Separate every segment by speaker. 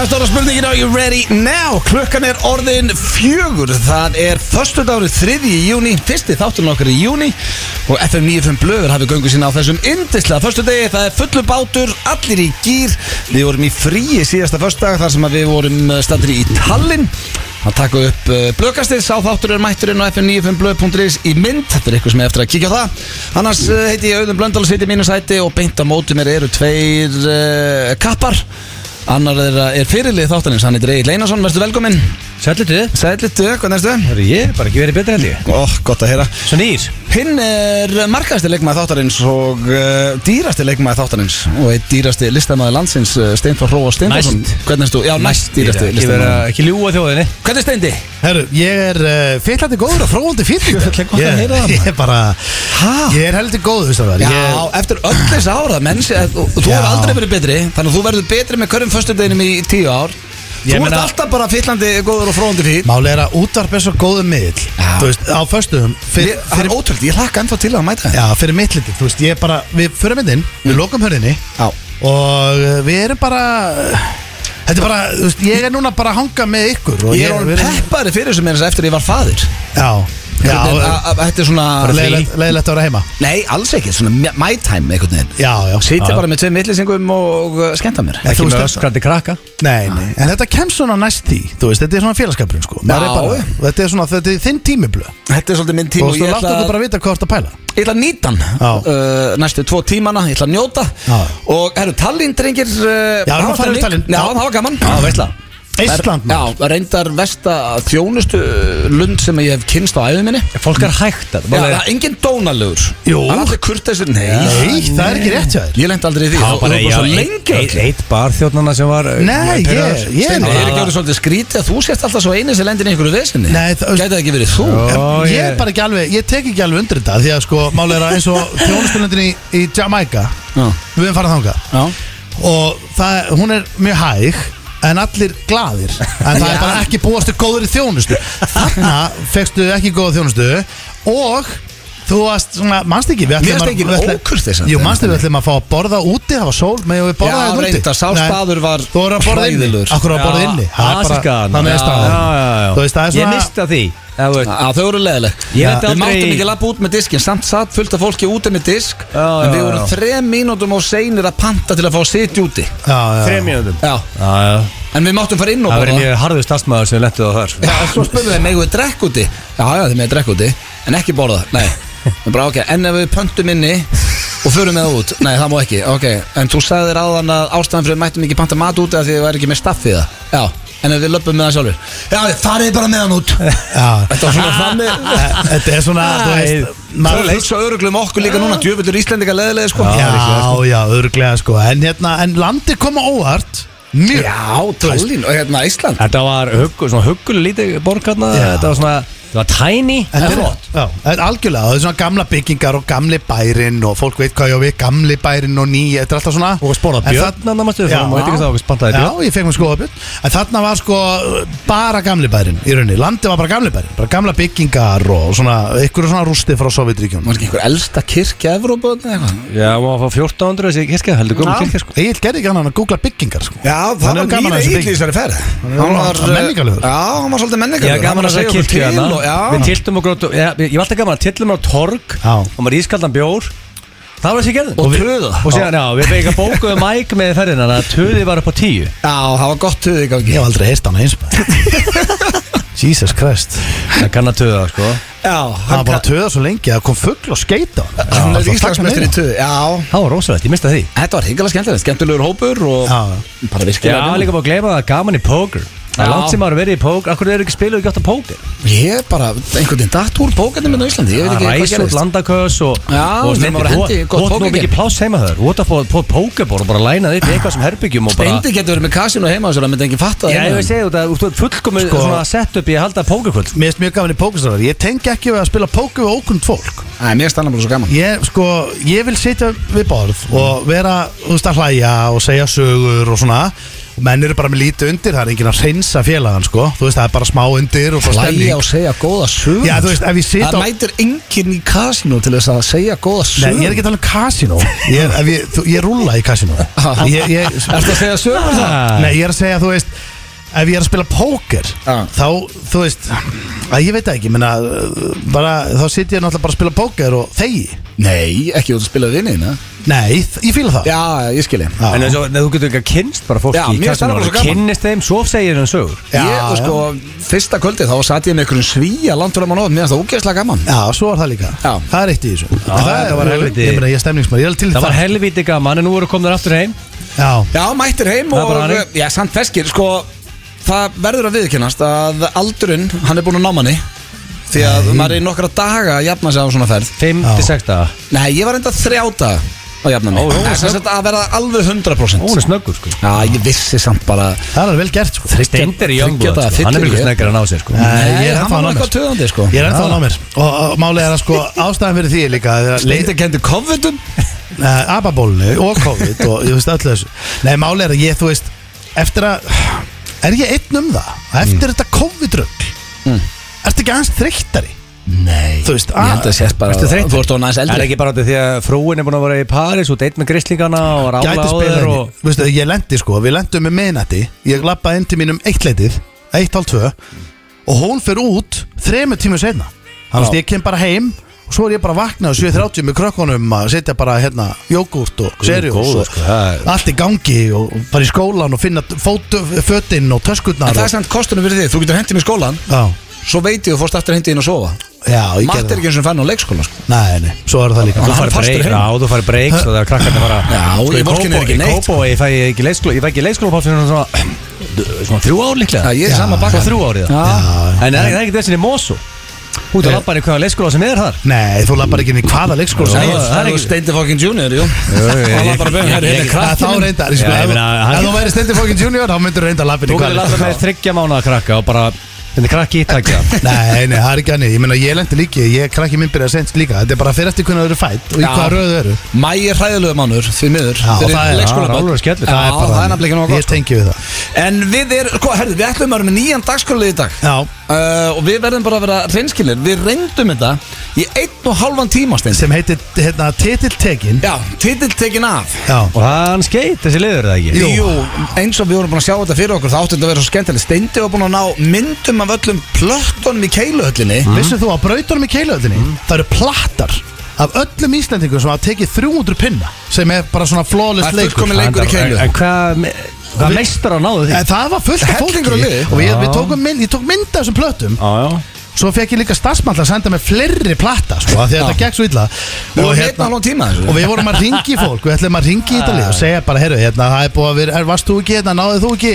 Speaker 1: er stóra spurningin á You Ready Now Klukkan er orðin fjögur Það er föstudárið þriði í júni Fyrsti þátturinn okkar í júni Og FM 95 Blöður hafi göngu sína á þessum Indislega föstudegi, það er fullu bátur Allir í gýr, við vorum í fríi Síðasta föstudag þar sem að við vorum Standir í Tallinn að taka upp uh, blökastið, sá þátturinn mætturinn á fm95blöð.is í mynd þetta er ykkur sem er eftir að kíkja á það annars uh, heiti ég Auðun Blöndal og siti í mínu sæti og beint á móti mér eru tveir uh, kappar annar þeirra er fyrirlið þáttanins, hann heitir Egil Einarsson, verður velkominn
Speaker 2: Sællir duð?
Speaker 1: Sælitu, hvernig erstu?
Speaker 2: Það er ég, bara ekki verið betra held ég
Speaker 1: Ó, gott að heyra
Speaker 2: Svo nýr
Speaker 1: Hinn er markaðasti leikmaði þáttarins og uh, dýrasti leikmaði þáttarins og eitt dýrasti listamaði landsins uh, Steinfor Róa Steinforsson
Speaker 2: Næst.
Speaker 1: Hvernig erstu? Já, næst dýrasti
Speaker 2: Ekki verið
Speaker 1: listamaði
Speaker 2: að ekki ljúa þjóðinni
Speaker 1: Hvernig er Steindi?
Speaker 3: Herru, ég er uh, fyllandi góður og fróðandi fyrir
Speaker 1: Ég ætla gott að heyra það,
Speaker 3: Ég er bara,
Speaker 1: Hæ?
Speaker 3: ég er heldur góð, veist það
Speaker 1: Já, eftir öll þessi ára mennsi, þú, þú
Speaker 3: Já.
Speaker 1: hefur aldrei verið betri þannig að þú verður betri með hverjum föstudeginum í tíu ár
Speaker 2: Ég
Speaker 1: Þú ert
Speaker 2: meina-
Speaker 1: alltaf bara fyllandi góður og fróðandi fyrir
Speaker 3: Máli er að útvarp er svo góðum miðl
Speaker 1: Já.
Speaker 3: Þú veist, á föstuðum
Speaker 1: Ég- Það er ótrúld, ég hlakka ennþá til að mæta það
Speaker 3: Já, fyrir mitt liti, þú veist, ég er bara Við förum hérna inn,
Speaker 1: Mm.
Speaker 3: við lokum hörðinni
Speaker 1: Já.
Speaker 3: Og uh, við erum bara Þetta er bara, þú veist, ég er núna bara að hanga með ykkur og
Speaker 1: Ég er
Speaker 3: við
Speaker 1: orðin
Speaker 3: erum-
Speaker 1: peppari fyrir þessu meira þess að eftir ég var faðir
Speaker 3: Já, já,
Speaker 1: Hvernig- að- að- Þetta er svona
Speaker 3: leiðilegt leiðilegt að vera heima
Speaker 1: Nei, alls ekki, svona my- my time einhvern veginn
Speaker 3: Já, já
Speaker 1: Sýtti
Speaker 2: Já.
Speaker 1: bara með tveim vittlýsingum og uh, skemmta mér
Speaker 3: En
Speaker 2: Ekki
Speaker 3: þú
Speaker 2: með
Speaker 3: veist-
Speaker 2: öskrandi krakka
Speaker 3: Nei, nei, en þetta kemst svona næst því Þú veist, þetta er svona félagskapurinn sko Maður
Speaker 1: Já.
Speaker 3: er bara, Þetta er svona, þetta er þinn tímiblöð
Speaker 1: Þetta er svolítið minn tíma
Speaker 3: Og
Speaker 1: og
Speaker 3: þú
Speaker 1: ég
Speaker 3: láttu
Speaker 1: ætla,
Speaker 3: okkur bara vita hvað þú ert að pæla
Speaker 1: ég ætla að nýta hann
Speaker 3: Já.
Speaker 1: uh, Næstu tvo tímana, ég ætla að njóta
Speaker 3: Já.
Speaker 1: Og herru, Tallinn drengir uh,
Speaker 3: Já,
Speaker 1: hafa
Speaker 3: nú farum við
Speaker 1: þetta
Speaker 3: Tallinn.
Speaker 1: lík- Já, það var gaman Já, veistla
Speaker 3: Ísland maður.
Speaker 1: Já, reyndar vest að þjónustu lund sem ég hef kynst á æðu minni Já,
Speaker 2: Fólk er hægt að
Speaker 1: það er engin dónalegur
Speaker 3: Jú.
Speaker 1: Það er allir kurteisir, nei
Speaker 3: Nei, það er ekki rétt hjá þér
Speaker 1: Ég lendi aldrei í því
Speaker 2: Já,
Speaker 1: Þú- þú
Speaker 2: bara,
Speaker 1: er
Speaker 2: já, e-
Speaker 1: svo
Speaker 2: eitt,
Speaker 1: lengi
Speaker 2: eitt, eitt barþjóðnana sem var uh,
Speaker 3: Nei, ég-
Speaker 2: pirraður.
Speaker 3: ég-
Speaker 1: Steini,
Speaker 3: Bara-
Speaker 1: er ekki orðið svolítið skrítið að þú sést alltaf svo eini sem lendir í einhverju vesinni
Speaker 3: Nei, það-
Speaker 1: Gæti það ekki verið þú?
Speaker 2: Jó. Ó,
Speaker 3: Ég
Speaker 2: ég-
Speaker 3: er bara ekki alveg, ég tek ekki alveg undir þetta Því að sko, máli er að eins og þjónustulendin í, í Jamaica
Speaker 1: Já.
Speaker 3: Við erum farað þangað
Speaker 1: Já.
Speaker 3: Og það, hún er mjög hæg En allir glaðir En það er bara ekki búastu góður í þjónustu Þarna fegstu ekki góða þjónustu Og þú varst svona, mannst ekki við ætlum
Speaker 1: Mér
Speaker 3: að-
Speaker 1: stengir
Speaker 3: við ætlum-
Speaker 1: ókurteis
Speaker 3: Jú, mannst ekki við ætlum að fá að borða úti Það var sól, með við
Speaker 1: Já,
Speaker 3: borða þetta úti
Speaker 1: reyndar, sá
Speaker 3: Nei,
Speaker 1: staður var
Speaker 3: Þú voru að borða inni
Speaker 1: hræðilegur.
Speaker 3: Akkur að borða
Speaker 2: Já,
Speaker 3: inni Það er bara-
Speaker 2: asískan.
Speaker 3: Þannig er
Speaker 2: Já,
Speaker 3: staðan
Speaker 2: já, já, já.
Speaker 3: Þú veist, það er
Speaker 2: Ég
Speaker 3: svona-
Speaker 2: mista því eða þú veist.
Speaker 1: Já, þau eru leðileg
Speaker 2: Ég
Speaker 1: Við
Speaker 2: held aldrei-
Speaker 1: máttum ekki lappa út með diskin Samt satt fullt af fólki úti með disk
Speaker 2: Já, já,
Speaker 1: En við vorum
Speaker 2: já.
Speaker 1: þrem mínútum og seinir að panta til að fá að sitja úti
Speaker 3: Já, já, já.
Speaker 2: Þrem mínúndum
Speaker 1: Já,
Speaker 2: Það
Speaker 1: en við máttum fara inn og
Speaker 2: verið mjög harðu stafsmæður sem lendið á þar
Speaker 1: Já, svo spurðu þeir, megum við drekk úti? Já, já, þeir megum drekk úti En ekki borða, nei En bara, ok, en ef við pöntum inni Og förum með það út, nei, það má ekki Ok, en þú sagði þér áðan að ástæðan fyrir við mættum ekki panta mat úti af Því þið væri ekki með staff í það Já, en ef við löpum með það sjálfur Já, þið farið bara með hann út
Speaker 3: Já,
Speaker 1: Þetta var
Speaker 2: Ah.
Speaker 1: svona þannig
Speaker 3: þetta er svona, þú veist
Speaker 1: Maður
Speaker 3: maður-
Speaker 1: er hugsa öruglum um okkur líka núna Djöfullur Íslendinga leðilega, sko
Speaker 3: Já, já, örglega sko En hérna, en landi koma óvart Mjög
Speaker 1: já Tallinn og hérna Ísland
Speaker 2: Þetta var huggu, svona huggul lítið borgarna
Speaker 3: Já.
Speaker 2: Þetta var svona, þetta var tiny
Speaker 3: Þetta er
Speaker 2: en flott.
Speaker 3: flott Já, þetta er algjörlega, það er svona gamla byggingar og gamli bærin og fólk veit hvað ég á við, gamli bærin og ný, þetta er alltaf svona
Speaker 2: Og spora
Speaker 3: En
Speaker 2: björn
Speaker 3: þarna-
Speaker 2: Þannig að
Speaker 3: Já.
Speaker 2: maður veit ekki það okkur spantaði
Speaker 3: Já,
Speaker 2: björn
Speaker 3: ég fekk mér skoða björn En þarna var sko bara gamli bærin í rauninni, landi var bara gamli bærin bara gamla byggingar og svona ykkur svona rústi frá Sovjetríkjum
Speaker 1: Var ekki einhver elsta kirkja Evrópu eða eitthvað?
Speaker 2: Já, maður fá 1400 þessi kirkja, heldur
Speaker 3: Já.
Speaker 2: góðum kirkja sko
Speaker 3: Egil gerði ekki annað en að googla byggingar sko
Speaker 1: Já,
Speaker 3: Hann er gaman að þessu byggingu.
Speaker 1: þessari ferð eh,
Speaker 3: er gaman- menningarlegur.
Speaker 1: Já, hann var svolítið
Speaker 2: Ég
Speaker 1: menningarlegur
Speaker 2: er gaman að segja okkur til
Speaker 1: til og-
Speaker 2: hérna Við
Speaker 1: Já,
Speaker 2: tiltum okkur á, já, ég var alltaf gaman að tiltum á torg
Speaker 3: Já.
Speaker 2: Og maður ískaldan bjór Það var þessi gerðum
Speaker 1: og töða
Speaker 2: Og síðan, já, við beigum bókuðum mæk með ferðina Þannig að töði var upp á tíu
Speaker 1: Já, það var gott töð í gangi
Speaker 3: Ég hef aldrei heist hann eins Jesus Christ
Speaker 2: Það kann að töða, sko
Speaker 1: Já,
Speaker 3: Það var bara að töða svo lengi að kom fuggl og skeita á hann.
Speaker 1: Hann er
Speaker 3: Það var
Speaker 1: Íslandsmestri í
Speaker 3: fagnaði.
Speaker 1: töð Já,
Speaker 2: Það var rosalegt, ég mista því
Speaker 1: þetta var hingala skemmtilegt Skemmtilegur hópur og
Speaker 3: Já.
Speaker 1: bara
Speaker 2: Já,
Speaker 1: virkilega gaman.
Speaker 2: líka bara að gleyma það gaman í póker Það
Speaker 1: Já.
Speaker 2: er langt sem maður verið í póker Akkur eru ekki spiluð ekki átt að póker
Speaker 1: Ég bara, einhvern veginn datt úr bókandi minn á Íslandi Ég veit ekki
Speaker 2: Það
Speaker 1: hvað
Speaker 2: ræs út
Speaker 1: gerðist
Speaker 2: landakös og
Speaker 1: Já, þegar
Speaker 2: og slendir.
Speaker 1: maður hendi í
Speaker 2: Þú
Speaker 1: gott
Speaker 2: átt nú
Speaker 1: pókergame.
Speaker 2: mikið pláss heima þar Þú átt að fá pókerbor og bara læna þitt í eitthvað sem herbyggjum og bara
Speaker 1: Steindi getur verið með kasinu heima þessar Það myndi enginn fatta
Speaker 2: Já, ég
Speaker 1: heima.
Speaker 2: vil segja þetta, þú ert fullkomið
Speaker 3: Sko-
Speaker 2: svona sett upp í að halda pókerkvöld
Speaker 3: Mér finnst mjög gaman í pókerstafar Ég tengi ekki við að spila póker við ókunn fólk
Speaker 1: Æ, mér stannar bara svo gaman
Speaker 3: Ég, sko, ég vil sitja við borð og vera, þú veist, að hlæja og segja sögur og svona og menn eru bara með lítið undir, það er enginn að reynsa félagann sko, þú veist það er bara smá undir og bara
Speaker 1: Hlæja
Speaker 3: stemning
Speaker 1: og segja góða sögur
Speaker 3: Já, þú veist, ef ég sit
Speaker 1: Það
Speaker 3: á-
Speaker 1: mætir enginn í kasinu til þess að segja góða sögur
Speaker 3: Nei, ég er ekki að tala um kasino Ég, er- ef ég, þú, ég rúlla í kasino ég, ég,
Speaker 1: Ah, Ertu að segja sögur um það?
Speaker 3: Nei, ég er að segja, þú veist Ef ég er að spila póker
Speaker 1: Ah.
Speaker 3: Þá, þú veist að Ég veit það ekki, menna bara, Þá sit ég náttúrulega bara að spila póker og þegi
Speaker 1: Nei, ekki út að spila vinnin
Speaker 3: Nei, þ- ég fíla það
Speaker 1: Já, ég skilji
Speaker 3: Já.
Speaker 2: En eins og- nei, þú getur ekki að kynst bara fólki
Speaker 1: Já, mér
Speaker 2: í
Speaker 1: finnst það
Speaker 2: kassanum
Speaker 1: bara svo
Speaker 2: og
Speaker 1: gaman.
Speaker 2: Kynnist þeim, svo segir hann sögur
Speaker 3: Já,
Speaker 1: ég, og sko, fyrsta kvöldi þá satt ég með einhverjum svíja langt fyrir að maður mér finnst það ógeðslega gaman
Speaker 3: Já, svo er það líka
Speaker 1: Já.
Speaker 3: Það er eitt í þessu En það,
Speaker 2: þetta
Speaker 3: er-
Speaker 2: var helviti.
Speaker 3: Ég meina, ég er stemningsmæður, ég er alveg til í
Speaker 2: Það var
Speaker 3: það
Speaker 2: helvíti gaman en nú eru komnir aftur heim
Speaker 3: Já,
Speaker 1: Já, mættir heim
Speaker 2: Það er
Speaker 1: og
Speaker 2: bara þannig.
Speaker 1: Já, samt feskir, sko Það verður að viðkennast að aldurinn, hann er búin að ná manni Því að maður er í nokkra daga að jafna sig á svona ferð
Speaker 2: 5-6 daga
Speaker 1: Nei, ég var enda þrjá daga að jafna mig
Speaker 2: Ó, ó,
Speaker 1: Það er sem sagt að verða alveg 100%
Speaker 2: Ó, Hún er snöggur sko
Speaker 1: Já, ég vissi samt bara
Speaker 3: það er alveg vel gert sko
Speaker 2: Stendir í
Speaker 1: þriggja
Speaker 2: jöngblad
Speaker 1: daga
Speaker 2: sko. Hann er
Speaker 1: fyllir
Speaker 2: mjög
Speaker 1: ég.
Speaker 2: snöggur að ná sér sko
Speaker 3: Nei, ég er
Speaker 1: hann
Speaker 3: ennþá
Speaker 1: var
Speaker 3: að ná
Speaker 1: nú
Speaker 3: mér.
Speaker 1: eitthvað töðandi, sko
Speaker 3: Ég er ennþá að ná mér og, og málið er að sko ástæðan fyrir því er líka að-
Speaker 1: Leita kendi COVID-um
Speaker 3: uh, ababólinu og COVID og ég veist öllu þessu Nei, máli er að ég, þú veist, eftir að Er ég einn um það? Eftir þetta COVID-rögg Ertu ekki aðeins þreyttari?
Speaker 1: Nei
Speaker 3: Þú veist,
Speaker 1: Ég held að sést bara
Speaker 2: Ertu þreyttur?
Speaker 1: Þú ert orðin aðeins
Speaker 2: Er
Speaker 1: eldri
Speaker 2: ekki bara út af því að frúin er búin að vera í Paris og deitt með grislingana og rála
Speaker 3: Gæti
Speaker 2: á
Speaker 3: spilað
Speaker 2: þeir
Speaker 3: henni
Speaker 2: og
Speaker 3: Þú veist, ég lendi sko, við lendum með minnati Ég lappaði inn til mínum eitt leitið Eitt hálf tvö Og hún fer út þremur tímur setna Þannig að
Speaker 1: Já.
Speaker 3: ég kem bara heim Og svo er ég bara vaknað 7.30 með krökkunum Að setja bara hérna jógúrt og serjós
Speaker 2: góður,
Speaker 3: og
Speaker 2: sko, það er-
Speaker 3: Allt í gangi og og fara í skólan Og finna fótu, fötin og töskurnar
Speaker 1: En það
Speaker 3: og-
Speaker 1: er samt kostunum fyrir þig Þú getur hendið mér í skólan
Speaker 3: Já,
Speaker 1: Svo veit ég þú fórst aftur hendið inn að sofa
Speaker 3: já, ég
Speaker 1: Matt er
Speaker 3: gerði það
Speaker 1: ekki eins og fann á leikskóla sko.
Speaker 3: Nei, nei, svo er það líka
Speaker 1: Hann
Speaker 2: Þú
Speaker 1: er
Speaker 2: farið
Speaker 1: fastur
Speaker 2: breyk,
Speaker 1: heima.
Speaker 2: já, þú farið breyk og það er krakkarnir bara
Speaker 1: Já,
Speaker 2: Sko,
Speaker 1: ég
Speaker 2: í
Speaker 1: vorkenni þér ekki
Speaker 2: Kópavogi-
Speaker 1: neitt,
Speaker 2: Í Kópavogi fæ ég ekki leikskóla Ég fæ ekki leikskóla pási fyrir svona Svona þrjú ár líklega
Speaker 1: Já, ég er
Speaker 3: Já.
Speaker 1: sama bakka
Speaker 2: Svona þrjú árið
Speaker 1: Já.
Speaker 2: En það er það er ekki þessin í Mosu Út að
Speaker 3: Eh.
Speaker 2: lappa hann í hvaða leikskóla sem er þar
Speaker 3: Nei, þú lappar ekki inn í hvaða leikskóla sem
Speaker 2: Já,
Speaker 3: er
Speaker 2: það er ekki-
Speaker 1: Steindi fucking junior, jú
Speaker 2: jú, jú,
Speaker 1: Það var
Speaker 2: ég-
Speaker 1: bara beðin,
Speaker 2: ég-
Speaker 1: herri,
Speaker 2: ég-
Speaker 1: hérna er
Speaker 3: Það er þá
Speaker 1: krakkinn minn.
Speaker 3: reyndar sko,
Speaker 2: Já, ég
Speaker 3: Ef
Speaker 2: meina, hann-
Speaker 3: ef þú væri Stendi Fókin Junior þá myndur reynda að lappa inn
Speaker 2: Þú
Speaker 3: í
Speaker 2: getur
Speaker 3: hvaða
Speaker 2: lappa með
Speaker 3: leikskóla
Speaker 2: þryggja mánuða krakka og bara Þetta er krakki í takja
Speaker 3: Nei, nei, það er ekki hann Ég meina, ég lendi líki, ég krakki minn byrja að sendst líka Þetta er bara fyrir eftir hvernig þau eru fætt og í
Speaker 1: Já.
Speaker 3: hvaða röðu þau eru
Speaker 1: Mæ er hræðilegu mannur, því miður
Speaker 3: Já,
Speaker 1: Fyrir
Speaker 3: það er-
Speaker 1: leikskóla
Speaker 2: það er
Speaker 1: barn.
Speaker 2: alveg skellur.
Speaker 1: Já,
Speaker 2: Það
Speaker 3: bara
Speaker 1: það er
Speaker 3: þannig.
Speaker 1: nefnilega ekki sko. nóg
Speaker 3: Ég tengi við það
Speaker 1: gott En við er, sko, herri, við ætlum að vera með nýjan dagskölu í dag
Speaker 3: Já,
Speaker 1: Uh, og við verðum bara að vera reynskilir Við reyndum þetta í einn og halvan tíma Steindi.
Speaker 3: sem heitir, hérna, titiltekin
Speaker 1: Já, titill tekin af
Speaker 3: Já,
Speaker 2: Og hann skeit þessi liður er það ekki
Speaker 1: Jú. eins og við vorum búin að sjá þetta fyrir okkur þá átti þetta að vera svo skemmtileg Steindi var búin að ná myndum af öllum plöttunum í keiluhöllinni
Speaker 3: vissu þú að brautunum í keiluöldinni
Speaker 1: Mm.
Speaker 3: Það eru plattar af öllum Íslendingum sem hafa tekið 300 pinna sem er bara svona flawless
Speaker 1: Það er
Speaker 3: leikur
Speaker 1: fullkomin leikur í keilu
Speaker 2: En hvað me-
Speaker 3: Við-
Speaker 2: Hvað meistar á náðu því?
Speaker 3: En það var fullt af fólki
Speaker 1: Hellingur á liði.
Speaker 3: Og ég,
Speaker 2: Já.
Speaker 3: við tókum mynd, ég tók mynd af þessum plötum
Speaker 2: Já, já
Speaker 3: Svo fekk ég líka starfsmann til að senda mig fleiri platta sko, af Því að þetta gekk svo illa hérna-
Speaker 1: vorum hérna einn og hálfan tíma þessu.
Speaker 3: og við vorum að ringi í fólk Við ætlum að ringi í þetta lið og segja bara Herru, hérna, það er búið að vera er, Varst þú ekki, hérna, náðið þú ekki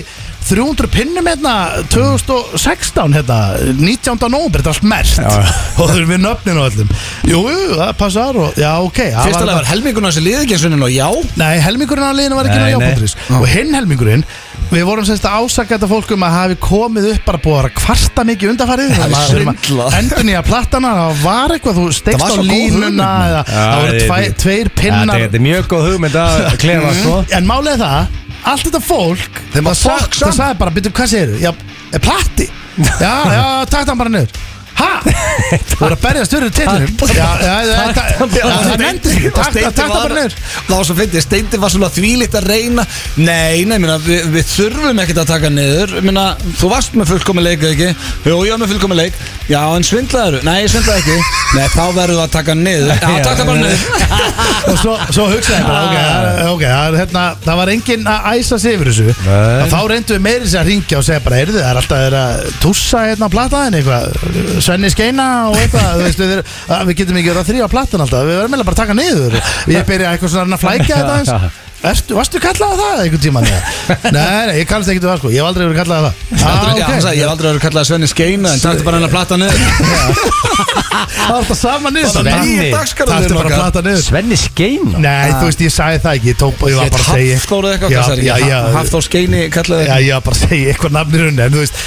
Speaker 3: 300 pinnum hérna 2016 hérna 19. nómber, þetta er allt mert Og þau eru við nöfnin og öllum Jú, jú, það passar og já, ok það
Speaker 1: Fyrst alveg var helminguna þessi liði ekki eins og já
Speaker 3: Nei, helmingurinn á liðinu var ekki
Speaker 2: Nei,
Speaker 3: náðu
Speaker 2: nei.
Speaker 3: jábundurís Og hinn helmingurinn Við vorum semst að ásaka þetta fólk um að hafi komið upp bara búið að vera að kvarta mikið undanfarið
Speaker 1: Það er svindlað.
Speaker 3: Endur nýja platana, það var eitthvað Þú
Speaker 1: Það
Speaker 3: stekst
Speaker 1: var
Speaker 3: á
Speaker 1: svo góð hugmynd,
Speaker 3: línuna
Speaker 1: maður.
Speaker 3: eða, Það voru
Speaker 2: þetta-
Speaker 3: tvæ- tveir
Speaker 2: Þetta
Speaker 3: pinnar Mhm.
Speaker 2: þetta er mjög góð hugmynd að klefa sko
Speaker 3: En málið er það, allt þetta fólk
Speaker 1: Þeim var
Speaker 3: það sa-
Speaker 1: fokk
Speaker 3: Það
Speaker 1: saman.
Speaker 3: sagði bara, byrju, hvað segirðu? Já, er platti? Já, já, takt hann bara niður Hæ? Þú voru að berja stjórnir titlinum Já, já, já, það- já, það nefndi ekki Takt
Speaker 1: Steindi
Speaker 3: takt hann
Speaker 1: var-
Speaker 3: bara niður
Speaker 1: Það var svo fyndið, Steindi var svona þvílitt að reyna Nei, nei, minna, við, við þurfum ekkert að taka niður minna, Þú varst með fullkomi leik, eða ekki? Jú, ég var með fullkomi leik Já, en svindlaður? Nei, ég svindlaði ekki Nei, þá verður það að taka hann niður Já,
Speaker 2: Já.
Speaker 1: taka bara niður
Speaker 3: og svo, svo hugsaði ég bara
Speaker 1: Ah.
Speaker 3: ok, það- ok, það, er hérna, það var enginn að æsa sig yfir þessu
Speaker 2: Nei.
Speaker 3: og þá reyndu við meiri sér að ringja og segja bara heyrðu, það er alltaf þeir að tússa hérna á plataðin eitthvað, Svenni Skeina og eitthvað, þú veist, við, erum- að við getum ekki verið að þrýja á platan alltaf, við verðum meðlega bara að taka niður ég byrja eitthvað svona að reyna að flækja þetta eins Ertu, varstu kallað að það einhvern tímann? eða? Nei, nei, ég kallast ekkert að það sko, ég hef aldrei verið kallað að það
Speaker 1: Aldrei,
Speaker 3: ah,
Speaker 1: já, hann sagði, Ég hef aldrei verið kallað Svenni Skeina En taktu bara hann að plata hann niður
Speaker 3: Það var alltaf sama niður
Speaker 2: Svenni.
Speaker 3: Taktu bara að plata niður
Speaker 2: Svenni Skein
Speaker 3: Nei, þú veist, ég sagði það ekki, ég tók, ég var bara að segja
Speaker 1: Hafþór eða eitthvað
Speaker 3: Já,
Speaker 1: hvað sagði
Speaker 3: já,
Speaker 1: ég?
Speaker 3: já.
Speaker 1: Ha- Hafþór Skeini kallaði
Speaker 3: Já, ég var bara að segja eitthvað nafnir unni En þú veist,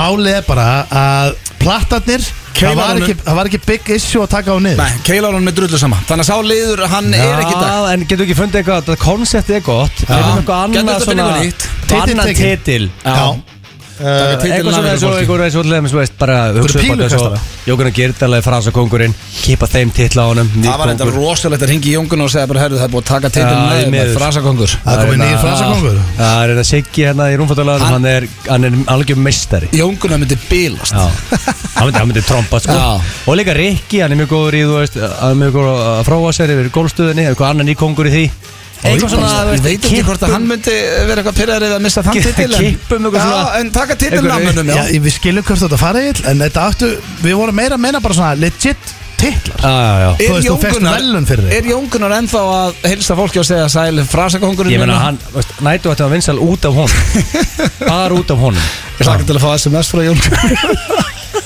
Speaker 3: málið er bara að Plattarnir, það var,
Speaker 1: Keilarunum.
Speaker 3: ekki, það var ekki big issue að taka á niður
Speaker 1: Nei, Keilar hann með drullu sama Þannig að sá liður, hann er ekki í dag
Speaker 2: Já, en getur ekki fundið eitthvað, þetta koncept er gott
Speaker 1: Já.
Speaker 2: Finnum eitthvað
Speaker 1: Getum
Speaker 2: annað
Speaker 1: þetta að finna eitthvað nýtt?
Speaker 3: Titill
Speaker 2: annan
Speaker 3: tekinn.
Speaker 2: titil
Speaker 3: Já. Eh,
Speaker 1: Taka titilinn
Speaker 2: eitthvað
Speaker 1: af
Speaker 2: svona
Speaker 1: þessu
Speaker 2: eins og
Speaker 1: fólki.
Speaker 2: eitthvað eins og allir eins og veist bara hugsa upp á þetta
Speaker 3: pílukastara.
Speaker 2: svo Jókunar Gyrdalegi fransa kongurinn kipa þeim titla á honum
Speaker 1: Það var eitthvað rosalegt að ringi í Jóngun og segja bara herru það er búið að taka
Speaker 2: Já,
Speaker 1: teitin
Speaker 2: því
Speaker 1: með, með
Speaker 2: miður.
Speaker 1: frasakongur
Speaker 3: Það er komið nýr frasakongur.
Speaker 2: Það er þetta Siggi hérna í rúmfattalaganum
Speaker 1: Hann-
Speaker 2: hann er, hann er algjör meistari
Speaker 1: Jónguna myndi bilast
Speaker 2: Já, hann myndi, hann myndi tromba sko
Speaker 1: Já.
Speaker 2: Og líka Rikki, hann er mjög góður í, þú veist Hann er mjög góður að fróa sér yfir gólfstöðinni Eitthvað annan í kongur í því Eitthvað svona, þú
Speaker 1: Ég
Speaker 2: veist,
Speaker 1: veit ekki
Speaker 3: um-
Speaker 1: hvort að hann myndi vera eitthvað pyrraður eða að missa þann
Speaker 2: Kipp-
Speaker 1: titil
Speaker 2: kippum eitthvað svona-
Speaker 1: Já, en taka titilin af
Speaker 2: Einhverju-
Speaker 1: mönnum,
Speaker 3: Já,
Speaker 1: já
Speaker 3: við skiljum hvert þetta farið Egill, En þetta áttu, við vorum meira að meina bara svona legit titlar
Speaker 2: Já, já, já
Speaker 1: Er
Speaker 3: Þú veist, þú fékkst
Speaker 1: Jón Gunnar-
Speaker 3: verðlaun fyrir þig.
Speaker 1: Er Jóngunar ennþá að hilsa fólki og segja sæl frasakongurinn
Speaker 2: Ég meina, hann, veist, nætu ætti að vinsal út af honum Bara út af honum
Speaker 1: Ég hlakka til að fá SMS frá Jóngunar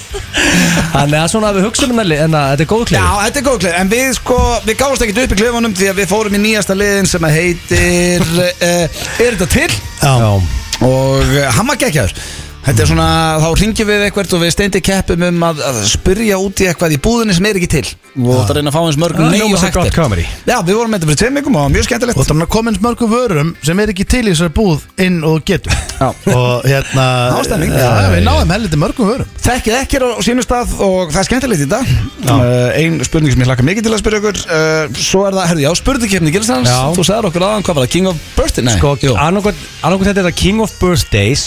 Speaker 2: Þannig að svona að við hugsa um hennar En að þetta er góð
Speaker 1: Já,
Speaker 2: klefi
Speaker 1: þetta er góð klið En við sko, við gáðumst ekkert upp í klifunum Því að við fórum í nýjasta liðin sem að heitir uh, Er þetta til?
Speaker 2: Já,
Speaker 1: Og eh, hann var geggjaður Þetta er svona, þá ringjum við eitthvað og við steindi keppum um að, að spyrja út í eitthvað í búðinni sem er ekki til og þetta reyna að fá eins mörgum
Speaker 2: Það
Speaker 1: nei og
Speaker 2: hljómar sem
Speaker 1: hægt
Speaker 2: gott comedy.
Speaker 1: er. Já, við vorum með þetta fyrir tveim vikum og það var mjög skemmtilegt
Speaker 3: Og þannig að koma eins mörgum vörum sem er ekki til í þessari búð inn og getur
Speaker 1: Já.
Speaker 3: Og hérna
Speaker 1: Nástemning.
Speaker 3: Já, við náðum heldur mörgum vörum
Speaker 1: Þekkið ekki er á sínum stað og það er skemmtilegt í dag uh, Ein spurning sem ég hlakka mikið til að spyrja ykkur uh, Svo er það, herði, já, spurningkeppni Gilsans
Speaker 2: Já.
Speaker 1: Þú sagðir okkur aðan, hvað var það, King of Birthday? Nei,
Speaker 2: sko,
Speaker 1: jú.
Speaker 2: annarkvæmt þetta er það King of Birthdays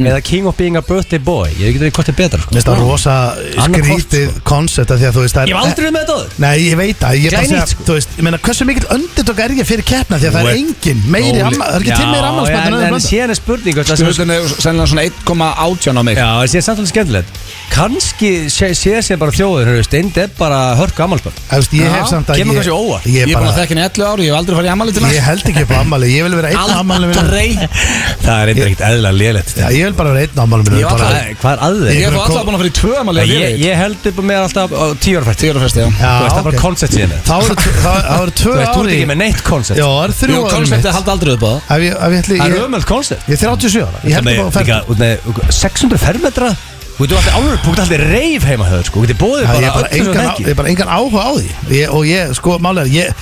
Speaker 2: Eða King of being a birthday boy Ég veit ekki hvort er betra, sko
Speaker 3: Mm. Mér finnst það rosa
Speaker 2: Annað hvort,
Speaker 3: skrítið koncept af Því að þú veist það er
Speaker 2: Ég hef aldrei verið með þetta áður
Speaker 3: Nei, ég veit það, ég er bara að
Speaker 2: Glænýtt,
Speaker 3: segja,
Speaker 2: sko.
Speaker 3: þú veist, ég meina, hversu mikill önditök er ég fyrir keppna því að það er
Speaker 2: Óli.
Speaker 3: engin meiri, amma, það er ekki til meiri
Speaker 2: en,
Speaker 3: ammalspöndan öðrum
Speaker 2: en
Speaker 3: blöndan.
Speaker 2: síðan er spurning veist, það sem-
Speaker 1: Spurningin er sennilega svona 1,18 á mig
Speaker 2: Já, en síðan samt alveg skemmtilegt Kanski sé, sé sér bara þjóður Steind er bara hörku ammalspönd
Speaker 3: Þú veist, ég hef
Speaker 1: Já,
Speaker 3: samt að
Speaker 2: kemur
Speaker 3: ég,
Speaker 2: kannski óvart.
Speaker 1: Ég
Speaker 3: ég,
Speaker 1: er búin að
Speaker 3: bara,
Speaker 1: þekka henni í 11 ári, ég hef aldrei farið í
Speaker 2: um
Speaker 1: ammali til
Speaker 3: ég held ekki upp á ammali, ég vil vera einn ammali minn.
Speaker 2: Það er eitthvað ekkert eðla lélegt
Speaker 3: Já, ég vil bara vera einn ammali minn.
Speaker 1: Ég var
Speaker 3: bara-
Speaker 1: alltaf-
Speaker 2: Hvað er að
Speaker 1: Ég
Speaker 2: þig?
Speaker 1: hef alltaf búin að fara í tvö ammali
Speaker 2: Ég, ég, ég held upp með alltaf á tíu ára fært Þú
Speaker 1: Tíur og fyrsti, já
Speaker 3: Já,
Speaker 2: veist, það er bara
Speaker 3: ok.
Speaker 2: koncept síðan
Speaker 3: Þá eru tv- þá- þá eru tvö
Speaker 2: Þú veist, þú ert
Speaker 3: ári.
Speaker 2: ekki með neitt koncept
Speaker 3: Já, það eru
Speaker 1: Jú,
Speaker 3: þrjú ári mitt.
Speaker 1: konceptið haldi aldrei upp á það
Speaker 3: Ef ég, ef ég ætli,
Speaker 2: Það er
Speaker 3: ég,
Speaker 2: ömöld koncept
Speaker 3: ég er 37 ára, ég held
Speaker 2: Þannig,
Speaker 3: ekki á ferð.
Speaker 2: líka, út með 600 fermetra Þú veit, þú ert alveg búin alltaf reif heima höfður sko. Þú getur bóðið
Speaker 3: Já, Ég
Speaker 2: bara
Speaker 3: er bara
Speaker 2: öllu sem
Speaker 3: engan á-
Speaker 2: þekki.
Speaker 3: ég er bara engan áhuga á því ég, og ég, sko, málega, ég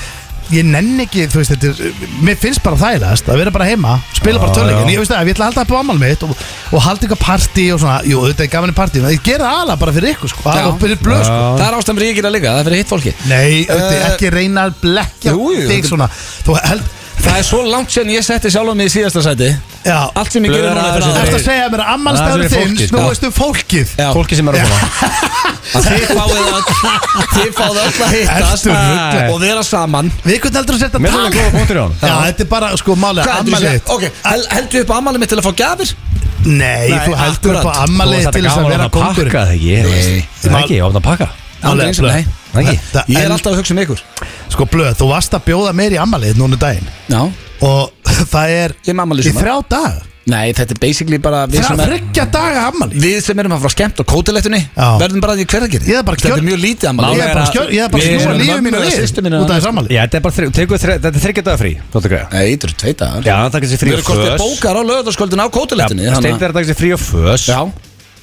Speaker 3: ég nenn ekki, þú veist, þetta er mér finnst bara þægilegast að vera bara heima spila bara
Speaker 2: Já,
Speaker 3: törleikin,
Speaker 2: já.
Speaker 3: ég veist það, ef ég ætla að halda upp á amal mitt og, og halda eitthvað partí og svona, jú, þetta er gaman í partí en ég gera það alveg bara fyrir ykkur, sko,
Speaker 1: Já.
Speaker 3: og fyrir blöð, sko
Speaker 1: Það er ástæðan fyrir ég gera líka, það er fyrir hitt fólki
Speaker 3: Nei, auðvitað,
Speaker 1: Eh,
Speaker 3: ekki reyna að blekja
Speaker 1: jú, jú,
Speaker 3: þig
Speaker 1: þetta-
Speaker 3: svona, þú held
Speaker 1: Það er svo langt sen ég setti sjálf mig í síðasta sæti
Speaker 3: já,
Speaker 1: Allt sem ég gerir
Speaker 2: Blöðra
Speaker 1: núna
Speaker 2: aðeins
Speaker 1: fyrir
Speaker 2: þetta
Speaker 3: það
Speaker 1: aðra
Speaker 3: er
Speaker 2: er-
Speaker 3: að segja mér að
Speaker 2: Það er
Speaker 3: ammalstæður þinn
Speaker 2: fólkið, sko.
Speaker 3: snúist um fólkið
Speaker 1: Já.
Speaker 2: Fólki sem er að koma
Speaker 1: Að Þið fáið öll Þið fáið öll að hittast
Speaker 3: Ertu ruglaður?
Speaker 1: Og vera saman
Speaker 3: við hvernig heldur að setja
Speaker 2: Mér finnst það góða
Speaker 3: tal
Speaker 2: punktur í honum.
Speaker 3: já, þetta er bara, sko, málega,
Speaker 1: Hvað heldur
Speaker 3: ammalið
Speaker 1: þú
Speaker 3: þitt.
Speaker 1: Ok, hel- heldur upp á ammali mitt til að fá gjafir?
Speaker 3: Nei,
Speaker 1: Nei,
Speaker 3: þú heldur upp á
Speaker 1: akkurat.
Speaker 3: ammalið til þess að vera kongur
Speaker 2: pakka, það ekki Þú veist.
Speaker 1: Nei.
Speaker 2: Það er ekki, ég opna að pakka
Speaker 1: Aldrei eins og nei.
Speaker 2: Ekki.
Speaker 1: Ég er alltaf að hugsa um ykkur
Speaker 3: Sko blöð, þú varst að bjóða mér í ammalið núna um daginn
Speaker 1: Já
Speaker 3: Og það er
Speaker 1: Ég er með afmæli í
Speaker 3: í
Speaker 1: sumar.
Speaker 3: þrjá daga
Speaker 1: Nei, þetta er basically bara við sem,
Speaker 3: Þrjá
Speaker 1: er,
Speaker 3: þryggja daga ammalið
Speaker 1: við sem erum að fara skemmt og kótilegtunni
Speaker 3: Já.
Speaker 1: Verðum bara að ég hverða gerir
Speaker 3: Ég er bara
Speaker 1: Þetta
Speaker 3: kjör-
Speaker 1: er mjög lítið
Speaker 2: Mál
Speaker 1: ammali
Speaker 3: Ég er bara
Speaker 2: að-
Speaker 3: skjör, ég er bara
Speaker 2: við
Speaker 3: að snúa
Speaker 2: erum
Speaker 3: lífið
Speaker 1: mömmu
Speaker 3: mínu
Speaker 1: eða
Speaker 3: við
Speaker 1: systur minni
Speaker 3: Út af
Speaker 1: annars.
Speaker 3: þessu ammalið
Speaker 2: Já, þetta er bara þrjú, tegur þrjú, þetta er þryggja dagar frí Þú veit ekki að
Speaker 1: Nei, þetta eru tvei dagar
Speaker 2: Já, það takkir sér frí
Speaker 1: Við erum kortið bókar á löðarskvöldin á kótilegtunni
Speaker 2: Steindar takkir sér frí og fös
Speaker 1: Já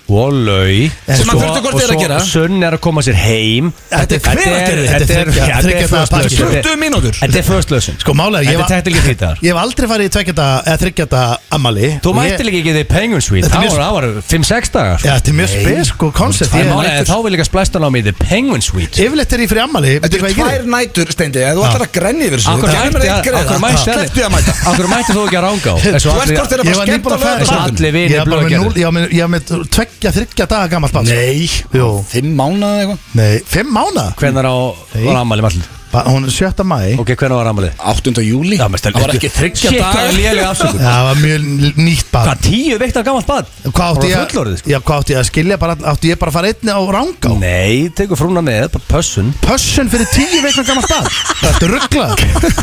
Speaker 2: Og lau
Speaker 3: En
Speaker 1: Sem hann
Speaker 3: sko-
Speaker 1: þurfti hvort er
Speaker 2: og
Speaker 1: að
Speaker 2: svo
Speaker 1: gera.
Speaker 2: Sunn er að koma sér heim
Speaker 1: Þetta er hveragerði.
Speaker 2: Þetta er
Speaker 3: Þetta er
Speaker 2: já,
Speaker 3: þriggja
Speaker 2: þetta er
Speaker 3: daga
Speaker 2: first
Speaker 3: pakki.
Speaker 2: lösun. Þetta er-
Speaker 1: 20 mínútur
Speaker 2: Þetta er first lösun
Speaker 3: Sko málega, ég
Speaker 2: Þetta er
Speaker 3: var-
Speaker 2: teknilega frí dagar
Speaker 3: ég hef aldrei farið í tveggja daga Eða þryggja daga ammalið
Speaker 2: Þú mætti líka ekki þig Penguin Suite
Speaker 3: Þetta er
Speaker 2: Það
Speaker 3: mjög-
Speaker 2: var- það var 5-6 dagar
Speaker 3: Já, þetta er mjög spesk og koncept
Speaker 2: Það er
Speaker 3: Ég-
Speaker 2: málið að Þá vil líka splæsta námi í The Penguin Suite
Speaker 3: Yfirleitt er ég fyrir ammali
Speaker 1: Þetta eru tvær nætur, Steindi, eða þú ætlar að grenni yfir þessu
Speaker 2: Akkur
Speaker 1: það kemur
Speaker 2: mætti
Speaker 1: einn
Speaker 2: að
Speaker 1: greiða.
Speaker 2: Akkur mætti að
Speaker 1: Slepptu því að mæta
Speaker 2: Akkur mætti þú ekki að ranga á
Speaker 1: Þú
Speaker 2: Eins og
Speaker 1: ert
Speaker 2: allir-
Speaker 1: hvort þeirra
Speaker 3: ég
Speaker 1: bara
Speaker 3: var
Speaker 1: skemmt
Speaker 3: nýbúin
Speaker 1: á
Speaker 3: að fara-
Speaker 2: eins og
Speaker 1: löðarskvöldin
Speaker 2: allir
Speaker 3: Ég
Speaker 2: vinir
Speaker 3: er bara með núl-
Speaker 2: blöðgerðir
Speaker 3: ég var með- ég var með tveggja þryggja daga gammalt barn, sko. Jú.
Speaker 1: Fimm mánuð eða eitthvað
Speaker 3: Nei, fimm mánuð
Speaker 2: Hvernig á, var ammali allir?
Speaker 3: Ba- Hún er 7. mæ
Speaker 2: Ok, hvernig var ammali?
Speaker 1: 8. júli
Speaker 2: Já, menn, stelur-
Speaker 1: Það var ekki þryggja
Speaker 2: Shit, hvað er léleg
Speaker 1: dagar
Speaker 2: afsökun
Speaker 3: Já, það var mjög nýtt barn
Speaker 2: Hvað, tíu veiktar gammalt bad?
Speaker 3: Hvað átti
Speaker 2: Bara
Speaker 3: ég,
Speaker 2: fullorðið, sko.
Speaker 3: já, hvað átti ég að skilja bara, átti ég bara að fara einni á rángá
Speaker 2: Nei, tegur frúna með, bara pössun
Speaker 3: Pössun fyrir tíu veikna gammal stað Þetta er rugglað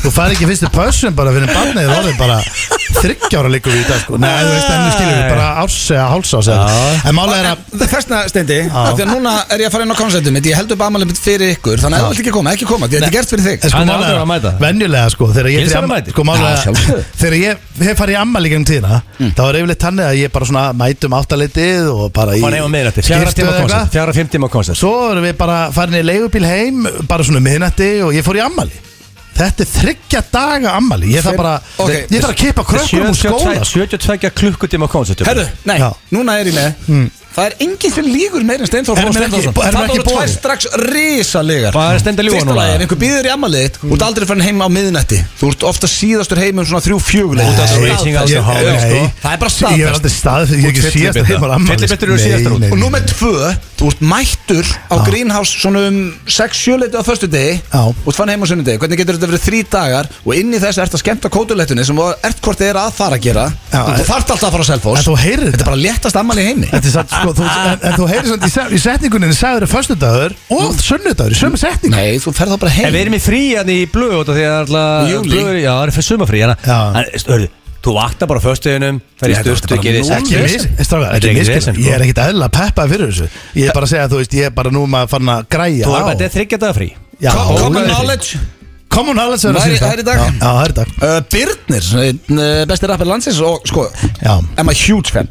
Speaker 3: Þú fari ekki fyrstu pössun bara fyrir barnið Það er bara þryggjára líkur við í dag sko. Nei, þú veist, henni skilur við bara ás eða háls ás
Speaker 2: Já.
Speaker 3: En málega er að
Speaker 1: Þessna, Steindi, af því að núna er ég að fara inn á koncertum mitt Ég held upp amalum mitt fyrir ykkur Þannig að þú vilt ekki koma, ekki koma Þetta er gert fyrir þig
Speaker 3: En sko,
Speaker 2: Hann er
Speaker 3: málega
Speaker 2: aldrei
Speaker 3: er
Speaker 2: að mæta.
Speaker 3: að venjulega sko þegar ég,
Speaker 2: Gils
Speaker 3: fer í
Speaker 2: er að
Speaker 3: amma-
Speaker 2: mæta.
Speaker 3: sko, málega,
Speaker 1: Já, sjálfsögðu.
Speaker 3: þegar ég hef farið í ammali gegnum tíðina
Speaker 2: Mm.
Speaker 3: þá er yfirleitt þannig að ég bara svona mætum áttaleitið og bara í
Speaker 2: Var nefnum með þetta, fjara
Speaker 3: skyrtu
Speaker 2: tíma
Speaker 3: eða eitthvað.
Speaker 2: koncert Fjara fimm tíma koncert
Speaker 3: Svo erum við bara farin í leigubíl heim bara svona um miðnætti og ég fór í ammali Þetta er þryggja daga ammali Ég þarf
Speaker 1: Fimm-
Speaker 3: bara
Speaker 1: ok.
Speaker 3: Ég þarf að kippa krökkum úr skóla
Speaker 2: 72 72 klukkutíma konsertum
Speaker 1: Herru, nei,
Speaker 3: Já.
Speaker 1: núna er ég með
Speaker 2: Hmm.
Speaker 1: Það er enginn sem lígur meira en Steinþór Frá
Speaker 3: Erum við ekki-
Speaker 1: Steinþórsson
Speaker 3: erum við
Speaker 1: Það
Speaker 3: ekki
Speaker 1: voru tvær
Speaker 3: boðið?
Speaker 1: strax risalegar
Speaker 2: Hvað er Steindi að ljúga
Speaker 1: Fyrsta
Speaker 2: núna? Hmm.
Speaker 1: lagi, ef einhver býður í ammaliðið þitt Þú ert aldrei farin heim á miðnætti Þú ert ofta síðastur heim um svona þrjú fjöguleg
Speaker 2: Út af þessu reaching out to home, sko.
Speaker 1: Það er bara
Speaker 3: Ég er
Speaker 1: staðfest
Speaker 3: aldrei staðfest Ég er ekki
Speaker 2: Og
Speaker 3: síðast
Speaker 2: fyllibita.
Speaker 3: heimar ammali
Speaker 2: Fyllibittur eru síðastur út.
Speaker 1: Og nú með tvö, þú ert mættur á Greenhouse svona um 6-7 leiti á förstu degi
Speaker 3: Já.
Speaker 1: og ert fann heim á sunnudegi Hvernig getur þetta verið þrý dagar og inn í þess ert að skemmta kótulettunni sem þú ert hvort þið er að fara að gera
Speaker 3: Já,
Speaker 1: Þú
Speaker 3: en-
Speaker 1: þarft alltaf að fara á
Speaker 3: En
Speaker 1: Selfoss
Speaker 3: þú heyrir
Speaker 1: Þetta
Speaker 3: þetta
Speaker 1: er bara léttast ammali í heimi
Speaker 3: Þetta er satt, sko, þú,
Speaker 2: Ah.
Speaker 3: en, en þú heyrir samt í, se- í setninguninni sagður að föstudagur og sunnudagur í sömu setningu
Speaker 1: Nei, þú ferð þá bara heim
Speaker 2: En við erum í frí hann í blöð út af því að
Speaker 1: Í
Speaker 2: alltaf
Speaker 1: júlí.
Speaker 2: blöð, Já, það er fyrir sumafrí hana
Speaker 3: Já.
Speaker 2: En hörðu, þú vaknar bara á föstuðinum Fer í
Speaker 1: Já, þetta er
Speaker 2: sturtu,
Speaker 1: bara
Speaker 2: gerir
Speaker 1: núll
Speaker 2: sex
Speaker 3: ekki
Speaker 1: vesen.
Speaker 3: mis, en
Speaker 2: Þetta
Speaker 3: strákar,
Speaker 2: er
Speaker 3: ekki
Speaker 2: ekki
Speaker 3: miskinn
Speaker 2: vesen, sko.
Speaker 3: Ég er ekkit eðla peppa fyrir þessu Ég er bara að segja, þú veist, ég er bara nú maður farin að græja
Speaker 2: Þú er bara,
Speaker 3: á
Speaker 2: þetta er þryggja dagar frí
Speaker 3: Já,
Speaker 1: Co- Common
Speaker 2: Ógæðið.
Speaker 1: knowledge
Speaker 3: Common knowledge er að
Speaker 1: Væri-
Speaker 3: síðasta.
Speaker 1: það er í dag.
Speaker 3: Já, já, það er í dag
Speaker 1: uh, Birnir, einn, uh, besti rappar landsins og sko,
Speaker 3: Já.
Speaker 1: I'm a huge fan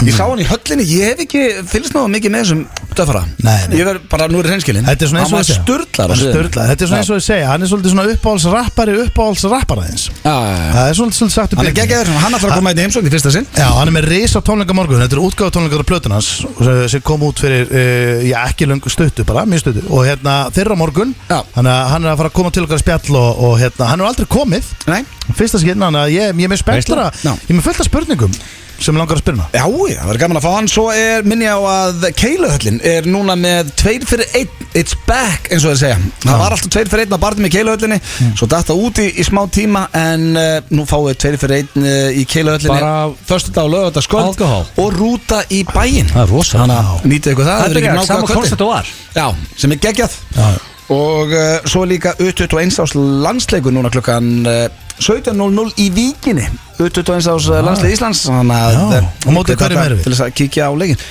Speaker 1: Ég sá hann í höllinni, ég hef ekki fylgst náða mikið með þessum döfara
Speaker 3: Nei, nei.
Speaker 1: Ég verð bara, nú er reynskilin
Speaker 3: Þetta er svona eins og
Speaker 1: Hann var sturlar á sviðinu.
Speaker 3: Sturlar, þetta er svona eins og ég segja Hann er svolítið svona uppáhaldsrappari, uppáhaldsrapparaðins
Speaker 1: Já, já, já.
Speaker 3: Það er svolítið svolítið sagt upp
Speaker 1: Hann er
Speaker 3: í-
Speaker 1: geggjaður, hann ætlar að koma einn í heimsókn í fyrsta sinn
Speaker 3: Já, hann er með risa tónleika morgun Þetta eru útgáðu tónleikar á plötun hans sem- sem kom út fyrir, uh, já ekki löngu stöttu bara, mjög stöttu og hérna þeirra morgun
Speaker 1: Já.
Speaker 3: hann, hann er að fara að koma til okkar að spjall og, og hérna, hann er aldrei komið
Speaker 1: Nei
Speaker 3: fyrsta skinn, hann að ég, ég er með spenntur að
Speaker 1: Já.
Speaker 3: ég er með fullt af spurningum sem langar að spyrna
Speaker 1: Já, já, það verður gaman að fá hann Svo er minni á að Keiluhöllin er núna með tveir fyrir einn It's back, eins og þeir segja Það var alltaf tveir fyrir einn á barnum í Keiluhöllinni
Speaker 2: Mm.
Speaker 1: Svo datt það úti í smá tíma En uh, nú fáið tveir fyrir einn uh, í Keiluhöllinni
Speaker 2: Bara-
Speaker 1: Föstudag og lögðardag skvöld
Speaker 2: Alkohól.
Speaker 1: Og rúta í bæinn
Speaker 2: Það er rosa
Speaker 1: Nýtið ykkur það,
Speaker 2: Það
Speaker 1: verður
Speaker 2: er
Speaker 1: ekki
Speaker 2: ekki
Speaker 1: nákvæða
Speaker 2: sama
Speaker 1: kvöldin.
Speaker 2: koncept og var
Speaker 1: Já, sem er geggjað
Speaker 3: Já.
Speaker 1: Og uh, svo er líka U21 ás landsleikur núna klukkan uh, 17.00 í víkinni U21 ás landsleik Íslands Þannig að
Speaker 3: Já,
Speaker 1: eh,
Speaker 3: og mótið hverjum
Speaker 1: þetta
Speaker 3: erum við?
Speaker 1: Til þess að kíkja á leikin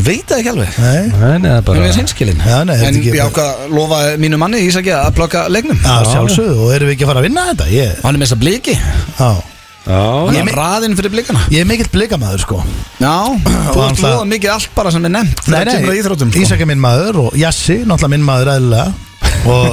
Speaker 1: Ég veit það ekki alveg
Speaker 3: Nei,
Speaker 2: Nei, það er
Speaker 1: Það
Speaker 2: bara
Speaker 1: er eins hinskilin
Speaker 3: Já, nei, þetta
Speaker 1: En
Speaker 3: er ekki-
Speaker 1: ég ákvað að lofa mínu manni Ísaki að plöka leiknum
Speaker 3: að sjálfsögðu og erum við ekki að fara að vinna þetta ég,
Speaker 1: Hann er með þess að bliki
Speaker 3: á,
Speaker 2: Já,
Speaker 1: Hann
Speaker 3: Ég
Speaker 1: er
Speaker 3: me-
Speaker 1: raðinn fyrir blikana
Speaker 3: ég er mikill blikamæður sko
Speaker 1: Já, þú
Speaker 3: hann
Speaker 1: ert
Speaker 3: það-
Speaker 1: loða mikið allt bara sem er nefnt þegar kemur að íþróttum sko.
Speaker 3: Ísak er minn maður og Jassi, náttúrulega minn maður eðlilega og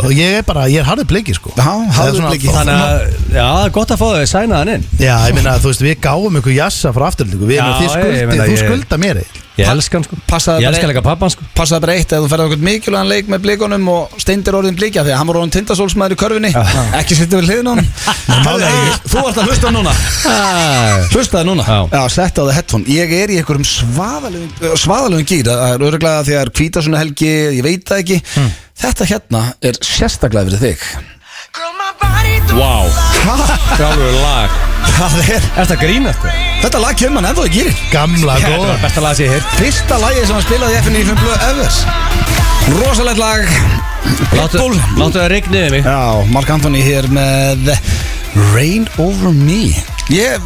Speaker 3: og ég er bara, ég er harður bliki sko
Speaker 1: Já, harður
Speaker 3: Það er svona-
Speaker 1: bliki.
Speaker 2: þannig að Já, það er gott að fá þau að sæna hann inn
Speaker 3: Já, ég meina, þú veist, við gáum ykkur jassa frá afturlíku Við erum
Speaker 2: Já,
Speaker 3: að þið
Speaker 2: ég meina,
Speaker 3: skuldið, þú
Speaker 2: ég-
Speaker 3: skulda mér eitt
Speaker 2: Ég elska hann sko
Speaker 1: Passaðu
Speaker 2: Ég
Speaker 1: bara-
Speaker 2: elska líka pappan sko
Speaker 1: passaði bara eitt eða þú ferði okkur mikilvægan leik með blikunum og steindir orðin blíkja því að hann voru orðin tindasólsmaður í körfinni ekki sittum við hliðin á hann
Speaker 3: málega
Speaker 1: Herðu, þú ert að hlusta núna hlustaði núna
Speaker 2: Já.
Speaker 1: já, sett á það headphone ég er í einhverjum svaðalöfum svaðalöfum gýr það er öruglega því að það er hvítasuna helgi ég veit það ekki
Speaker 2: Hmm.
Speaker 1: þetta hérna er sérstaklega fyrir þig
Speaker 2: Vá Sjálfur lag
Speaker 1: það er
Speaker 2: Er þetta grínast? þau?
Speaker 1: þetta lag kemur hann ennþá í gýrin
Speaker 3: Gamla,
Speaker 2: Þetta
Speaker 3: góða
Speaker 2: var besta lag sem ég heilt
Speaker 1: fyrsta lagið sem hann spilaði í FNÍ5 blöð Evers rosalegt lag
Speaker 2: Láttu
Speaker 1: Pitbull.
Speaker 2: láttu það rigna yfir mig
Speaker 1: Já, Mark Anthony hér með Rain Over Me Ég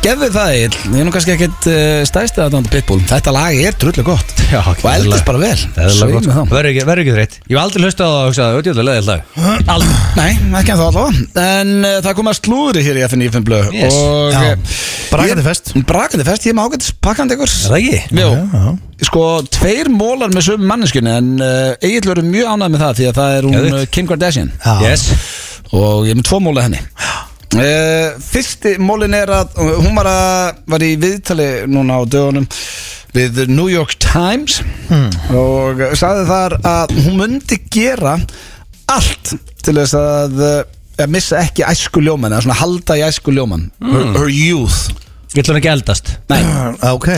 Speaker 1: gefði það Egill. Ég er nú kannski ekkert uh, stæsti að þetta Pitbull Þetta lag er drullu gott
Speaker 2: Já,
Speaker 1: Og eldist bara vel
Speaker 2: Eðlilega gott,
Speaker 1: Svei
Speaker 2: sko.
Speaker 1: mér þá.
Speaker 2: Verður ekki, verður ekki þreitt Ég hef aldrei hlustað á það og hugsað Ödjöldlega leðið lag Aldrei
Speaker 1: Nei, ekki en þá allavega En uh, það kom að slúðri hér í FNÍFN blöð
Speaker 2: Yes.
Speaker 1: Og
Speaker 3: Já.
Speaker 1: eh,
Speaker 3: Brakandi
Speaker 1: ég-
Speaker 3: fest.
Speaker 1: Brakandi fest, ég má gett pakkandi ykkur
Speaker 2: Er það ekki?
Speaker 1: Jó,
Speaker 3: Já, já.
Speaker 1: sko, tveir mólar með sömu manneskunni En uh, Egil verður mjög ánægð með það Því að það er hún
Speaker 2: Geðvikt.
Speaker 1: eh, Kim Kardashian
Speaker 3: Já.
Speaker 2: Yes
Speaker 1: og ég er með tvo móla henni uh, fyrsti mólin er að uh, hún var, að, var í viðtali núna á dögunum við The New York Times og sagði þar að hún myndi gera allt til þess að uh, að missa ekki æsku ljóman eða svona halda í æsku ljóman her, her youth
Speaker 2: Ég ætlum ekki að eldast
Speaker 1: Nei.
Speaker 3: Hmm. Ok,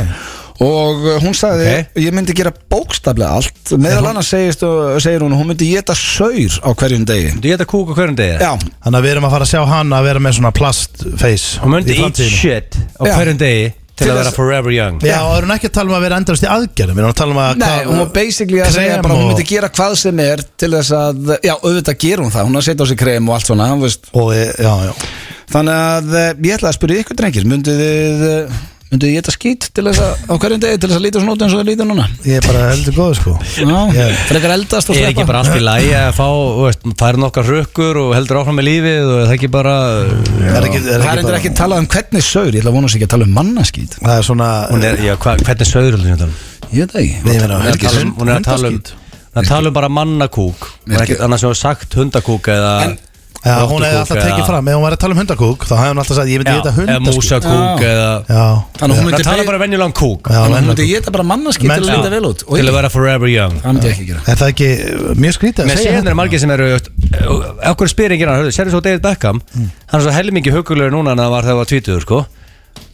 Speaker 1: og uh, hún sagði
Speaker 2: Ok.
Speaker 1: ég myndi gera bókstaflega allt meðal annars segist, og- segir hún hún myndi geta saur á hverjum degi
Speaker 2: Þú geta kúk á hverjum degi
Speaker 1: já,
Speaker 3: þannig að við erum að fara að sjá hann að vera með svona plastface
Speaker 2: Hún myndi
Speaker 3: í
Speaker 2: eat
Speaker 3: framtíðinni.
Speaker 2: shit á
Speaker 1: Já.
Speaker 2: hverjum degi Til
Speaker 1: Til
Speaker 2: að vera
Speaker 1: þess-
Speaker 2: forever young
Speaker 3: Já, og erum ekki að tala um að vera endalast í aðgerðum Við erum að tala um að
Speaker 1: Nei,
Speaker 3: hvað-
Speaker 1: hún var basically að segja
Speaker 3: krem
Speaker 1: bara hún
Speaker 3: og-
Speaker 1: myndi gera hvað sem er til þess að, já, auðvitað gerum það hún er að setja á sig krem og allt svona hann veist.
Speaker 3: Og, e- já, já
Speaker 1: þannig að eh, ég ætla að spyrja ykkur drengir mynduð þið eh, mynduð þið geta skýt til þess að, á hverjum degi til þess að líta svona út eins og þið líta núna
Speaker 3: Ég er bara heldur góð, sko
Speaker 1: já,
Speaker 3: Ég-
Speaker 1: frekar eldast og
Speaker 2: Er ekki bara allt í lagi að fá þú veist, færa nokkar rökkur og heldur áfram með lífið og er það ekki bara
Speaker 3: Það er ekki,
Speaker 1: það er endur ekki að tala um hvernig saur ég ætla að vona þess ekki að tala um mannaskýt
Speaker 3: Það er svona
Speaker 2: hún er, já, hva, hvernig söður hún er að tala um?
Speaker 1: ég veit það ekki
Speaker 3: Nei, ég
Speaker 2: Hún er
Speaker 3: meina,
Speaker 2: að tala um hún er að tala um
Speaker 3: hundaskít.
Speaker 2: hún er að tala um bara mannakúk hún er ekkert annars sem hefur sagt hundakúk eða
Speaker 1: En
Speaker 3: Já, hún hefði
Speaker 2: Rottukúk
Speaker 3: alltaf
Speaker 2: eða-
Speaker 3: tekið fram Ef hún var að tala um hundakúk Þá hefði hún alltaf sagt Ég myndi
Speaker 2: Já,
Speaker 3: geta
Speaker 2: eða
Speaker 3: hundakúk
Speaker 2: músakúk
Speaker 1: Já.
Speaker 2: eða
Speaker 3: Já
Speaker 1: Þannig að hún
Speaker 2: Það
Speaker 1: myndi
Speaker 2: tala
Speaker 1: beig-
Speaker 2: bara venjulegan kúk
Speaker 3: um- Já,
Speaker 1: Þannig að hún
Speaker 3: venjulegan
Speaker 1: myndi geta bara mannaskip til að
Speaker 3: Menn-
Speaker 1: líta vel út Og
Speaker 2: Til að
Speaker 1: ég-
Speaker 2: vera forever young
Speaker 1: Það myndi ég ekki gera
Speaker 3: Er það ekki uh, mjög skrítið
Speaker 2: Mér
Speaker 3: að segja
Speaker 2: séðan hérna er
Speaker 3: þetta?
Speaker 2: margir sem eru just, Okkur spyrir ekki hann, hörðu, sérðu svo David Beckham Hann er svo helmingi hugulegur núna en það var þegar það var tvítuður, sko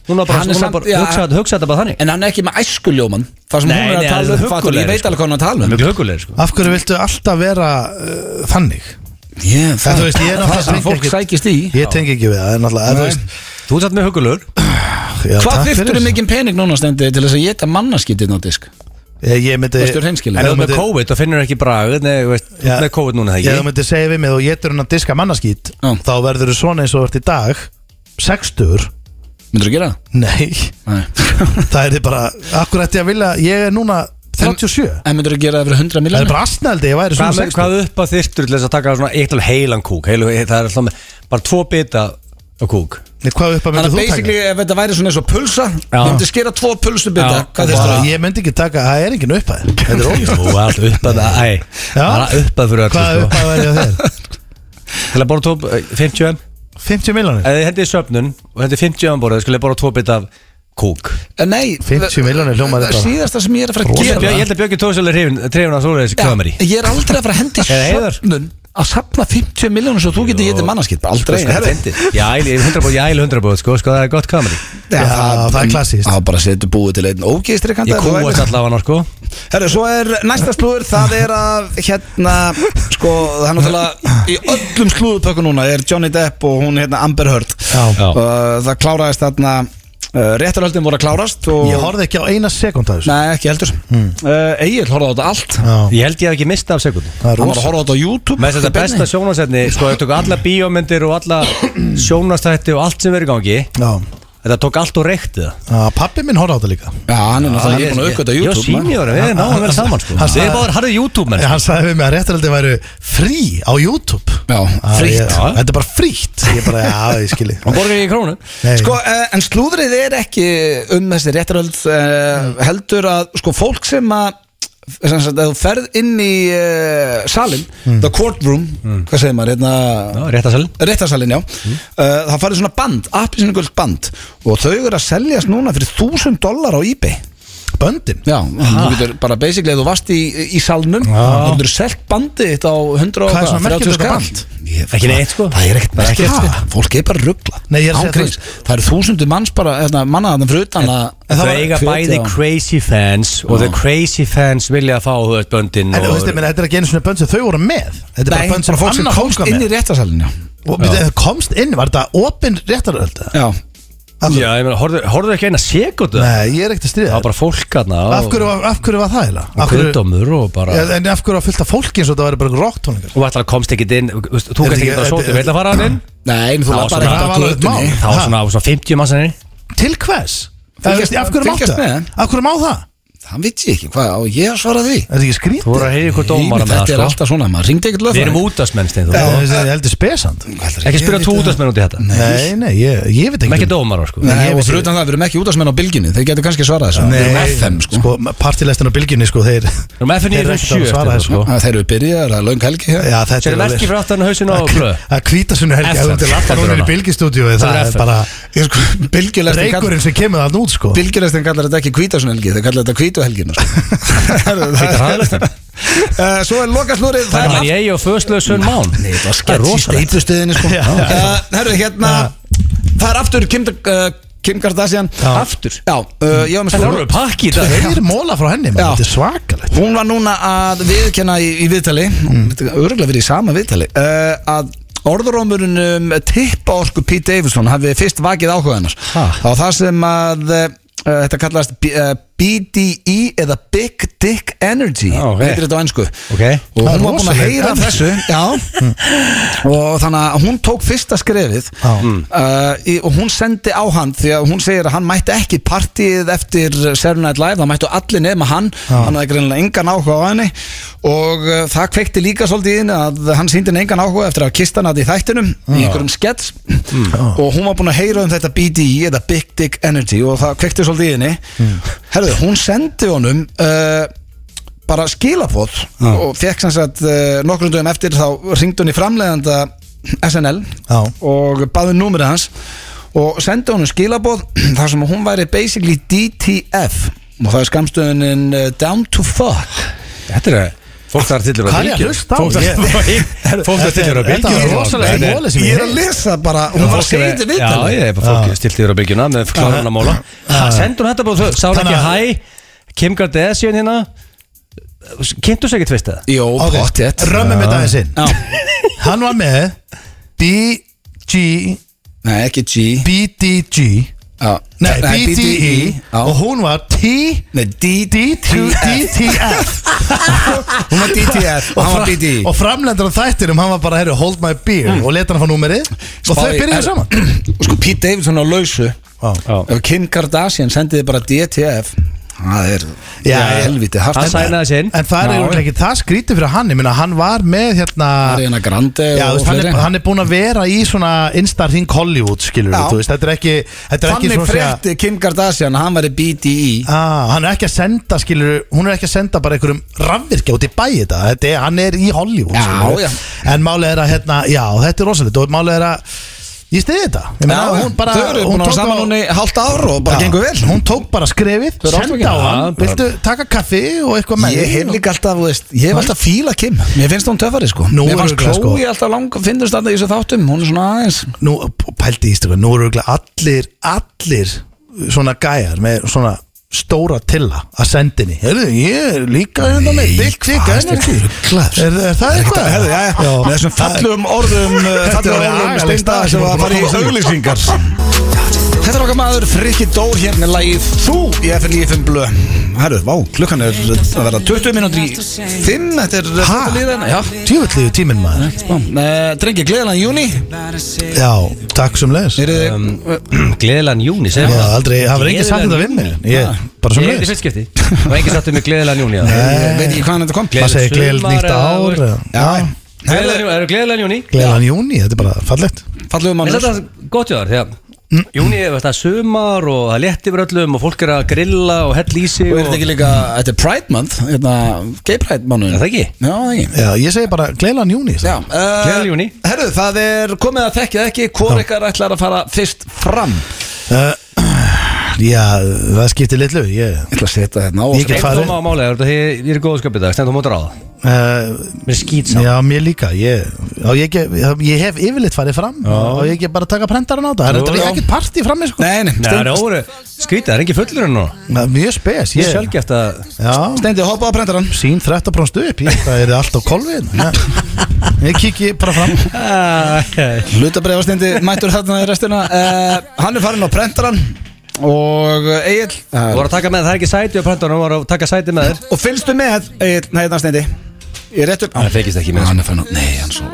Speaker 2: Hún var bara,
Speaker 1: Hann er
Speaker 2: hún var
Speaker 1: samt-
Speaker 2: bara,
Speaker 1: já.
Speaker 2: hugsa, hugsa þetta bara þannig
Speaker 1: En hann er ekki með æskuljóman Það sem
Speaker 2: Nei,
Speaker 1: hún er
Speaker 2: nei,
Speaker 1: að tala
Speaker 2: hann er
Speaker 1: um fattar, Ég
Speaker 2: huggulegri,
Speaker 1: veit
Speaker 2: sko.
Speaker 1: alveg hvað hann er að tala um
Speaker 2: Mjög hugulegur, sko
Speaker 3: Af hverju viltu alltaf vera uh, þannig?
Speaker 1: yeah,
Speaker 3: En þú veist, ég er náttúrulega
Speaker 1: það sem
Speaker 3: tengi
Speaker 1: fólk
Speaker 3: ekki-
Speaker 1: sækist í
Speaker 3: Ég tengi ekki við það En alltaf, þú veist
Speaker 2: Þú ert satt með hugulegur
Speaker 3: já,
Speaker 1: Hvað
Speaker 3: takk fyrir
Speaker 1: þyrftur
Speaker 3: þessu.
Speaker 1: mikið pening núna stendi til þess að geta mannaskiptinn á disk?
Speaker 3: Eh, Ég ég myndi
Speaker 1: Varstu hreinskilinn?
Speaker 2: En þú
Speaker 3: Ef þú
Speaker 2: ert með
Speaker 3: myndir-
Speaker 2: COVID og finnur ekki bragð Nei, þú veist, þú
Speaker 3: Já.
Speaker 2: ert með COVID núna
Speaker 3: Ég
Speaker 2: það
Speaker 3: þú
Speaker 2: ekki
Speaker 3: myndir segja við mig Þú getur hún að diska mannaskít
Speaker 1: Já.
Speaker 3: Þá verður þú svona eins og þú ert í dag 60
Speaker 1: Myndur þú gera það?
Speaker 3: Nei
Speaker 1: Nei
Speaker 3: Það er þið bara Akkur ætti ég að vilja Ég er núna 37
Speaker 1: En myndur þú gera það fyrir 100
Speaker 3: Það er
Speaker 1: miljónir?
Speaker 3: bara astnældi Ég væri svona
Speaker 2: Hvað, með-
Speaker 3: 60
Speaker 2: hvað upp að þyrftur til þess að taka svona eitt alveg heilan kúk heilu, Það er alltaf með, bara tvo bita á kúk
Speaker 3: Nei, Hvað upp að
Speaker 1: Þannig að
Speaker 3: myndir þú taka?
Speaker 1: basically ef þetta væri svona eins og pulsa
Speaker 2: Já.
Speaker 1: Þú myndir skera tvo pulsubita
Speaker 2: Já.
Speaker 1: Hvað þurftur
Speaker 3: Bara,
Speaker 1: það?
Speaker 3: ég myndi ekki taka, það er engin upphæð Þetta er ógist
Speaker 2: Þú er alltaf upp að það, æ
Speaker 3: Já.
Speaker 2: Það er upp að fyrir öllu,
Speaker 3: Hvað
Speaker 2: sko
Speaker 3: upphæð væri á þér?
Speaker 2: Til að borða tóp, 50 m Eh,
Speaker 3: 50 miljonir?
Speaker 1: Eh,
Speaker 2: Ef þið hendið söpnun og hendið 50 ámborðið skulle ég bara tvo bit af kúk
Speaker 1: Eh, Nei
Speaker 3: 50 milljónir hljómar
Speaker 1: þetta
Speaker 3: þetta.
Speaker 1: Síðasta sem ég er að fara að
Speaker 2: Ég held
Speaker 1: gera
Speaker 2: ég held að Björki Tóðsjöld er hrifin trefin af svoleiðis
Speaker 1: Já,
Speaker 2: kömeri
Speaker 1: Ég er aldrei að fara að hendi
Speaker 2: Eða heiðar.
Speaker 1: söpnun Að sapna 50 miljónir svo þú getur getið
Speaker 2: Sko,
Speaker 1: mannaskip Aldrei Herri.
Speaker 2: Ég æli 100 bóð, ég æli 100 bóð sko, sko það er gott kömeri
Speaker 3: Já, það er klassískt.
Speaker 1: Það bara setur búið til einn ógeistri
Speaker 2: Ég kúast allavega hann sko
Speaker 1: Herru, svo er næsta slúður Það er að hérna Sko, það er náttúrulega Í öllum slúðupökku núna er Johnny Depp og hún hérna Amber Heard
Speaker 3: Já.
Speaker 2: Já.
Speaker 1: Og Það kláraðist þarna uh, Réttarhöldin voru að klárast og...
Speaker 3: Ég horfði ekki á eina sekund af þessu
Speaker 1: Nei, ekki heldur mm. uh, Egil horfði á þetta allt
Speaker 3: Já,
Speaker 2: Ég held ég haf ekki mista af sekund
Speaker 3: það er
Speaker 1: Hann var að
Speaker 3: rosa
Speaker 1: horfa á þetta á YouTube
Speaker 2: Með þetta
Speaker 1: í beinni.
Speaker 2: besta sjónasetni Sko ég tók alla bíómyndir og alla sjónastætti og allt sem verið í gangi
Speaker 3: Já,
Speaker 2: Þetta tók allt og reykti það
Speaker 3: já pappi minn horfði á þetta líka
Speaker 1: Já, hann er náttúrulega hann er búin að auka þetta á
Speaker 2: Jó,
Speaker 1: YouTube maður.
Speaker 2: sínjóra, við erum náðum vel saman sko
Speaker 3: Hann
Speaker 2: Við
Speaker 3: sagði-
Speaker 2: erum báður harðu YouTube menn
Speaker 3: Ég, Hann sagði við mig að réttarhaldi væru frí á YouTube
Speaker 1: Já,
Speaker 3: Ah,
Speaker 1: frítt.
Speaker 3: ég- Þetta er bara frítt Ég bara, já, ég skilji
Speaker 2: Hann borgar ekki krónu
Speaker 3: Nei.
Speaker 1: Sko, uh, en slúðrið er ekki um þessi réttaröld uh, heldur að sko, fólk sem að sem sagt, að þú ferð inn í uh, salin, the courtroom hvað segir maður, hérna
Speaker 2: Réttasalinn
Speaker 1: réttarsalinn, já mm. það farið svona band, appisningult band og þau eru að seljast núna fyrir 1000 dólar á eBay
Speaker 3: Böndin
Speaker 1: Sko- já, þú getur bara basically ef þú varst í, í salnum
Speaker 3: Já.
Speaker 1: þá getur selt bandið þitt á 100 og
Speaker 3: Hvað er svona
Speaker 1: skall.
Speaker 3: merkilegt þetta band?
Speaker 1: Ég-
Speaker 2: Ekki neitt, sko.
Speaker 1: það er ekkert
Speaker 2: Það er
Speaker 1: merkilegt
Speaker 3: ekkert.
Speaker 1: við þetta. fólk er bara ruggla
Speaker 3: Nei, ég er að segja
Speaker 1: það eru þúsundu manns bara hérna, mannaðan fyrir utan að
Speaker 3: En það
Speaker 2: Þau
Speaker 3: var-
Speaker 2: eiga
Speaker 1: hvetja
Speaker 2: bæði
Speaker 1: á-
Speaker 2: crazy fans og
Speaker 1: Já.
Speaker 2: the crazy fans vilja að fá þú veist böndin
Speaker 3: En þú
Speaker 2: og
Speaker 3: veist, ég meina, þetta er ekki einu svona bönd sem þau voru með Þetta er
Speaker 1: Nei,
Speaker 3: bara bönd sem
Speaker 1: bara fólk sem
Speaker 3: annar
Speaker 1: komst
Speaker 3: fólk var
Speaker 1: inn í
Speaker 3: með
Speaker 1: réttarsalinn já,
Speaker 3: Og byrju, þau komst inn, var þetta opinn réttarhaldi?
Speaker 1: já.
Speaker 2: Já, ég meina, horfðu horfðu ekki eina sekundu Það
Speaker 3: Nei, ég er ekkert að stríða
Speaker 2: var bara fólk aðna
Speaker 3: Af hverju, var- af hverju var það eiginlega? Af hverju-
Speaker 2: Kvöldómur og bara
Speaker 3: Já, En af hverju var fullt af fólki eins og það væri bara rocktónlingar
Speaker 2: Og ætla komst ekki inn þú veist, Þú
Speaker 3: Er
Speaker 2: kannst
Speaker 3: þetta
Speaker 2: ekki það
Speaker 3: ekki-
Speaker 2: sóti, við ætla að fara hann inn
Speaker 1: nei, en þú
Speaker 2: Það var
Speaker 1: lappar
Speaker 2: svona-
Speaker 1: ekkert á
Speaker 3: það var alveg eitt
Speaker 1: götunni
Speaker 3: mál.
Speaker 2: Það var
Speaker 3: Ha?
Speaker 2: svona, svona 50 massanir
Speaker 3: Til hvers? Það,
Speaker 1: Fylgjast-
Speaker 3: veist, af hverju máttu
Speaker 1: fylgjast
Speaker 3: það?
Speaker 1: með.
Speaker 3: Af hverju má það?
Speaker 1: það veit ég ekki, hvað á ég að svara því
Speaker 3: Er það ekki skrítið?
Speaker 2: Þú voru að heyra ykkur dómara með
Speaker 1: þetta er
Speaker 2: það sko
Speaker 1: alltaf svona, maður ringdi ekkert
Speaker 2: Við erum
Speaker 1: lögfræðing.
Speaker 2: útastmenn stein
Speaker 3: Það er- það er heldur spesand
Speaker 2: Ekki spyrja tvo útastmenn út í þetta
Speaker 3: Nei, nei, ég, ég veit
Speaker 2: Sem
Speaker 3: ekki
Speaker 2: Ekki dómara sko
Speaker 1: Nei,
Speaker 3: Ég
Speaker 1: og
Speaker 3: veit
Speaker 1: fyrir
Speaker 3: ekki.
Speaker 1: utan það, við erum ekki útastmenn á bylginni Þeir getur kannski svarað þessu Við erum FM, sko,
Speaker 3: sko Partilestin á bylginni, sko, þeir
Speaker 2: Við erum FN
Speaker 3: Þeir eru ekkert að
Speaker 2: 97
Speaker 3: svara
Speaker 2: eftir það
Speaker 3: þessu.
Speaker 2: sko
Speaker 1: Að Ah, Þeir eru byrjaðar að löng helgi hér
Speaker 3: Já, þetta
Speaker 2: Sér
Speaker 3: er
Speaker 2: er verki fyrir aftan hausin og blöð
Speaker 3: Að hvíta sunni helgi
Speaker 2: FM,
Speaker 3: Það er alltaf
Speaker 2: þetta er
Speaker 3: núna í
Speaker 2: hana.
Speaker 3: bylgistúdíu
Speaker 2: Það
Speaker 3: Það
Speaker 2: er
Speaker 3: er
Speaker 2: FM.
Speaker 3: bara
Speaker 1: Ég sko, Bylgjulestin kall,
Speaker 3: Reykurinn sem kemur það nút, sko
Speaker 1: bylgjulestin kallar þetta ekki hvítasun helgi Þeir kallar þetta sko. hvítu helgina
Speaker 2: hraðalestin.
Speaker 1: uh, Svo er lokaslúrið
Speaker 2: Það er mann ég og föðslösun mán
Speaker 1: Nei, það var
Speaker 2: Það er
Speaker 1: skett í
Speaker 2: rosalegt.
Speaker 1: steipustuðinni sko.
Speaker 3: Já.
Speaker 1: uh, Herru, hérna Það er aftur Kim, uh, Kim Kardashian
Speaker 3: Já.
Speaker 2: Aftur
Speaker 1: Já, uh, ég var með
Speaker 2: Það
Speaker 1: slúður
Speaker 2: voru pakki í dag
Speaker 3: Þeir eru móla frá henni,
Speaker 1: Já.
Speaker 3: mann Þetta er svakalegt
Speaker 1: Hún var núna að viðkenna í, í viðtali
Speaker 2: Mm.
Speaker 1: Örgulega verið í sama viðtali uh, Að orðurómurinn um tippa orku Pete Davidson hafi fyrst vakið áhuga hennar
Speaker 2: Ha.
Speaker 1: Það var það sem að uh, Þetta kallast B, uh, BDE eða Big Dick Energy
Speaker 2: Já, ok.
Speaker 1: heitir þetta á ennsku
Speaker 2: Ok.
Speaker 1: Og hún
Speaker 3: Það er
Speaker 1: var búin að
Speaker 3: rosaleg
Speaker 1: heyra af
Speaker 3: energy.
Speaker 1: þessu Já Mm. Og þannig að hún tók fyrsta skrefið
Speaker 3: Já.
Speaker 1: uh, í, Og hún sendi á hann Því að hún segir að hann mætti ekki partíið Eftir Saturday Night Live Það mættu allir nefna hann Hann hafði greinlega engan áhuga á henni Og uh, það kveikti líka svolítið inn Að hann síndi henni engan áhuga Eftir að kista hann að í þættinum Í einhverjum skets Og hún var búin að heyra um þetta BDE Eða Big Dick Energy Og það kveikti svolítið inni Herðu, hún sendi honum uh, bara skilabóð og fekk sem sagt eh, nokkrum dögum eftir þá ringd hún í framleiðanda SNL
Speaker 3: Já.
Speaker 1: og baði númerið hans og sendi honum skilaboð þar sem hún væri basically DTF og það er skamstöðunin uh, Down to Fuck
Speaker 2: Þetta er Fólk þar til eru
Speaker 3: Hvað er ég að hlusta á?
Speaker 2: Fólk fólk þar til eru að
Speaker 3: Þetta
Speaker 2: bylgjuna
Speaker 3: var rosalega
Speaker 2: Nei, nei.
Speaker 3: móli sem
Speaker 1: Ég
Speaker 3: ég
Speaker 1: er að
Speaker 3: heyrði.
Speaker 1: lesa bara, hún var að segja þetta
Speaker 2: Já,
Speaker 1: viðtalið.
Speaker 2: ég um er bara fólk stilti þér á byggjuna með kláran að móla Sendur hún þetta bara þau, sá hún
Speaker 3: Þannig að-
Speaker 2: ekki hæ Kim Kardashian hérna Kynntu sér ekki tvist eða?
Speaker 1: Jó,
Speaker 3: Ok,
Speaker 1: pottet
Speaker 3: Römmum við daginn sinn
Speaker 1: Já.
Speaker 3: Hann var með BG
Speaker 1: Nei, ekki G
Speaker 3: BDG
Speaker 1: Já.
Speaker 3: Nei, BDE
Speaker 1: E. Já.
Speaker 3: Og hún var T
Speaker 1: Nei, DTF
Speaker 3: DTF
Speaker 1: Hún var DTF og hann var E.
Speaker 3: fra-
Speaker 1: BDE
Speaker 3: og framlendur af þættinum, hann var bara, herru, hold my beer
Speaker 1: Mm.
Speaker 3: og leta hann fá númerið og Sko, þau
Speaker 1: Spáði-
Speaker 3: byrjuðu
Speaker 1: er-
Speaker 3: saman
Speaker 1: Og sko, Pete Davidson á lausu
Speaker 3: Já.
Speaker 2: Já.
Speaker 1: Ef Kim Kardashian sendiði bara DTF Það er
Speaker 3: Já,
Speaker 1: það er
Speaker 3: já.
Speaker 1: helviti hart
Speaker 2: Hann sænaði sér inn
Speaker 3: en það er
Speaker 2: Já,
Speaker 3: eiginlega ekki það skrítið fyrir hann ég meina, hann var með hérna
Speaker 1: Ariana Grande
Speaker 3: Já, þú
Speaker 1: og
Speaker 3: veist, hann, er,
Speaker 1: fleiri.
Speaker 3: hann er búin að vera í svona instar hring Hollywood, skilur
Speaker 1: Já.
Speaker 3: þú veist, þetta er ekki þetta er ekki
Speaker 1: Þannig
Speaker 3: svona að
Speaker 1: frétti Kim Kardashian að hann væri E. BDE
Speaker 3: Ah, hann er ekki að senda, skilur, hún er ekki að senda bara einhverjum rafvirkja út í bæ þetta, þetta er, hann er í Hollywood,
Speaker 1: Já,
Speaker 3: skilurðu.
Speaker 1: já.
Speaker 3: en málið er að, hérna, já, þetta er rosalegt og málið er að, ég stiði þetta ég meina,
Speaker 1: Já,
Speaker 3: hún bara,
Speaker 1: Þau eru
Speaker 3: hún
Speaker 1: búin að
Speaker 3: tók
Speaker 1: saman
Speaker 3: á-
Speaker 1: núna í hálft ár og bara
Speaker 3: Já,
Speaker 1: gengur vel
Speaker 3: Hún tók bara skrefið,
Speaker 1: Þau eru ástfangin.
Speaker 3: senda á hann
Speaker 2: Já, bara-
Speaker 3: Viltu taka kaffi og eitthvað með
Speaker 1: Ég
Speaker 3: þér?
Speaker 1: hef líka alltaf, þú veist, ég hef alltaf fíla Kim Mér finnst hún töfari sko
Speaker 3: Nú
Speaker 1: Mér fannst
Speaker 3: erum við glað, sko.
Speaker 1: Chloe alltaf langa, finnst alltaf í þessu þáttum Hún er svona aðeins
Speaker 3: Nú, p- pældi í stöku, nú eru örugglega allir, allir svona gæjar með svona stóra tilla að senda henni Herðu, ég er líka hérna með Dick Dick
Speaker 1: hvað
Speaker 3: Energy
Speaker 1: ertu ruglaður?
Speaker 3: Er, er það eitthvað?
Speaker 1: Herðu, já, já,
Speaker 3: Já.
Speaker 1: með þessum fallum orðum uh,
Speaker 3: Þetta
Speaker 1: fallum
Speaker 3: var
Speaker 1: orðum
Speaker 3: agalegt
Speaker 1: steinda sem
Speaker 3: dag sem
Speaker 1: var að
Speaker 3: var
Speaker 1: fara í
Speaker 3: búin að koma
Speaker 1: auglýsingar Þetta er okkar maður, Frikki Dór hérna er lagið Þú í FN í FN Blö Herru, vá, klukkan er að vera 20 mínútur í 5 Þetta er
Speaker 3: Ha?
Speaker 1: þetta líðan Já,
Speaker 3: Djöfulliðu tíminn maður
Speaker 1: spá Eh, Drengi, gleðilega júni
Speaker 3: Já, takk sem leðis
Speaker 1: Eru þið
Speaker 2: Um, Gleðilan júni
Speaker 3: Já, aldrei, það var enginn sagt þetta við mig Ég, bara sem
Speaker 2: Ég hefði
Speaker 3: leðis
Speaker 2: fyrst skipti Það var enginn sattum með gleðilan júni
Speaker 1: Ég veit ekki hvaðan þetta kom
Speaker 3: Það segir gleðilegt
Speaker 2: sumar eða, þú veist.
Speaker 3: nýtt ár Já,
Speaker 2: Gleðilan gleðilan júni
Speaker 3: gleðilan júni, þetta er bara fallegt
Speaker 1: Fallum
Speaker 2: En
Speaker 1: maður
Speaker 2: þetta er gott jóðar þegar Júni er það sumar og það létti fyrir öllum og fólk er að grilla og hell í sig
Speaker 1: Og er
Speaker 2: og...
Speaker 1: þetta ekki líka, þetta er Pride Month Hérna, Gay Pride mánuðin
Speaker 2: Er það ekki?
Speaker 1: Já, það ekki
Speaker 3: Já, ég segi bara gleilan júni
Speaker 1: Já, uh,
Speaker 2: Gleðileg júní.
Speaker 1: Herru, það er komið að þekkja ekki Hvor ykkar ætlar að fara fyrst fram
Speaker 3: Eh, Já, það skiptir litlu Ég, eh,
Speaker 1: Ég ætla að setja hérna á
Speaker 3: Ég get
Speaker 2: Eitt
Speaker 3: farið.
Speaker 2: koma á málega, þetta ég ég er í góðu sköpið dag, stendum á mótur á það
Speaker 3: uh,
Speaker 2: Mér skýt saman
Speaker 3: já, mér líka Ég, já, ég, get, ég hef yfirleitt farið fram Og ég get bara að taka prentarinn á það Það
Speaker 2: Já.
Speaker 3: er ekkert partí fram með sko
Speaker 1: Nei, nei,
Speaker 2: Nei, það er óru, skýt það, er ekki fullur en nú
Speaker 3: Það er Mjög spes
Speaker 2: Ég er
Speaker 3: ég,
Speaker 2: sjálfgeft að
Speaker 3: Já,
Speaker 1: Steindi, hoppa á prendarann
Speaker 3: sín 13 brónst upp Ég það er allt á kolvin Ég kikki bara fram
Speaker 2: Æ,
Speaker 1: Hlutabrið á Steindi, mættur þarna í restina uh, Hann er farin á prendarann Og Egil
Speaker 2: Þú
Speaker 1: uh,
Speaker 2: voru að taka með það, það er ekki sæti á prentunum, þú voru að taka sæti með þér
Speaker 1: Og fylgstu með, Egil, nei, hérna Steindi Ég rétt upp
Speaker 2: Hann fegist ekki með
Speaker 1: Hann er farin á, nei, hann svo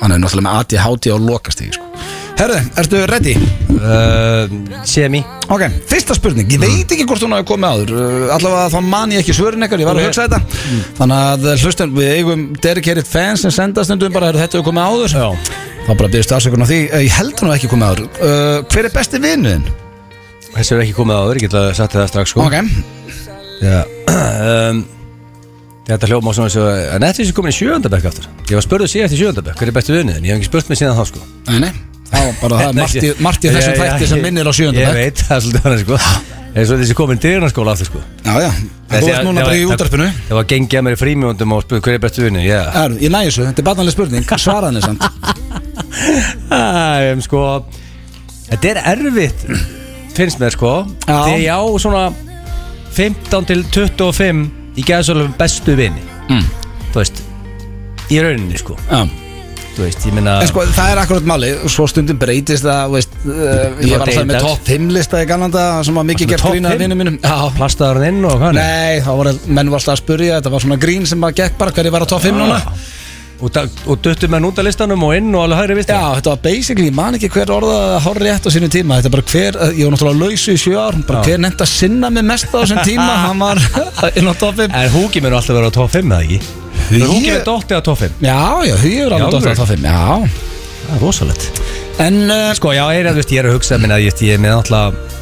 Speaker 1: Hann er náttúrulega með ADHD á lokastíði, sko Herru, ertu ready?
Speaker 2: þessu Uh, Semi
Speaker 1: Ok, fyrsta spurning, ég veit ekki hvort hún hafi komið áður uh, allavega þá man ég ekki svörin ekkert, ég var að
Speaker 2: Ok.
Speaker 1: hugsa þetta þannig að uh, hlustum, við eigum dedicated fans sem senda stundum bara, "Heyrðu, þetta hefur komið áður Já. þá bara byrjast afsökun á því Eh, ég held hún hafi ekki komið áður uh, hver er besti vinnuðin?
Speaker 2: Þessi er ekki komið áður, ég get að setja það strax sko
Speaker 1: Ok,
Speaker 2: Já um, Þetta hljóma á svona þessu En þetta er þessu komin í sjööndabæk aftur Ég var spurðið síðast í sjööndabæk Hver er bestu vinnið En ég hef ekki spurt mig síðan þá sko
Speaker 1: nei, nei þá bara það er margt í- margt í þessum
Speaker 2: Ég- ég-
Speaker 1: þætti sem
Speaker 2: ég-
Speaker 1: minnir á sjöundum
Speaker 2: Ég veit, það er svolítið hann sko Það er svo þessi komin dyrunarskóla aftur sko
Speaker 1: Já, já, þú ert núna bara í útarpinu
Speaker 2: Það var gengið að mér í frímjóndum og spurði hver er bestu vinnið Já
Speaker 1: Herru, Ég næ þessu, þetta er barnaleg spurning, svaraðan er samt Ah,
Speaker 2: Æ, um, Sko Þetta er erfitt Finnst mér sko
Speaker 1: Já.
Speaker 2: Þegar ég á svona 15 til 25 Í geðsólum bestu vinni
Speaker 1: Mm.
Speaker 2: Þú veist Í rauninni sko
Speaker 1: Já.
Speaker 2: Þú veist, ég minna
Speaker 1: En sko það er akkurat máli, svo stundum breytist það, veist, uh, ég var alltaf með
Speaker 2: deytar.
Speaker 1: topp 5 lista í ganlanda sem var mikið
Speaker 2: Varstu með
Speaker 1: gert
Speaker 2: topp
Speaker 1: grín að
Speaker 2: fimm?
Speaker 1: vinnum mínum Já,
Speaker 2: Plastaður hann inn og hvað hann
Speaker 1: nei, þá voru menn var alltaf að spurja, þetta var svona grín sem maður gekk bara hverju var á topp 5 núna
Speaker 2: Ah. Og, da- og duttum menn út af listanum og inn og alveg hægri vist
Speaker 1: Já, þetta var basically, ég man ekki hver orða hár rétt á sínu tíma, þetta er bara hver eh, ég var náttúrulega lausu í sjö ár, bara
Speaker 2: Já.
Speaker 1: hver nefndi að sinna mig mest á þessum tíma, hann var inn á topp 5
Speaker 2: En húki mér alltaf vera á top 5 eða ekki
Speaker 1: Hugi-
Speaker 2: Hugi Húki er dottið á top 5
Speaker 1: Já, já, hugur
Speaker 2: Í
Speaker 1: alveg
Speaker 2: alvöru?
Speaker 1: dóttir á topp 5 Já, Ah,
Speaker 2: Það er rosalegt
Speaker 1: en uh,
Speaker 2: Sko já, ég er, þú veist, ég er að hugsa minna, ég, veist, ég er með alltaf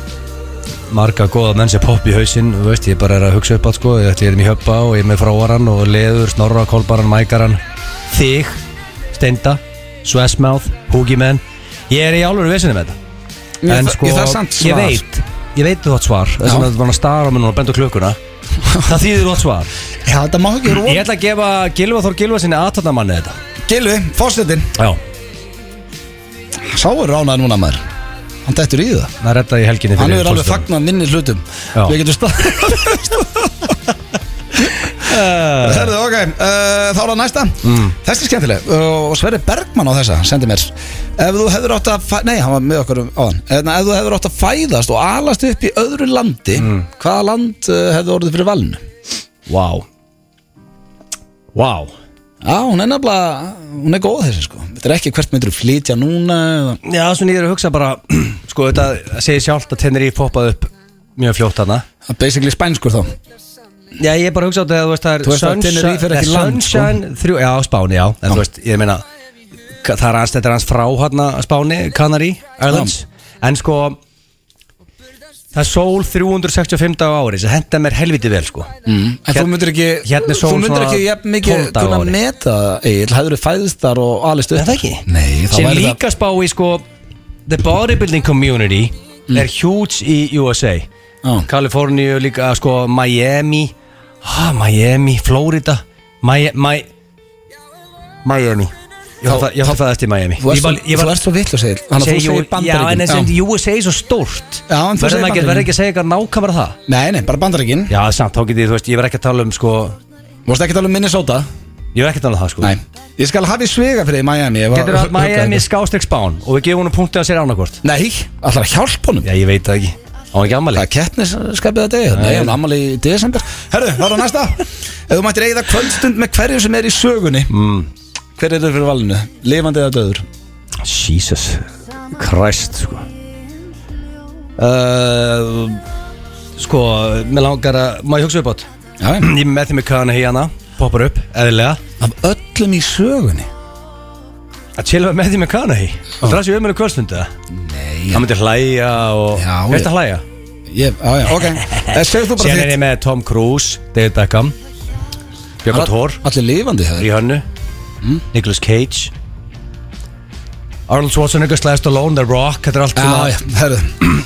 Speaker 2: marga góða menn sem popp í hausinn þú veist, ég bara er að hugsa upp að sko ég, ég er með höppa og ég er með fráaran og leður, snorra, kolbaran, mækaran þig, steinda Swessmouth, Hoogieman Ég er í álveru vesinu með
Speaker 1: Ég
Speaker 2: þetta En
Speaker 1: þa-
Speaker 2: sko,
Speaker 1: ég þarf samt svar.
Speaker 2: ég veit Ég veit þú átt svar Þess vegna þú var að stara á mér núna og benda á klukkuna Það þýðir þú átt svar
Speaker 1: Já, þetta má ekki
Speaker 2: Ég
Speaker 1: róla
Speaker 2: ætla að gefa Gilva Þór Gilva sinni aðtöndamanni þetta
Speaker 1: Gilvi, fórsetin
Speaker 2: Já,
Speaker 1: Sá er ránaður núna maður Hann dættur í það
Speaker 2: það reddaði ég helginni
Speaker 1: Hann
Speaker 2: fyrir
Speaker 1: er alveg
Speaker 2: forsetanum.
Speaker 1: fagnan minni hlutum
Speaker 2: Já.
Speaker 1: Við getum stað
Speaker 2: Eh.
Speaker 1: Herðu, ok uh, Þá er það næsta
Speaker 2: Mm.
Speaker 1: Þessi er skemmtileg Og Sverri Bergmann á þessa Sendi mér Ef þú hefur átt að fæ- Nei, hann var með okkur um áðan En ef þú hefur átt að fæðast Og alast upp í öðru landi
Speaker 2: Mm.
Speaker 1: Hvaða land uh, hefur orðið fyrir valinu?
Speaker 2: Vá Vá
Speaker 1: Já, hún er nefnilega Hún er góð þessi sko Þetta er ekki hvert myndur flytja núna eða...
Speaker 2: Já, svona ég er að hugsa bara Sko, þetta segir sjálft að tennir ég poppað upp mjög fljótt hana
Speaker 1: Það er Basically spænskur þá
Speaker 2: Já, ég er bara að hugsa á þetta að þú veist það er
Speaker 1: Þú veist að Tenerife er ekki
Speaker 2: eh,
Speaker 1: land, sko.
Speaker 2: sunshine, þrjú, Já, Spáni, já En þú veist, ég meina ka- Það er hans, þetta er hans frá hérna Spáni, Canary Islands En sko Það er sól 365 dag á ári sem henda mér helviti vel, sko
Speaker 1: Mm. En þú
Speaker 2: Hér-
Speaker 1: myndir ekki
Speaker 2: hérna er
Speaker 1: Þú
Speaker 2: sól
Speaker 1: myndir
Speaker 2: svona
Speaker 1: ekki jafn mikið
Speaker 2: 12 daga
Speaker 1: kunna
Speaker 2: á ári.
Speaker 1: meta Egil, hefur þið fæðist þar og alist upp
Speaker 2: Er það ekki?
Speaker 1: Nei, þá
Speaker 2: sem
Speaker 1: væri það
Speaker 2: líka spá í sko the bodybuilding community er huge í USA
Speaker 1: Já.
Speaker 2: Kaliforníu líka sko Miami ah, Miami, Florida Miami Mi Miami ég
Speaker 1: Þá-
Speaker 2: var það- ég var það eftir Miami
Speaker 1: Þú ert
Speaker 2: ég var,
Speaker 1: svo-
Speaker 2: ég
Speaker 1: þú
Speaker 2: var
Speaker 1: ert svo vitlaus Egil Þannig að
Speaker 2: segi
Speaker 1: þú segir
Speaker 2: jú- já, en
Speaker 1: bandaríkin
Speaker 2: þessi USA er svo stórt
Speaker 1: Já, en þú segir
Speaker 2: verður maður ekki,
Speaker 1: Bandaríkin.
Speaker 2: verður ekki að segja eitthvað nákvæmara það
Speaker 1: Nei, nei, bara bandaríkin
Speaker 2: já, samt, þá getið, þú veist, ég verð ekki að tala um sko
Speaker 1: Þú veist ekki tala um Minnesota
Speaker 2: ég verð ekki að tala um það sko
Speaker 1: Nei Ég skal hafi svega fyrir þig í Miami ef að-
Speaker 2: getur það
Speaker 1: hugga
Speaker 2: Miami
Speaker 1: þetta.
Speaker 2: skástrík spán og við gefum hún punktið að sér ánakvort
Speaker 1: Nei, allar að hjálpa honum
Speaker 2: já, ég veit það ekki á ekki ammali
Speaker 1: Það er keppnisskapið að degi Nei, hann ammali í desember Herðu, það er næsta Ef þú mættir eigða kvöldstund með hverju sem er í sögunni mm. Hver er þau fyrir valinu? Lifandi eða döður?
Speaker 2: Jesus Christ sko uh, Sko, mér langar að Má ég hugsa upp átt?
Speaker 1: Já, já.
Speaker 2: Ég er með þeim með kana hérna Poppar upp, eðlilega
Speaker 1: Af öllum í sögunni?
Speaker 2: Að chilla með þeim með kana hí Það er það sem við erum kvöldstunda
Speaker 1: Nei
Speaker 2: Það myndi hlæja og
Speaker 1: Já, ég-
Speaker 2: Veist að hlæja?
Speaker 1: Ég, á, já, ok Eh, Segðu þú bara
Speaker 2: Sér er ég með Tom Cruise David Beckham Björn Thor
Speaker 1: Allir lifandi það
Speaker 2: Í hönnu
Speaker 1: Mm.
Speaker 2: Nicolas Cage Arnold Schwarzenegger Slæðist Stallone, The Rock Þetta er allt
Speaker 1: Já, já,
Speaker 2: svona
Speaker 1: herðu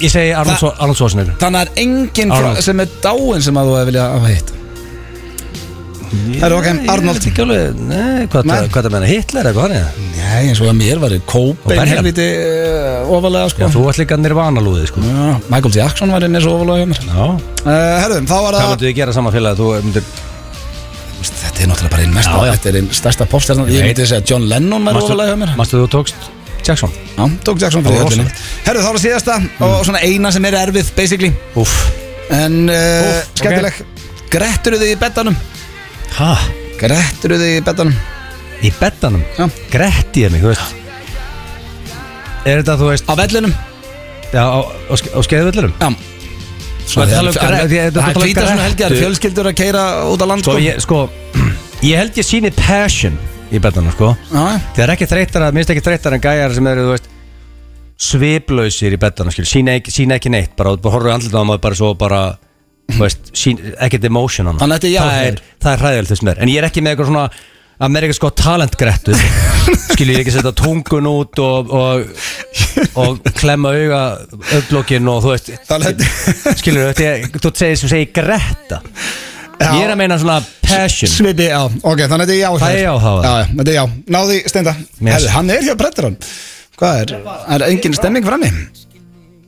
Speaker 2: Ég segi Arnold Schwar- Arnold Schwarzenegger
Speaker 1: Þannig er enginn frá,
Speaker 2: Arnold.
Speaker 1: sem er dáin sem að þú hefði viljað hafa hitt Herru, ok, Arnold.
Speaker 2: Ég veit ekki alveg, nei, hvað
Speaker 1: Nei.
Speaker 2: það- hvað það meina, Hitler eitthvað hann eða?
Speaker 1: Nei, eins og að mér var Kóbein
Speaker 2: Benham.
Speaker 1: helviti uh, ofalega
Speaker 2: Já,
Speaker 1: sko
Speaker 2: þú ætti líka nirvanalúðið, sko
Speaker 1: Já, Michael Jackson var mér svo ofalega hjá mér
Speaker 2: Já
Speaker 1: uh, Herru, þá var
Speaker 2: Hvað
Speaker 1: það
Speaker 2: myndu þið gera saman félag að þú eh, myndir
Speaker 1: Þetta er náttúrulega bara einn mesta
Speaker 2: Já, já.
Speaker 1: Þetta er einn stærsta popstjarnan Ég
Speaker 2: Ég
Speaker 1: myndi segja að John Lennon var ofalega hjá mér
Speaker 2: Mastu þú tókst Jackson?
Speaker 1: Já, tók Jackson fyrir
Speaker 2: Það var
Speaker 1: höllinni Herru, þá var það síðasta og
Speaker 2: Mm.
Speaker 1: svona eina sem er erfið basically
Speaker 2: Úff
Speaker 1: En uh,
Speaker 2: Úff,
Speaker 1: skemmtileg Grettur þið í betanum?
Speaker 2: Hæ?
Speaker 1: Grettur þið í betanum?
Speaker 2: Í bettanum?
Speaker 1: Já.
Speaker 2: Gretti ég mig, þú veist Er þetta, þú veist,
Speaker 1: Á vellinum?
Speaker 2: já, á, á, ske- á Sko, skeiðvöldurum?
Speaker 1: Já
Speaker 2: Svo að tala um græ- því að þetta
Speaker 1: Það
Speaker 2: tala um
Speaker 1: hvíta svona
Speaker 2: grættu.
Speaker 1: helgar fjölskyldur að keira út á land
Speaker 2: Sko, ég, sko, ég held ég síni passion í bettanum, sko
Speaker 1: Já,
Speaker 2: Það er ekki þreytara, minnst ekki þreytara en gæjar sem eru, þú veist sviplausir í bettana, skil, sína ekki, sína ekki neitt bara, bara horfðu andlita á maður bara svo bara þú veist, sín, ekkert emotion á
Speaker 1: Þannig að þetta er
Speaker 2: það
Speaker 1: jákvæður.
Speaker 2: er, það er hræðilegt þessum er, en ég er ekki með eitthvað svona Amerika sko talentgrettu skilur ég er ekki að setja tungun út og, og, og klemma auga auglokkin og þú veist
Speaker 1: Talent-
Speaker 2: skilur þetta er, þú segir sem segir gretta
Speaker 1: Já.
Speaker 2: ég er að meina svona passion
Speaker 1: Svipi, já, ok, þannig að þetta er já hér.
Speaker 2: Það er já, það var
Speaker 1: Já,
Speaker 2: það.
Speaker 1: já, þetta er já, náði steinda
Speaker 2: Mér-
Speaker 1: Herðu, hann er hjá brettur hann Hvað er, er engin stemning frammi?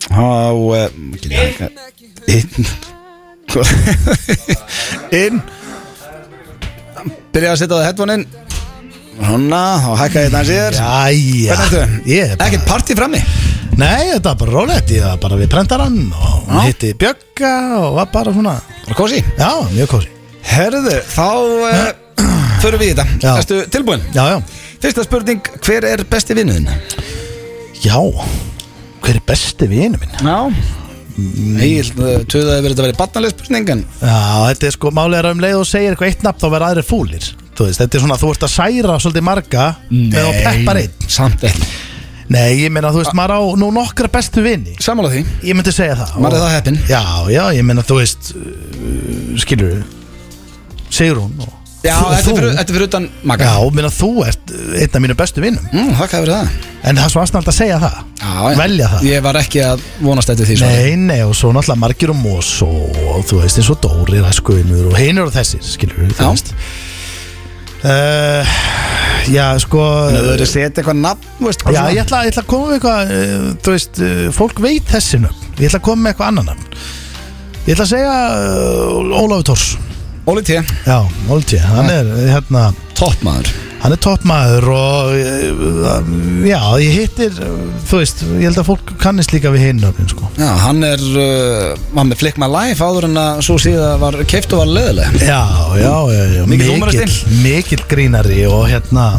Speaker 1: Á,
Speaker 2: eh,
Speaker 1: uh, inn Hvað- Inn Byrja að setja á það headphone inn Hanna, þá hækka ég þannig síðar Hvernig
Speaker 3: Jæja
Speaker 1: ertu?
Speaker 3: Ég er bara
Speaker 1: Ekkert party frammi
Speaker 3: Nei, þetta var bara rólegt Ég var bara við prentarann og
Speaker 1: Já.
Speaker 3: hitti Bjögga og var bara svona
Speaker 1: Bara kósi
Speaker 3: Já, mjög kósi
Speaker 1: Herðu, þá uh, förum við í þetta
Speaker 3: Já.
Speaker 1: Erstu tilbúin?
Speaker 3: Já, já
Speaker 1: Fyrsta spurning, hver er besti vinnuðin?
Speaker 3: Já Hver er besti vinu minn?
Speaker 1: Já Egil, töðaði verið eh, að vera barnaleg spurning en
Speaker 3: Já, þetta er sko málega um leið og segir eitthvað eitt nafn þá verða aðrir fúlir Þú veist, þetta er svona, þú ert að særa svolítið marga með að peppa einn Ah.
Speaker 1: Samt ekki
Speaker 3: Nei, ég meina, þú veist, maður á nú nokkra bestu vini
Speaker 1: Samála því
Speaker 3: Ég myndi segja það
Speaker 1: Maður er
Speaker 3: Og-
Speaker 1: það heppinn.
Speaker 3: Já, já, ég meina, þú veist, uh, skilur Sigrún og
Speaker 1: Já,
Speaker 3: Þú-
Speaker 1: þetta er
Speaker 3: þú?
Speaker 1: fyrir, þetta er fyrir utan maga
Speaker 3: Já, minna þú ert uh, einn af mínu bestu vinnum
Speaker 1: mm, Þakka fyrir það
Speaker 3: En það er svo aðsnald að segja það
Speaker 1: já, já.
Speaker 3: Velja það
Speaker 1: Ég var ekki að vonast eftir því svona.
Speaker 3: Nei, nei, og svo náttúrulega margir og mós og þú veist eins og Dóri, Raskvöinur og hinur og þessir, skilur við, þú
Speaker 1: Já.
Speaker 3: veist uh, Já, sko
Speaker 1: Þannig að Þú verður að setja eitthvað nafn þú veist,
Speaker 3: Já,
Speaker 1: bara
Speaker 3: ég
Speaker 1: svona.
Speaker 3: ætla, ég ætla að koma með eitthvað uh, þú veist, uh, fólk veit þessi nöfn ég ætla að koma með eitthvað annan nöfn Ég ætla að segja uh, Ólafur Tórs
Speaker 1: Óli T,
Speaker 3: Já, Ólti, hann er hérna,
Speaker 1: toppmaður
Speaker 3: hann er toppmaður og uh, já, ég hittir uh, þú veist, ég held að fólk kannist líka við hinn nöfnin, sko
Speaker 1: Já, hann er, uh, hann er flick my life áður en að svo síðan var keift og var löðileg
Speaker 3: Já, já, já, já
Speaker 1: Mikill húmoristinn.
Speaker 3: mikill grínari og hérna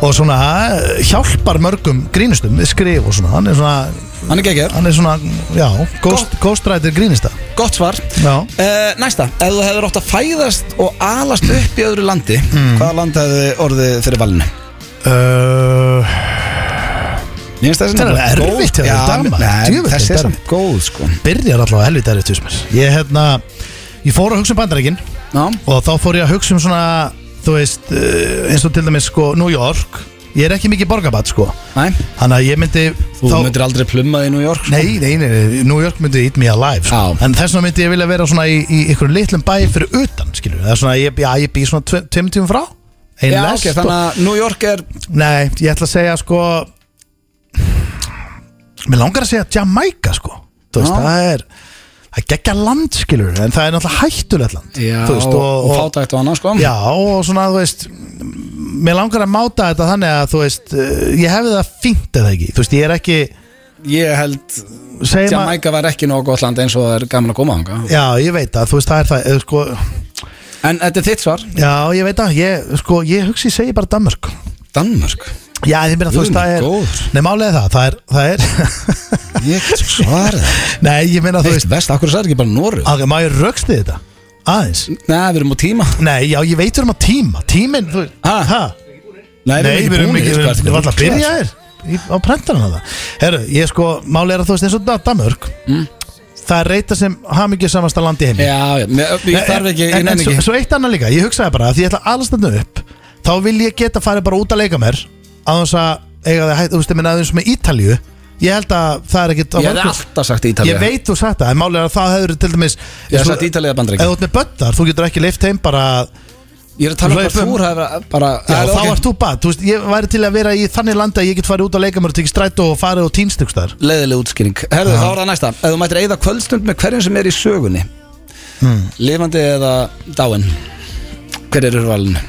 Speaker 3: og svona eh, hjálpar mörgum grínustum við skrif og svona, hann er svona
Speaker 1: Hann er geggjör,
Speaker 3: hann er svona, já, ghost, ghostwriter grínista
Speaker 1: gott svar
Speaker 3: Já,
Speaker 1: Uh, næsta, ef þú hefur ótt að fæðast og alast upp í öðru landi hvaða land hefði orðið fyrir valinu?
Speaker 3: uh,
Speaker 1: Mér finnst þessi
Speaker 3: Þetta er
Speaker 1: nefnilega
Speaker 3: alveg
Speaker 1: góð.
Speaker 3: erfitt hjá
Speaker 1: Já,
Speaker 3: þér, dama.
Speaker 1: nei,
Speaker 3: Djöfull
Speaker 1: Þessi
Speaker 3: er
Speaker 1: er
Speaker 3: dama.
Speaker 1: samt góð sko
Speaker 3: byrjar allavega helvita erið tjúsmur Ég hérna, ég fór að hugsa um bandarækin
Speaker 1: Já,
Speaker 3: og þá fór ég að hugsa um svona þú veist, uh, eins og til dæmis sko New York, ég er ekki mikið borgabat sko,
Speaker 1: næ
Speaker 3: hann að ég myndi
Speaker 1: Þú myndir aldrei plumma í New York sko.
Speaker 3: Nei, nei, nei, nei, New York myndi eat me alive sko.
Speaker 1: Já.
Speaker 3: En þess vegna myndi ég vilja vera svona í, í einhverju litlum bæ fyrir utan, skilju Það er svona, ég, já, ég bý svona tve- tveim tímum frá Ein
Speaker 1: Já,
Speaker 3: lest
Speaker 1: ok, þannig að New York er
Speaker 3: og, Nei, ég ætla að segja sko Mér langar að segja Jamaica sko Þú veist,
Speaker 1: Já.
Speaker 3: það er Það er geggja land, skilju En það er náttúrulega hættulegt land
Speaker 1: Já,
Speaker 3: þú veist,
Speaker 1: og, og fátækt og annað sko
Speaker 3: Já, og svona, þú veist Mér langar að máta þetta þannig að, þú veist eh, Ég hefði það fínt eða ekki Þú veist, ég er ekki
Speaker 1: Ég held
Speaker 3: segjum að-
Speaker 1: Jamaica var ekki nóg gott land eins og það er gaman að koma ánga
Speaker 3: Já, ég veit að, þú veist, það er það eh, sko,
Speaker 1: En þetta er þitt svar
Speaker 3: Já, ég veit að, ég, sko, ég hugsi, ég segi bara Danmörk
Speaker 1: Danmörk
Speaker 3: Já, ég meina, þú veist, það er
Speaker 1: Góður.
Speaker 3: Nei, málega það, það er, það er
Speaker 1: Ég get svarað
Speaker 3: Nei, ég meina, þú
Speaker 1: Þú veist,
Speaker 3: veist
Speaker 1: vest, akkur sagði ekki bara Noreg
Speaker 3: að, Má ég röksti þetta? Aðeins
Speaker 1: Nei, við erum á tíma
Speaker 3: Nei, já, ég veit um að tíma Tíminn, þú veist
Speaker 1: Ha?
Speaker 3: ha?
Speaker 1: Nei,
Speaker 3: Nei, við erum
Speaker 1: búnir,
Speaker 3: ekki,
Speaker 1: sko,
Speaker 3: við
Speaker 1: ertu
Speaker 3: erum alltaf að
Speaker 1: ruglaður?
Speaker 3: byrja þér í- Á prentarinn að það Herru, ég sko, málega er að þú veist eins og Dan- Danmörk Það er reyta sem hamingju samasta land í heimi
Speaker 1: Mm. Já, já, mér- ég þarf ekki, ég
Speaker 3: En- en
Speaker 1: nefn
Speaker 3: svo,
Speaker 1: ekki
Speaker 3: svo eitt annað líka, ég hugsaði bara að Því ég ætla alls þarna upp Þá vil ég geta farið bara út að leika mér Á þess að eiga það hægt, þú veist, ég minna aðeins með Ítalju Ég held að það er ekkit á
Speaker 1: Ég hefði
Speaker 3: mörgum-
Speaker 1: alltaf sagt Ítalja
Speaker 3: Ég veit þú sagt það, en málega að það hefur til dæmis
Speaker 1: Ég hef sagt Ítalía eða Bandaríkin.
Speaker 3: Ef þú ert með böttar, þú getur ekki leift heim bara
Speaker 1: Ég er að tala um hvað
Speaker 3: Hlaupum.
Speaker 1: þú hefur bara
Speaker 3: Já,
Speaker 1: Eða,
Speaker 3: þá
Speaker 1: ok.
Speaker 3: ert þú bara, þú veist, ég væri til að vera í þannig landi að ég get farið út að leika mér og tekið strætó og farið og týnstukstar
Speaker 1: leiðileg útskýring Herðu, þá er það næsta Ef þú mættir eigða kvöldstund með hverjum sem er í sögunni
Speaker 3: Hmm.
Speaker 1: Lifandi eða dáin Hver er urvalinu?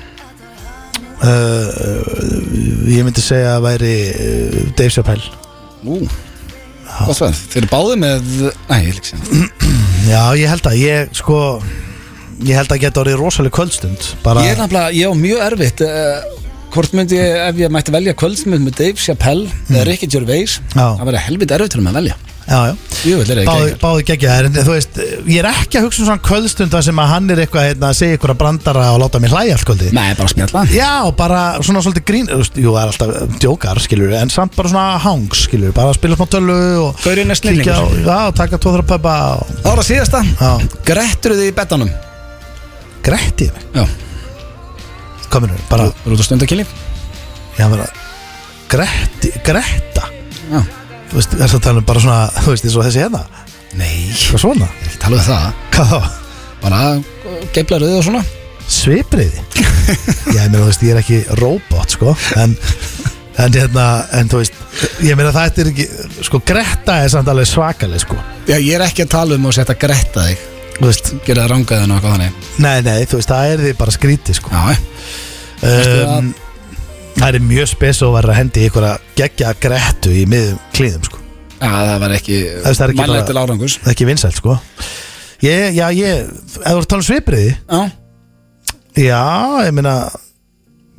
Speaker 3: uh, Ég myndi segja að væri uh, Dave Chappelle
Speaker 1: Ú, gott svar Þeir eru báði með Æ, ég líks Ég
Speaker 3: Já, ég held að ég sko Ég held að geta orðið rosaleg kvöldstund bara,
Speaker 1: er nefnilega, ég á mjög erfitt uh, Hvort myndi ég, ef ég mætti velja kvöldstund með Dave Chappelle eða Ricky Gervais
Speaker 3: Hmm. Já.
Speaker 1: Það verður helvit erfitt um að velja
Speaker 3: Já, já
Speaker 1: Jú, þetta er
Speaker 3: Báði,
Speaker 1: ekki
Speaker 3: báði geggja þær, en þú veist, ég er ekki að hugsa um svona kvöldstund þar sem að hann er eitthvað hérna, að segja ykkur að brandara og láta mig hlæja allt kvöldi
Speaker 1: Nei, bara spjalla
Speaker 3: Já, bara svona svolítið grín þú veist, Jú, það er alltaf eh, djókar, skilur en samt bara svona hangs, skilur bara að spila smá tölu og
Speaker 1: Gaurinn er snillingur.
Speaker 3: á- Já, og taka tóðra pöpa og
Speaker 1: Þá er það síðasta
Speaker 3: Já.
Speaker 1: Grettur þið í betanum
Speaker 3: gretti mig
Speaker 1: Já,
Speaker 3: Kominu, bara,
Speaker 1: rútu stundakilni
Speaker 3: já, bara Gretti, gretta
Speaker 1: Já
Speaker 3: Þú veist, þess að tala um bara svona, þú veist, eins og þessi hérna
Speaker 1: Nei, ég
Speaker 3: Hvað svona?
Speaker 1: er ekki talað um það
Speaker 3: Hvað þá?
Speaker 1: bara geiflaröðu og svona
Speaker 3: Svipriði? Já, ég meina, þú veist, ég er ekki robot, sko En, en hérna, en þú veist Ég meina, það er ekki Sko, Greta er samt alveg svakaleg, sko
Speaker 1: Já, ég er ekki að tala um að setja að gretta þig
Speaker 3: Þú veist,
Speaker 1: gera það rangaðin og eitthvað þannig
Speaker 3: nei, nei, þú veist, það er því bara skrítið, sko
Speaker 1: Já,
Speaker 3: um, Það er mjög spes og verður að hendi ykkur að gegja Gretu í miðum klíðum, sko
Speaker 1: já það var ekki
Speaker 3: veist, það er ekki
Speaker 1: mannlegt
Speaker 3: bara-
Speaker 1: til árangus
Speaker 3: Það er ekki vinsælt, sko Ég, já, ég, ef þú ert að tala um svipriði
Speaker 1: Já,
Speaker 3: Já, ég meina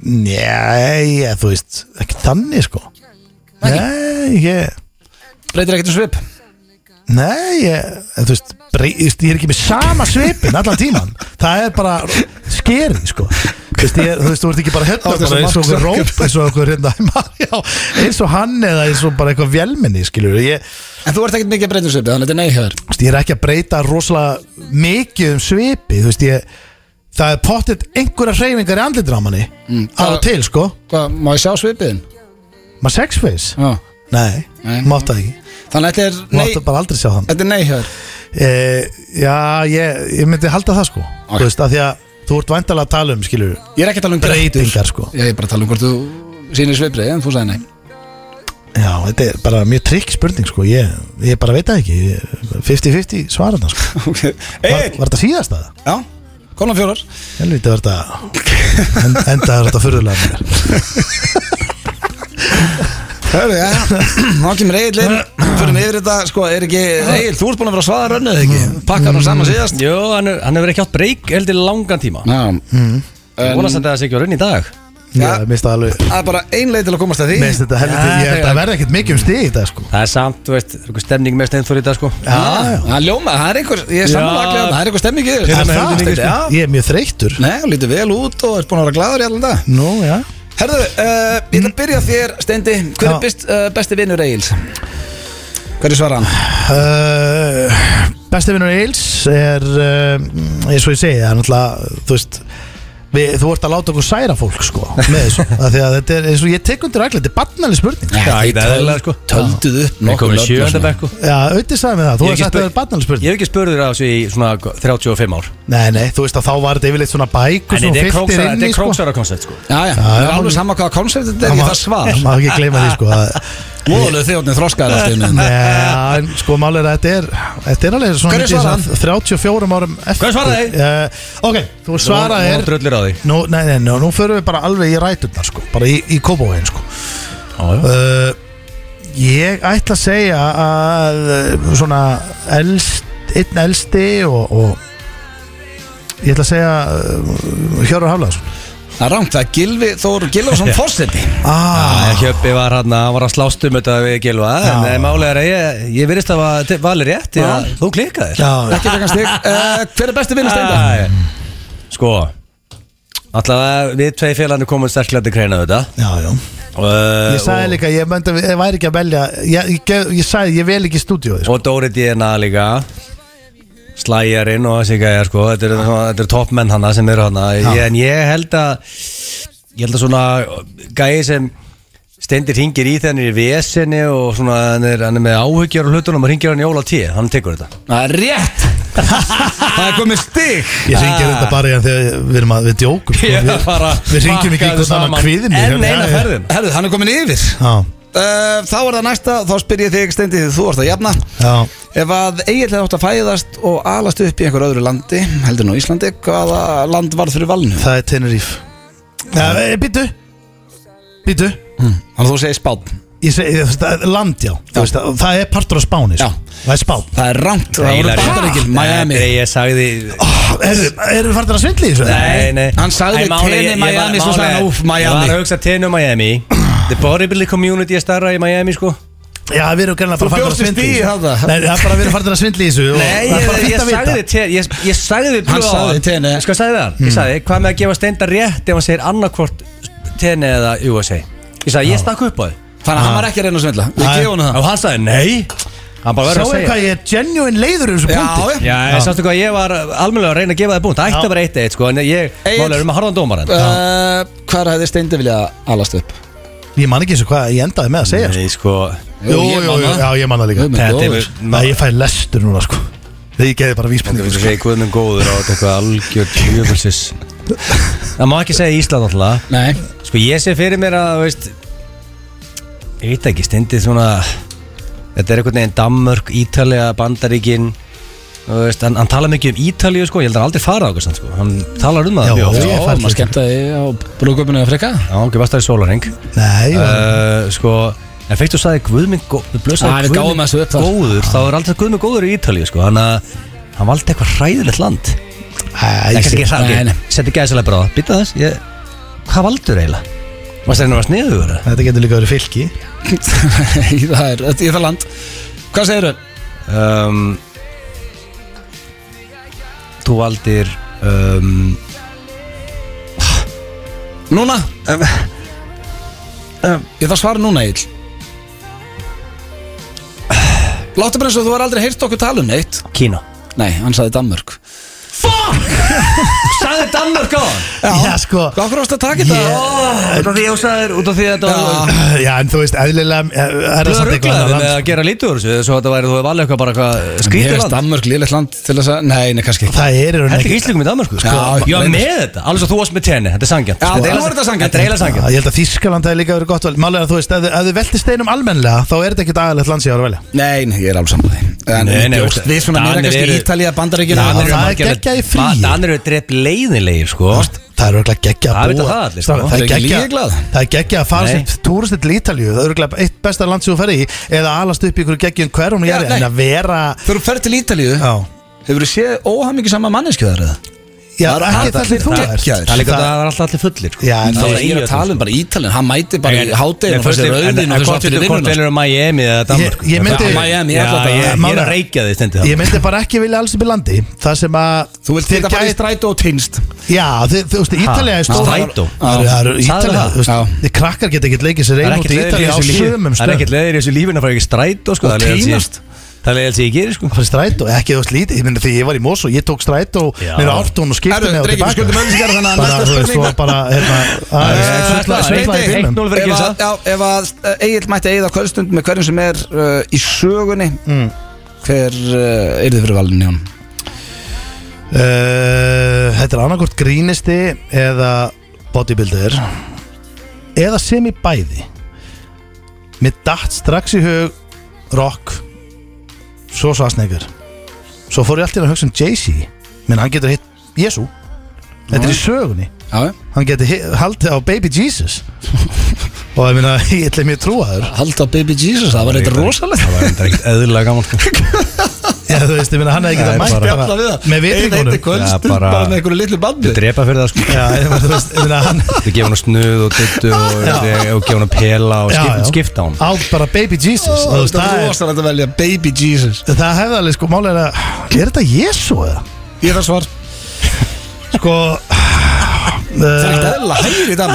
Speaker 3: Nei, ég, þú veist Ekki þannig, sko Nei, ég
Speaker 1: breytir ekkert um svip
Speaker 3: Nei, ég, en þú veist, breyst, ég er ekki með sama svipin allan tíman Það er bara skerið, sko Þú veist, ég, er- þú veist, þú ert ekki bara hérna
Speaker 1: Á, þessu
Speaker 3: bara eins og okkur
Speaker 1: Mark
Speaker 3: róp, eins og okkur hérna já, eins og hann eða eins og bara eitthvað vélminni, skilur ég,
Speaker 1: En þú ert ekkert mikið að breyta um svip, þannig að þetta er nei hjá þér
Speaker 3: þú veist, ég er ekki að breyta rosalega mikið um svipi, þú veist, ég það er pottitt einhverja hreyfingar í andlitur á manni mm,
Speaker 1: það-
Speaker 3: til sko
Speaker 1: Hvað, má ég sjá svipiðin?
Speaker 3: maður sex face
Speaker 1: Já
Speaker 3: nei,
Speaker 1: Nei.
Speaker 3: mátt það ekki
Speaker 1: Þannig að þetta er
Speaker 3: máttu
Speaker 1: nei
Speaker 3: bara aldrei sjá hann
Speaker 1: Þetta er nei hér
Speaker 3: e, já, ég, ég myndi halda það sko
Speaker 1: Ok.
Speaker 3: þú veist að því að þú ert væntalega að tala um skilur
Speaker 1: Ég er ekki að tala um drættur.
Speaker 3: breytingar sko
Speaker 1: Ég er bara að tala um hvort þú sýnir svipiðin En þú sagði nei
Speaker 3: já, þetta er bara mjög trikk spurning sko ég, ég bara veit það ekki Ég- 50-50 svararna sko
Speaker 1: Ok.
Speaker 3: var,
Speaker 1: Egil
Speaker 3: var þetta síðast að
Speaker 1: Já Konan fjórar
Speaker 3: Helviti var þetta en, Enda var þetta furðulega með mér.
Speaker 1: Hörru, já Ná kemur Egil inn Fyrir yfir þetta Sko, er ekki Egil, þú ert búin að vera að svaða rönnu eða ekki Pakkar hann saman síðast
Speaker 2: Jó, hann hefur- hann hefur ekki átt breyk heldur langan tíma
Speaker 1: Já Mm.
Speaker 2: Ég vonast að það sé ekki á raun í dag
Speaker 1: Já.
Speaker 3: Ég misti það alveg
Speaker 1: Það er bara ein leið til að komast að því
Speaker 3: Mér finnst þetta helviti,
Speaker 2: Já,
Speaker 3: ég held
Speaker 2: þegar-
Speaker 3: að verða ekkert mikið um stig í dag sko
Speaker 2: Það er samt, þú veist, það er eitthvað stemning með steinþór í dag sko
Speaker 3: Já, já
Speaker 1: Það er ljóma, það er einhver, ég er
Speaker 2: Já.
Speaker 1: samanlega allir það er einhver stemming í
Speaker 3: Er
Speaker 1: þér.
Speaker 3: það?
Speaker 1: það?
Speaker 3: Mikið,
Speaker 1: Já.
Speaker 3: Ég er mjög þreyttur
Speaker 1: Nei, þú lítið vel út og ert búin að vera glaður í allan dag.
Speaker 3: Nú, já
Speaker 1: Herðu, uh, ég ætla að byrja á þér, Steindi. Hver
Speaker 3: Já.
Speaker 1: er best, uh, besti vinnur Egils? Hverju svarar hann?
Speaker 3: uh, Besti vinnur Eils er uh, eins og ég segi, það er náttúrulega þú veist Við, þú ert að láta okkur særa fólk sko með þessu, af því að þetta er eins og ég tek undir ægla, þetta er barnaleg spurning
Speaker 2: Já, ekki
Speaker 1: Töld-
Speaker 2: eðlilega, sko.
Speaker 1: Tölduð upp
Speaker 2: Við komum í
Speaker 1: nöfn og
Speaker 2: sjöönda
Speaker 1: svona.
Speaker 2: bekk og-
Speaker 3: Já, auðvitað sagði mig það, þú
Speaker 2: Ég hef
Speaker 3: hefði
Speaker 2: ekki
Speaker 3: sagt
Speaker 2: spurt-
Speaker 3: sko. að það er barnaleg
Speaker 2: Ég
Speaker 3: spurning
Speaker 2: hef ekki spurður að þessu í svona 35 ár
Speaker 3: Nei, nei, þú veist að þá var þetta yfirleitt svona bæk og
Speaker 2: En þetta
Speaker 3: svona
Speaker 2: er
Speaker 3: fylltir
Speaker 2: króksara-
Speaker 3: inn
Speaker 2: þetta
Speaker 3: í
Speaker 2: er
Speaker 3: sko
Speaker 2: króksara koncept sko
Speaker 1: Já, já, það er alveg sama hvaða koncept þetta er í það svar.
Speaker 3: Má ekki gleyma því sko að
Speaker 1: Móðulega þjóðnir þroskaðar allt í einu.
Speaker 3: Nei, en sko málið er að þetta er Þetta er alveg svona
Speaker 1: Hverju
Speaker 3: mikið
Speaker 1: svaraði
Speaker 3: svona 34 árum eftir
Speaker 2: Hverju svaraði?
Speaker 3: Uh, ok, þú svarað
Speaker 2: Nú-
Speaker 3: er
Speaker 2: Nú dröllir á því
Speaker 3: nú, Nei, nei, nei, nú förum við bara alveg í ræturnar sko Bara í, í kópáin sko uh, Ég ætla að segja að uh, Svona elst, einn elsti og, og Ég ætla að segja uh, Hjörur Haflaðsson
Speaker 1: Það er rangt, það er Gilvi Þór Gilvason Fossetti.
Speaker 3: ah,
Speaker 2: Já, Hjöppi var hann að var að slást um þetta við Gilva En
Speaker 3: Já.
Speaker 2: eh, málið er að ég, ég virðist að va- til- valið rétt því að Þú klikkaðir
Speaker 3: Já,
Speaker 1: Ekki frekar stig. Eh, Hver er besti vinnur Steindi?
Speaker 2: Æ, Sko Alltaf við tvei félaginu komum sterklega til kreina þetta
Speaker 3: já, já Uh,
Speaker 2: Eh,
Speaker 3: Ég sagði líka, ég, myndi, ég væri ekki að velja Ég, ég, gef- ég sagði, ég vel ekki stúdíóði
Speaker 2: og,
Speaker 3: sko.
Speaker 2: og Dóri DNA líka Slæjarinn og þessi gæja sko Þetta eru er toppmenn hana sem eru hana ég, En ég held að Ég held að svona gæja sem Stendir hingir í þenni í vesenni og svona hann er, hann er með áhyggjur og hlutunum og hringir hann í Óla 10, hann tekur þetta
Speaker 1: Það er rétt. Það er komið stig.
Speaker 3: Ég ringir þetta bara í hann þegar við erum að við djókum sko.
Speaker 2: Ég
Speaker 3: Við,
Speaker 2: bara
Speaker 3: við ringjum ekki
Speaker 2: pakkaði
Speaker 3: einhvern annan hérna.
Speaker 2: saman
Speaker 3: kviðin
Speaker 1: hérna.
Speaker 2: Enn eina ferðin
Speaker 1: Herðu, hann er komin yfir.
Speaker 3: Já,
Speaker 1: Uh, þá er það næsta, þá spyr ég þig Steindi því þú varst að jafna
Speaker 3: já
Speaker 1: Ef að eiginlega átt að fæðast og alast upp í einhver öðru landi, heldur nú Íslandi Hvaða land varð fyrir valinu?
Speaker 3: Það er Teneríf ja, Býtu Býtu
Speaker 1: Þannig að þú segir spátt
Speaker 3: Ég segi, ég- það er land já, já. Veist, að- Það er partur af Spáni sko.
Speaker 1: Já.
Speaker 3: Það er Spán
Speaker 1: Það er rangt, það voru bandaríkil, Miami
Speaker 2: Nei, ég sagði
Speaker 3: oh, Erum er við farin að svindla í þessu?
Speaker 2: Nei, nei
Speaker 1: Hann sagði
Speaker 2: Nei, málið-
Speaker 1: Tenni,
Speaker 2: ég- ég-
Speaker 1: Miami, svo
Speaker 2: málið-
Speaker 1: sagði hann, úff,
Speaker 2: Ég var
Speaker 1: Miami.
Speaker 2: að hugsa tenni og Miami The bodybuilding community er starra í Miami sko
Speaker 3: Já, við erum gæmlega bara farin að
Speaker 1: bjóst við
Speaker 3: svindla
Speaker 1: stigi þarna.
Speaker 3: Nei, það er bara við erum farin að svindla í þessu og
Speaker 2: Nei,
Speaker 3: það er
Speaker 2: ég,
Speaker 3: bara
Speaker 2: ég,
Speaker 3: fínt að vita.
Speaker 2: sagði te, ég, ég sagði
Speaker 1: Hann
Speaker 2: blöð á
Speaker 1: sagði Tenni.
Speaker 2: Sko, sagði það Ég sagði, hvað með að gefa steinda rétt ef hann segir annarkvort tenni eða USA Ég sagði, ég stakk upp á þið
Speaker 1: Þannig að hann var ekki að reyna að svindla Ég
Speaker 3: Nei.
Speaker 1: gefa hann það
Speaker 2: Og hann sagði, nei Hann bara verður
Speaker 3: Sjáu
Speaker 2: að segja
Speaker 3: hvað ég er genuine leiður í þessu
Speaker 1: Já,
Speaker 3: punkti
Speaker 1: já
Speaker 2: Já, ég sástu hvað, ég var almennilega að reyna að gefa það búnt Það ætti að vera eitt eitt, sko, en ég
Speaker 1: Egill.
Speaker 2: Málega erum að harðan dómar en
Speaker 1: Uh, Hvar hefði Steindi vilja alast upp?
Speaker 3: Ég man ekki eins og hvað ég endaði með að segja
Speaker 2: Nei, sko
Speaker 3: Jú, jú, jú, jú, já, ég man það líka
Speaker 1: Guð minn
Speaker 2: Þetta
Speaker 1: góður.
Speaker 2: er
Speaker 3: Nei, ég fæ lestur núna, sko Þegar ég geði bara vísbendingu
Speaker 2: Þú
Speaker 3: sko.
Speaker 2: segir guðminn góður á þetta eitthvað algjör tjöfulsis Það má ekki segja Ísland alltaf
Speaker 1: Nei,
Speaker 2: Sko ég sé fyrir mér að, þú veist Ég veit ekki, stendið svona Þetta er einhvern veginn Danmörk, Ítalja, Bandaríkin Þú veist, hann, hann tala mikið um Ítalju sko Ég held að hann aldrei fara á okkur sko Hann talar um það
Speaker 3: Já,
Speaker 2: mjög oft.
Speaker 3: já.
Speaker 1: já,
Speaker 3: fell
Speaker 1: maður
Speaker 3: líka.
Speaker 1: skemmtaði á brúðköpunni að freka
Speaker 2: Já, hann gefast það í sólarheng
Speaker 3: Nei, uh,
Speaker 2: uh, Sko En fyrst þú sagði Guðmund
Speaker 1: Ah, við gáfum þessu upp þar.
Speaker 2: góður Þá er alltaf Guðmund góður í Ítalju sko Hann, að- hann valdi eitthvað hræðilegt land
Speaker 3: ég
Speaker 2: Ekki ekki
Speaker 3: sé-
Speaker 2: það,
Speaker 1: Nei, nei.
Speaker 2: ok, settu gæðislega bara á það Býta þess, ég, hvað valdur eiginlega? Varst það einu að sniðugur?
Speaker 3: Þetta getur líka verið fylki
Speaker 1: Nei, það er, þetta er það land Hvað segir þau?
Speaker 2: Um, þú valdir um,
Speaker 1: Núna? Ég þarf svara núna, Egil Láttu bara eins og þú har aldrei heyrt okkur tala um neitt
Speaker 2: Kína
Speaker 1: Nei, hann saði Danmörk
Speaker 2: Sagði Danmark á hann?
Speaker 3: Já, sko
Speaker 1: Hvað hverjast að taka þetta?
Speaker 2: Út af því ég ósaður, út af því að þetta var
Speaker 3: Já, en þú veist, eðlilega eh, er það
Speaker 2: Þú
Speaker 3: samt eitthvað
Speaker 2: rugglaði
Speaker 3: annað
Speaker 2: með
Speaker 3: land. sko.
Speaker 2: að gera lítið úr þessu Svo þetta væri þú að valja eitthvað bara eitthvað
Speaker 1: Mér
Speaker 2: skrítið
Speaker 1: er
Speaker 2: land
Speaker 1: Danmark liðlegt land til þess að Nei, nei, kannski ekki
Speaker 3: Það er í rauninni
Speaker 2: Þetta er ekki Íslingum í Danmarku sko.
Speaker 1: Já,
Speaker 2: Ég var
Speaker 1: reyndar.
Speaker 2: með þetta, alveg svo þú varst með tenni Þetta er sangjant
Speaker 1: Já,
Speaker 2: sko.
Speaker 1: þú
Speaker 2: eiginlega-
Speaker 1: voru þetta sanngjarnt.
Speaker 2: Þetta er eiginlega
Speaker 3: Já,
Speaker 2: sangjant
Speaker 3: Ég held að Þískaland hefði líka verið gott val Málega þú veist, ef þið- ef þið velti steinum almennilega Þá er þetta ekkert agalegt land sem ég var að velja
Speaker 1: Nei, nei, ég er alveg saman því En
Speaker 2: Nei, nei,
Speaker 1: bjóst
Speaker 2: veistu,
Speaker 1: við svona meira
Speaker 2: Danir
Speaker 1: kannski
Speaker 2: eru-
Speaker 1: Ítalía, Bandaríkina
Speaker 3: Danir
Speaker 1: Já,
Speaker 3: eru-
Speaker 1: það-
Speaker 3: er geggjað í fríi.
Speaker 2: Danir eru drepp leiðinlegir sko
Speaker 3: Það er örglega geggja
Speaker 2: Það
Speaker 3: að
Speaker 2: vita
Speaker 3: búa
Speaker 2: það allir, sko.
Speaker 3: Strákar,
Speaker 1: Það er
Speaker 3: Það er
Speaker 1: ekki
Speaker 3: geggja
Speaker 1: lygiglað.
Speaker 3: Það er geggja að fara
Speaker 2: Nei.
Speaker 3: sem túristill til Ítalju Það er örglega eitt besta land sem þú ferði í Eða alast upp í ykkur geggjum hverjum
Speaker 1: Já,
Speaker 3: ég er
Speaker 1: nei.
Speaker 3: En að vera
Speaker 1: Þegar þú ferð til Ítalíu
Speaker 3: Já
Speaker 1: Hefur þú séð óhamingi sama mannesku þar eða?
Speaker 3: Já,
Speaker 1: Það er
Speaker 3: ekki
Speaker 1: allir
Speaker 3: það sem þú ert
Speaker 1: geggjaðir.
Speaker 2: Það er líka að
Speaker 3: Það-
Speaker 2: það er alltaf allir fullir sko.
Speaker 3: Já, en
Speaker 1: Það
Speaker 3: það
Speaker 1: er ég er að tala um bara Ítalíu Hann mæti bara í hátæðin og þessi rauðin og þessi aftur í
Speaker 2: Hvort
Speaker 1: vinnuna
Speaker 2: velur Miami eða Danmark
Speaker 3: Ég- ég myndi-
Speaker 2: Já,
Speaker 1: Miami, ég
Speaker 2: Miami, ég
Speaker 1: ætla
Speaker 2: ætla
Speaker 1: þetta.
Speaker 2: Ég er
Speaker 3: Málega.
Speaker 2: að reykja því stendið
Speaker 3: Ég myndi bara ekki vilja alls upp í landi Það sem að
Speaker 1: Þú vilt
Speaker 3: þeir
Speaker 1: þetta bara í
Speaker 3: gæ-
Speaker 1: strætó og tinnst
Speaker 3: Já, þið- þú veist, Ítalja er stór
Speaker 2: Strætó.
Speaker 3: Það eru- það eru
Speaker 2: Já. Sagði
Speaker 3: Ítalja
Speaker 2: það?
Speaker 3: þú veist,
Speaker 1: Já.
Speaker 3: Þið krakkar geta ekkert leikið sér einu út í Ítalja á sömum
Speaker 2: Það er ekkert leðir í þessu lífin að fara ekki í strætó sko,
Speaker 1: Og
Speaker 2: það er leiðinlegasta
Speaker 1: týnast.
Speaker 2: sem ég- Það er leiðir sem ég gerir sko
Speaker 3: Það fyrir strætó, ekki þú veist lítið Ég myndi því ég var í Mosó, ég tók strætó
Speaker 2: Já.
Speaker 3: Nýra ártún og skipti
Speaker 1: Herru,
Speaker 3: mig og
Speaker 1: drengjum,
Speaker 3: tilbaka
Speaker 1: skuldum auglýsingar, þannig að
Speaker 3: Bara,
Speaker 1: næsta
Speaker 3: þú veist,
Speaker 1: spurning-
Speaker 3: svo bara, hérna, að-
Speaker 2: Það er
Speaker 3: sveifla-
Speaker 2: svindlaði-
Speaker 3: sveifla í
Speaker 2: eitt-
Speaker 3: bílnum.
Speaker 2: 1-0 fyrir
Speaker 1: Ef
Speaker 2: Gilsa.
Speaker 1: að- já, ef að Egil mætti eigið á kvöldstund með hverjum sem er uh, í sögunni Hver uh, er þið fyrir valinu hjá hann?
Speaker 3: Uh, Þetta er annarkort grínisti Eða bodybuilder Eða sem í bæði Mér datt strax í hug Rock Svo svarsnegur Svo fór ég allt í einu að hugsa um Jay-Z Menn hann getur hitt Jesu Þetta er í sögunni
Speaker 1: Já, já.
Speaker 3: hann geti hi- haldið á Baby Jesus og ég meina, ég ætla mér trúaður
Speaker 1: Halda á Baby Jesus, það var eitthvað rosalegt
Speaker 2: Það var þetta ekkert eðlilega gaman sko
Speaker 3: Já, þú veist, ég meina, hann hefði
Speaker 2: Það
Speaker 3: getað
Speaker 2: er
Speaker 3: mætt
Speaker 2: bara-
Speaker 3: bara með
Speaker 1: Eitt eitt
Speaker 3: vitringunum
Speaker 1: kvöldstund
Speaker 2: Já, bara-
Speaker 1: bara með einhverju litlu bandi
Speaker 2: Þú drepa fyrir það sko
Speaker 3: Já, ég meina, þú veist, ég meina, hann
Speaker 2: Þú gefa hann snuð og duttu og, og gefa hann pela og
Speaker 3: Já, já. Ah.
Speaker 2: skip, skipta hann
Speaker 3: á bara Baby Jesus og þú veist,
Speaker 1: Það
Speaker 3: það
Speaker 1: er
Speaker 3: er
Speaker 1: rosalegt að velja Baby Jesus
Speaker 3: það hefði alveg, sko, málega er að er þetta Jesu eða?
Speaker 1: Ég þarf svar
Speaker 3: Sko
Speaker 1: Það er
Speaker 3: uh,
Speaker 1: ekkert eðla hægir í dag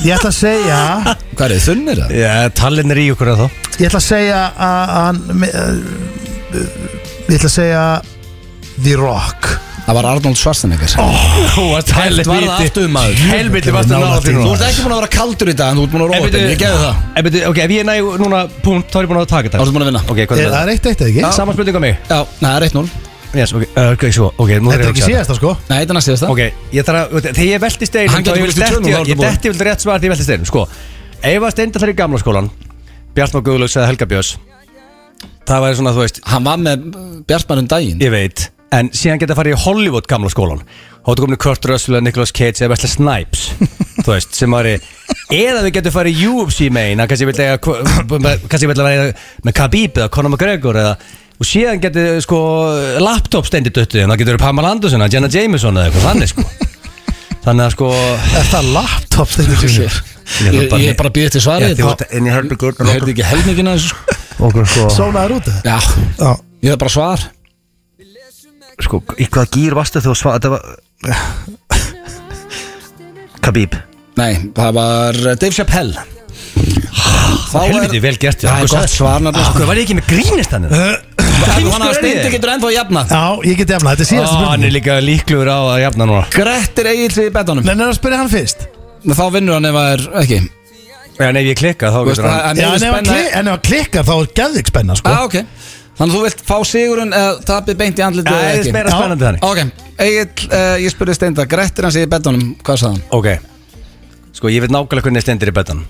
Speaker 3: ég ætla að segja
Speaker 1: Hvað er þið þunnir það?
Speaker 2: Já, tallinn er í okkur að þá
Speaker 3: ég ætla að segja að hann me- eh, ég ætla að segja The Rock
Speaker 1: Það var Arnold Schwarzenegger oh,
Speaker 2: Þú varst helviti
Speaker 1: var það aftur maður
Speaker 2: Helviti varst að nála þínu
Speaker 1: Þú ert ekki búin að vera kaldur í dag en þú ert búin að róa þetta Ég geði það
Speaker 2: En byrju, ok, ef ég næg núna punkt þá er ég búin að
Speaker 1: Þá
Speaker 2: taka þetta
Speaker 1: ertu búin að vinna
Speaker 2: Ok, hvað
Speaker 3: er
Speaker 2: er
Speaker 3: það
Speaker 2: það?
Speaker 3: er eitt eitt eða ekki?
Speaker 2: Saman spurning á mig
Speaker 1: Já, nei, það er 1-0 Nei,
Speaker 2: Yes, ok, uh, ok, svo Ok, nú ég
Speaker 3: þetta er
Speaker 2: að
Speaker 3: ekki
Speaker 2: hugsa þetta.
Speaker 3: síðast það, sko
Speaker 1: þetta er næst síðasta
Speaker 2: Ok, ég þarf að Þegar ég velti steinum
Speaker 1: Hann
Speaker 2: þá
Speaker 1: getur
Speaker 2: ég
Speaker 1: veltist í
Speaker 2: detti-
Speaker 1: tölum, þá ertu
Speaker 2: Ég
Speaker 1: búinn.
Speaker 2: detti vel rétt svar því ég velti steinum Sko, ef að steinda þar í gamla skólan Bjartmar Guðlöks eða Helga Björns Það væri svona, þú veist
Speaker 1: Hann var með Bjartmann um daginn
Speaker 2: Ég veit En síðan geta farið í Hollywood gamla skólan Þá ertu komin í Kurt Russell eða Nicolas Cage eða Wesley Snipes Þú veist, sem væri Eða við getum farið í UFC meina Kannski ég vil eiga Kannski ég vil að vera með Khabib eða Conor McGregor eða Og síðan getur sko laptop stendir döttu þín, Það getur Pamela Anderson eða Jenna Jameson eða eitthvað þannig sko Þannig að sko
Speaker 3: er það laptop stendur
Speaker 1: Ég,
Speaker 3: sér
Speaker 1: ég, ég er bara að býða til
Speaker 2: Já,
Speaker 1: svarið
Speaker 2: þið voru- En ég hörðu Kurt
Speaker 1: hérna. Ég heyrði ekki helmingina þessu sko.
Speaker 2: Okkur sko
Speaker 3: Sónaður út eða?
Speaker 1: Já,
Speaker 3: Já
Speaker 1: ég er bara svar
Speaker 2: Sko, í hvaða gýr varstu þú svað Þetta var Khabib
Speaker 1: Nei, það var eh, Dave Chappelle Þá er-
Speaker 2: Helviti vel gert
Speaker 1: Það er gott
Speaker 2: Ah,
Speaker 1: svar nafnir
Speaker 2: Hvað var ég ekki með grínist hann? hérna?
Speaker 1: Þannig að steindi getur ennþá jafnað
Speaker 3: Já, ég get jafna, þetta er síðast
Speaker 2: Hann
Speaker 3: spurning
Speaker 2: er líka líkluður á að jafna núna
Speaker 1: Grettir Egil í betanum
Speaker 3: Nei, nei, spyrja hann fyrst
Speaker 1: Þá vinnur hann ef það er ekki
Speaker 2: Já, en ef ég klikka þá
Speaker 1: Þú veist,
Speaker 2: getur
Speaker 1: það
Speaker 2: hann
Speaker 1: er
Speaker 3: Já,
Speaker 1: mjög
Speaker 3: en ef hann
Speaker 1: spenna
Speaker 3: kli- en ef hann klikkar þá er geðvig spenna, sko
Speaker 1: ah, okay. Þannig að þú vilt fá sigurinn eða tapið beint í andlitið
Speaker 2: Það
Speaker 1: eða
Speaker 2: er meira
Speaker 3: Já.
Speaker 2: spennandi þannig
Speaker 1: Ok, Egil, uh, ég spurði Steinda Grettir hans í betanum, hvað sagði hann?
Speaker 2: Ok Sko, ég veit nákvæmlega hvernig stendur í betan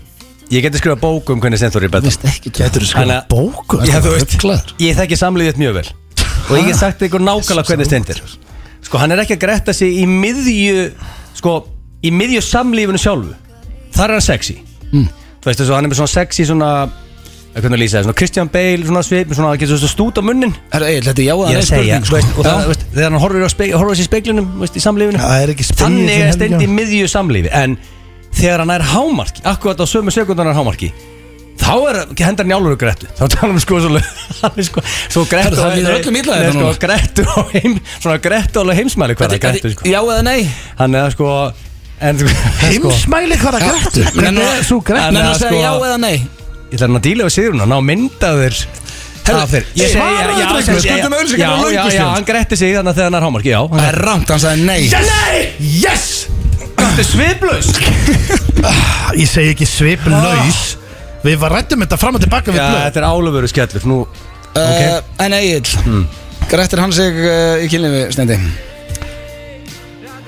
Speaker 2: Ég geti skrifað bók um hvernig stendur í betan
Speaker 1: ekki
Speaker 3: Getur þú
Speaker 2: Þannig
Speaker 3: skrifað
Speaker 2: að-
Speaker 3: bóku?
Speaker 2: Já, þú veist
Speaker 1: Ruglaður.
Speaker 2: Ég þekki samliðið þitt mjög vel Og ég get sagt ykkur nákvæmlega hvernig stendur Sko, hann er ekki að gretta sig í miðju Sko, í miðju samlífinu sjálfu Þar er hann sexy Þú veist þessu, hann er með svona sexy svona Hvernig lýsa það, svona Christian Bale, svona svip Svona, hann getur svona stút á munnin
Speaker 1: Herra Egil, þetta er jáðan
Speaker 2: Ég er að segja,
Speaker 1: sko.
Speaker 2: veist, og það,
Speaker 1: Já.
Speaker 2: veist, þegar hann horfir, á speg, horfir sér í speiklinum veist, í samlífinu,
Speaker 3: Það er ekki spegill
Speaker 2: þannig
Speaker 3: sem
Speaker 2: er
Speaker 3: heldur
Speaker 2: stend í
Speaker 3: hjá.
Speaker 2: miðju samlífi en þegar hann er hámarki akkurat á sömu sekundan er hámarki þá er, hendur hann í álur og grettu þá talar hann sko svo hann er sko, svo
Speaker 1: Herra,
Speaker 2: grettu
Speaker 1: það líður öllum illa
Speaker 2: Nei,
Speaker 1: þetta
Speaker 2: sko,
Speaker 1: núna.
Speaker 2: grettu á heim svona grettu alveg heimsmæli hvað
Speaker 1: Þetta-
Speaker 2: er grettu sko.
Speaker 1: Já eða nei?
Speaker 2: hann er sko en sko
Speaker 3: Heimsmæli hvaða grættu?
Speaker 1: Nenna-
Speaker 3: Hvernig er svo grættu?
Speaker 1: Nenna að
Speaker 2: Þannig að
Speaker 1: segja
Speaker 2: sko-
Speaker 1: já eða nei
Speaker 2: ég ætla hann að díla við sigurinn að ná mynda þér
Speaker 1: Herru,
Speaker 2: af þér
Speaker 1: ég segi-
Speaker 2: Svaraðu
Speaker 1: já,
Speaker 2: drengur,
Speaker 1: sem-
Speaker 2: skuldum
Speaker 1: já,
Speaker 2: auðlýsingar
Speaker 1: já,
Speaker 2: og löngu
Speaker 1: já,
Speaker 2: síðan.
Speaker 1: já,
Speaker 2: hann gretti sig þannig að þegar hann er hámarki, já
Speaker 1: Það er rámt, hann sagði nei
Speaker 2: Nei! Yes! Þetta er sviðblöðs
Speaker 3: Ég segi ekki
Speaker 1: Ah.
Speaker 3: sviplaus Við var rættum þetta fram og tilbaka við
Speaker 2: Já,
Speaker 3: blöð
Speaker 2: þetta er álöfuru skellur Nú,
Speaker 1: uh, En Egil mm. Grettir hann sig uh, í kynlífi stendi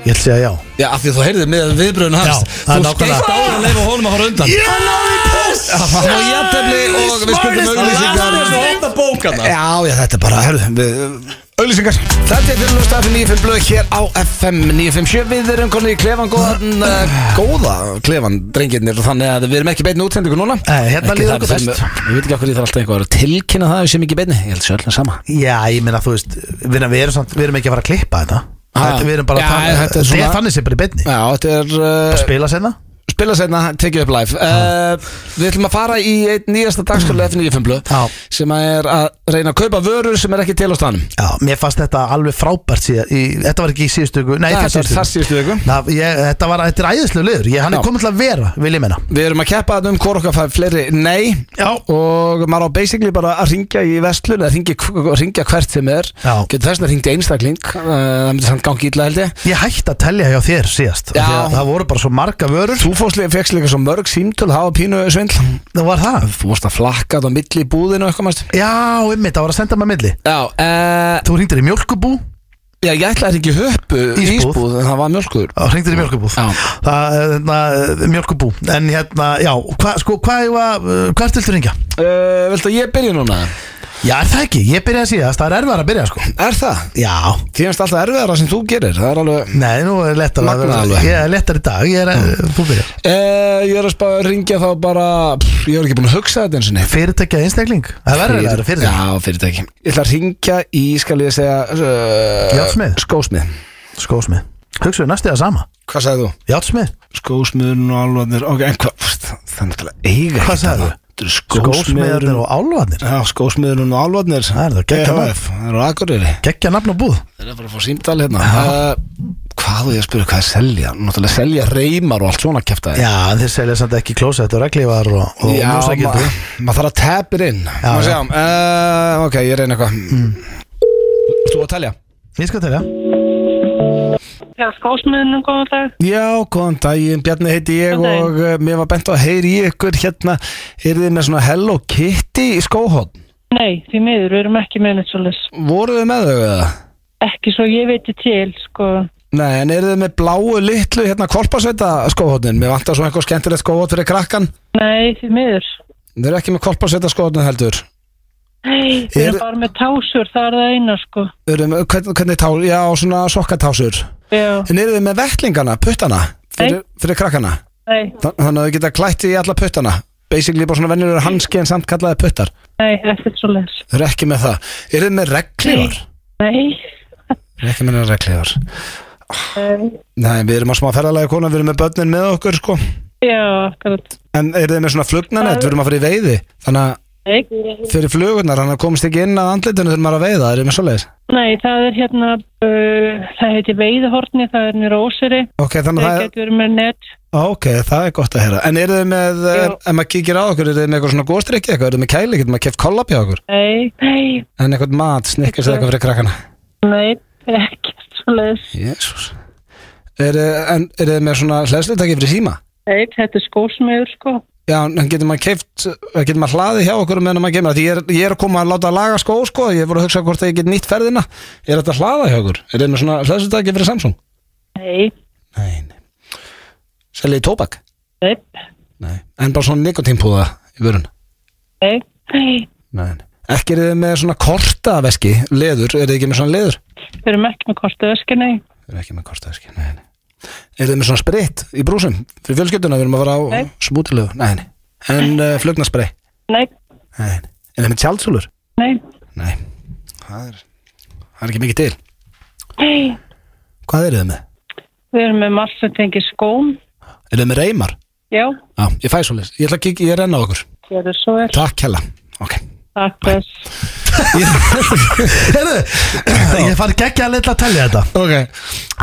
Speaker 3: Ég ætla að segja já
Speaker 1: Já, af því að þú heyrðir með viðbröðun hans
Speaker 3: Já, það er
Speaker 1: Þú
Speaker 3: nákvæmlega.
Speaker 1: skeist á hann leif og honum að horfa undan
Speaker 3: Yes!
Speaker 1: Hann náði í puss! Það var jættefli og við skuldum auglýsingar
Speaker 2: þetta bókana
Speaker 1: Já, já, þetta er bara, herðu, við, auðlýsingar Þetta er fyrir stafinn 95 blöð hér á FM 957 Við erum konið í klefan góðan, uh, góða klefan, drengirnir Þannig að við erum ekki í beinni útsendingu núna
Speaker 3: Nei, hérna
Speaker 1: Ekki
Speaker 3: líður
Speaker 1: það,
Speaker 3: okkur
Speaker 1: við
Speaker 3: best.
Speaker 1: þurfum- Ég veit ekki okkur ég þarf alltaf eitthvað að tilkynna það sem ekki í beinni, ég held sjálf sama
Speaker 3: Já, ég meina þú veist Við við erum, samt, við erum ekki að fara að klippa þetta
Speaker 1: Ha.
Speaker 3: Þetta við erum bara
Speaker 1: Ah. Já,
Speaker 3: að tala
Speaker 1: þetta er
Speaker 3: Þetta er
Speaker 1: svona- Eh.
Speaker 3: þannig sem bara í beinni
Speaker 1: Já, þetta er
Speaker 3: Bara
Speaker 1: uh,
Speaker 3: spila senna
Speaker 1: spila setna, tekið upp live uh, Við ætlum að fara í einn nýjasta dagskóla F95 blöð
Speaker 3: Já.
Speaker 1: sem að er að reyna að kaupa vörur sem er ekki til á stanum
Speaker 3: Já, mér fannst þetta alveg frábært síðan í, Þetta var ekki í síðustu viku Nei,
Speaker 1: Nei, þetta
Speaker 3: þar
Speaker 1: var
Speaker 3: síðustu
Speaker 1: þar
Speaker 3: viku
Speaker 1: síðustu viku
Speaker 3: Ná, ég, þetta var, þetta er æðislega liður ég, Hann
Speaker 1: Já.
Speaker 3: er komin til að vera, vil ég menna
Speaker 1: Við erum að keppa þarna um hvort okkar fær fleiri nei
Speaker 3: Já.
Speaker 1: og maður á basically bara að ringja í vestlun eða ringja, ringja hvert sem er
Speaker 3: Já.
Speaker 1: getur þess að ringja einstakling uh, það myndi samt gangi illa held ég
Speaker 3: Ég hætti að telja hjá þér síðast af
Speaker 1: Já.
Speaker 3: því að Það voru bara svo marga vörur
Speaker 1: Þú fórst líka, fegst líka svo mörg símtöl, hafa pínu svindl
Speaker 3: Það var það
Speaker 1: Þú vorst að flakka þetta á milli í búðinu og eitthvað mæst
Speaker 3: Já, ymmið, það var að senda maður milli
Speaker 1: Já, uh,
Speaker 3: Þú hringdir í mjölkubú
Speaker 1: já, ég ætlaði að ringja höppu
Speaker 3: Ísbúð.
Speaker 1: ísbúð en það var mjölkur
Speaker 3: og hringdir í mjölkubúð
Speaker 1: Já.
Speaker 3: það, hérna, Mjölkubú En hérna, já, hva, sko, hvað ég var Hvert viltu ringja?
Speaker 1: uh, Viltu að ég byrja núna?
Speaker 3: Já, er það ekki, ég byrjaði síðast, það er erfðar að byrja sko
Speaker 1: Er það?
Speaker 3: Já
Speaker 1: Því finnst alltaf erfiðara sem þú gerir Það er alveg
Speaker 3: Nei, nú er lettar að
Speaker 1: Magnað
Speaker 3: vera
Speaker 1: alveg.
Speaker 3: Ég er lettar í dag, ég er, þú byrja
Speaker 1: uh, Ég er að spá að ringja þá bara pff, Ég er ekki búin að hugsa þetta eins og neitt
Speaker 3: Fyrirtækja einstakling, það verður að vera fyrirtækja
Speaker 1: Já, fyrirtæki Ég ætla að ringja í, skal ég segja uh,
Speaker 3: Járnsmið?
Speaker 1: Skósmið
Speaker 3: Skósmið, hugsaðu næstu það sama
Speaker 1: Hvað sagði þú?
Speaker 3: Játsmið,
Speaker 1: Skósmiðurinn og alvarnir Ok, en hvað? pst, Það er náttúrulega eiga
Speaker 3: Hvað sagði þú?
Speaker 1: þú?
Speaker 3: skósmiðarnir
Speaker 1: Skósmiðurinn
Speaker 3: og álvarnir
Speaker 1: Já, skósmiðurinn og alvarnir
Speaker 3: Það er það, geggjað nafn.
Speaker 1: Það er á Akureyri
Speaker 3: Gekkja nafn og búð
Speaker 1: Það er bara að fá símdal hérna uh, Hvað þú ég að spyrja, hvað er selja? Náttúrulega selja reymar og allt svona kæfta
Speaker 3: Já, en þeir selja samt ekki klósett og reglívar og, og
Speaker 1: Já,
Speaker 3: músakildu
Speaker 1: ma- maður þarf að tapir inn
Speaker 3: Já,
Speaker 1: Má
Speaker 3: já.
Speaker 1: sjá, uh, Ok, ég reyna eitthvað mm. Þú að telja?
Speaker 3: Ég skal telja
Speaker 4: Já, skósmiðnum, um góðan dag.
Speaker 1: Já, góðan daginn, Bjarni heiti ég
Speaker 4: Góðan daginn.
Speaker 1: og uh, mér var bent á að heyri í ykkur hérna Er þið með svona Hello Kitty í skóhótt?
Speaker 4: Nei, því miður, við erum ekki með neitt svolítið.
Speaker 1: Voruð þið með þau eða?
Speaker 4: Ekki svo ég veit til, sko.
Speaker 1: Nei, en eru þið með bláu litlu hérna kolpasveita skóhóttin? Mér vantar svona eitthvað skemmtilegt skóhótt fyrir krakkan
Speaker 4: Nei, því miður.
Speaker 1: Þið eru ekki með kolpasveita skóhóttin heldur
Speaker 4: Nei, við
Speaker 1: Er-
Speaker 4: erum bara með tásur, það er það eina, sko.
Speaker 1: Eru þið með, hvernig, hvernig tá, já, svona sokkatásur
Speaker 4: Já,
Speaker 1: En eru þið með vettlingana, puttana fyrir,
Speaker 4: Nei.
Speaker 1: fyrir krakkana?
Speaker 4: nei,
Speaker 1: Þa- Þannig að þau geta klætt í alla puttana Basically bara svona venjulegur hanski en samt kallaði puttar
Speaker 4: nei, ekkert svolítið.
Speaker 1: Þau eru ekki með það Eru þau með reglívar?
Speaker 4: Nei,
Speaker 1: Þau eru ekki með neina reglívar
Speaker 4: nei,
Speaker 1: Nei, við erum að smá ferðalagi kona, við erum með börnin með okkur sko
Speaker 4: já, akkurat.
Speaker 1: En eru þau með svona flugnanett, við erum að fara í veiði Þannig að
Speaker 4: Nei,
Speaker 1: fyrir flugurnar, þannig að komist ekki inn að andlitinu þurfum maður að veiða Eru þau með svoleiðis?
Speaker 4: nei, það er hérna, uh, það heiti veiðhorni, það er nýra óseri.
Speaker 1: Ok, þannig að
Speaker 4: Það
Speaker 1: það er,
Speaker 4: getur verið með net.
Speaker 1: ok, það er gott að heyra En eru þau með, eh,
Speaker 4: Jú.
Speaker 1: ef maður kíkir á okkur, eru þau með eitthvað svona góstrykki eitthvað Eru þau með kæli, getur maður keft kollab hjá okkur
Speaker 4: Nei, nei,
Speaker 1: En eitthvað mat, snikkars eða eitthvað fyrir krakkana
Speaker 4: nei, ekkert svolítið.
Speaker 1: Jésús Er, en er þið með svona hlæðslutæki fyrir síma?
Speaker 4: Nei, þetta er skósmiður, sko.
Speaker 1: Já, en getur maður keift, getur maður hlaðið hjá okkur meðan maður geimur? Því ég er, ég er að koma að láta að laga skó, sko, ég voru að hugsa hvort að ég get nýtt ferðina. Er þetta að hlaða hjá okkur? Er þið með svona hlæðslutæki fyrir Samsung?
Speaker 4: Nei,
Speaker 1: Nei, nei. Seljið tóbak?
Speaker 4: nei,
Speaker 1: Nei. En bara svona nikotínpúða í vörun?
Speaker 4: nei, nei.
Speaker 1: Nei. nei. Ekki er þið með svona kortaveski, leður, er þið ekki með svona leður?
Speaker 4: Við erum ekki með kortu ösku, nei.
Speaker 1: Við erum ekki með kortaveski, nei, nei. Er þið með svona sprit í brúsum? Fyrir fjölskylduna við erum að fara á
Speaker 4: Nei.
Speaker 1: smútilegu, nei, nei. En uh, flugnarspray?
Speaker 4: Nei,
Speaker 1: Nei. Er það með tjaldsúlur?
Speaker 4: nei,
Speaker 1: Nei. Það er, það er ekki mikið til.
Speaker 4: nei.
Speaker 1: Hvað eru þið með?
Speaker 4: Við erum með margt sem tengir skóm.
Speaker 1: Eru þið með reymar?
Speaker 4: Já,
Speaker 1: Já, ég fæ svo Ég ætla að kíkja, ég renna á okkur.
Speaker 4: gerðu svo er.
Speaker 1: Takk hella. Ok.
Speaker 4: Takk þess.
Speaker 3: Herru, ég fann geggja að leita að telja þetta
Speaker 1: Ok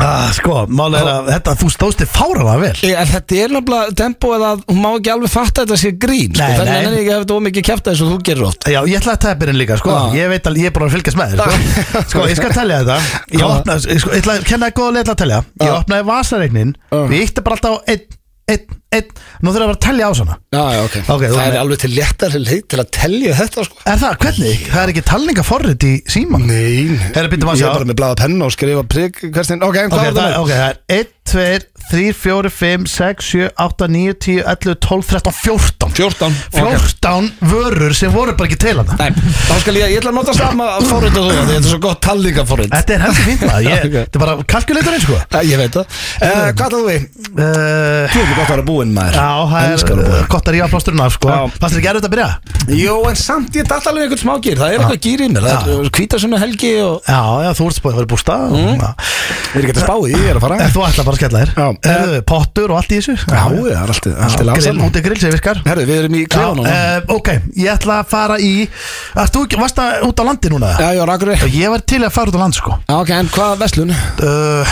Speaker 3: ah, Sko, málega er að þetta, þú stóðst þig fáralega vel
Speaker 1: En þetta er nefnilega tempoið að hún má ekki alveg fatta þetta sé grín
Speaker 3: Nei,
Speaker 1: Þannig
Speaker 3: nei.
Speaker 1: að henni ekki hefði ómikið kæft að þessu þú gerir oft
Speaker 3: Já, ég ætla að tæpa hérna líka, sko
Speaker 1: Já.
Speaker 3: Ég veit alveg, ég er búin að fylgjast með þér, sko Sko, ég skal telja þetta Ég
Speaker 1: Já.
Speaker 3: opnaði, sko, ég ætla að kenna þér góða leið til að telja Ég
Speaker 1: Já.
Speaker 3: opnaði vasareiknin
Speaker 1: Já.
Speaker 3: Við ítti bara alltaf á einn, einn, einn Nú þurfum við að vera að telja á svona
Speaker 1: Já, já, ok
Speaker 3: Ok, þú
Speaker 1: Það er
Speaker 3: með-
Speaker 1: alveg til léttari leið til að telja þetta sko
Speaker 3: Er það, hvernig? Það er ekki talningaforrit í síman
Speaker 1: Nei
Speaker 3: Herra, býttu maður að
Speaker 1: Ég
Speaker 3: sjá.
Speaker 1: er bara með blaða penna og skrifa prik Hverstin, ok, en
Speaker 3: Ok,
Speaker 1: hvað er
Speaker 3: það er,
Speaker 1: það?
Speaker 3: ok, það er 1, 2, 3, 4, 5, 6, 7, 8, 9, 10, 11, 12, 13, 14
Speaker 1: 14
Speaker 3: 14 vörur sem voru bara ekki til hana
Speaker 1: Nei, þá skal ég, ég ætla að nota sama forrið og þú, því þetta er svo gott talningaforrið
Speaker 3: Þetta er heldur fínt maður, ég-
Speaker 1: Ok.
Speaker 3: þetta er bara kalkuleiturinn sko
Speaker 1: Æ, Ég veit það uh, Hvað ætlaðu við?
Speaker 3: uh,
Speaker 1: Þú erum gott að vera búinn maður
Speaker 3: Já, það
Speaker 1: Elskar að
Speaker 3: er
Speaker 1: búa
Speaker 3: uh, gott að rífa plásturinn af sko
Speaker 1: Já.
Speaker 3: Fannst þér ekki erfitt að byrja?
Speaker 1: Jó, en samt ég datt alveg einhvern smá gýr Það er eitthvað gýr í mér Það er hvítasunna helgi og
Speaker 3: Já, já, þú ert spáðið að vera bústa mm.
Speaker 1: Við erum ekki að spáði, ég er að fara
Speaker 3: En þú ætla bara að skella
Speaker 1: Já.
Speaker 3: þér Erðu, pottur og allt í þessu
Speaker 1: Eh, Já, það er allt, allt til
Speaker 3: grill,
Speaker 1: ásann
Speaker 3: Úti grill sem virkar
Speaker 1: Herðu, við erum í
Speaker 3: Já,
Speaker 1: klefanum Já,
Speaker 3: eh, Ok, ég ætla að fara í Varst þú ekki, varst það út á landi núna?
Speaker 1: já, já, rakur Já,
Speaker 3: Ég var til að fara út á land sko
Speaker 1: ok, en hvað veslun?
Speaker 3: uh, uh,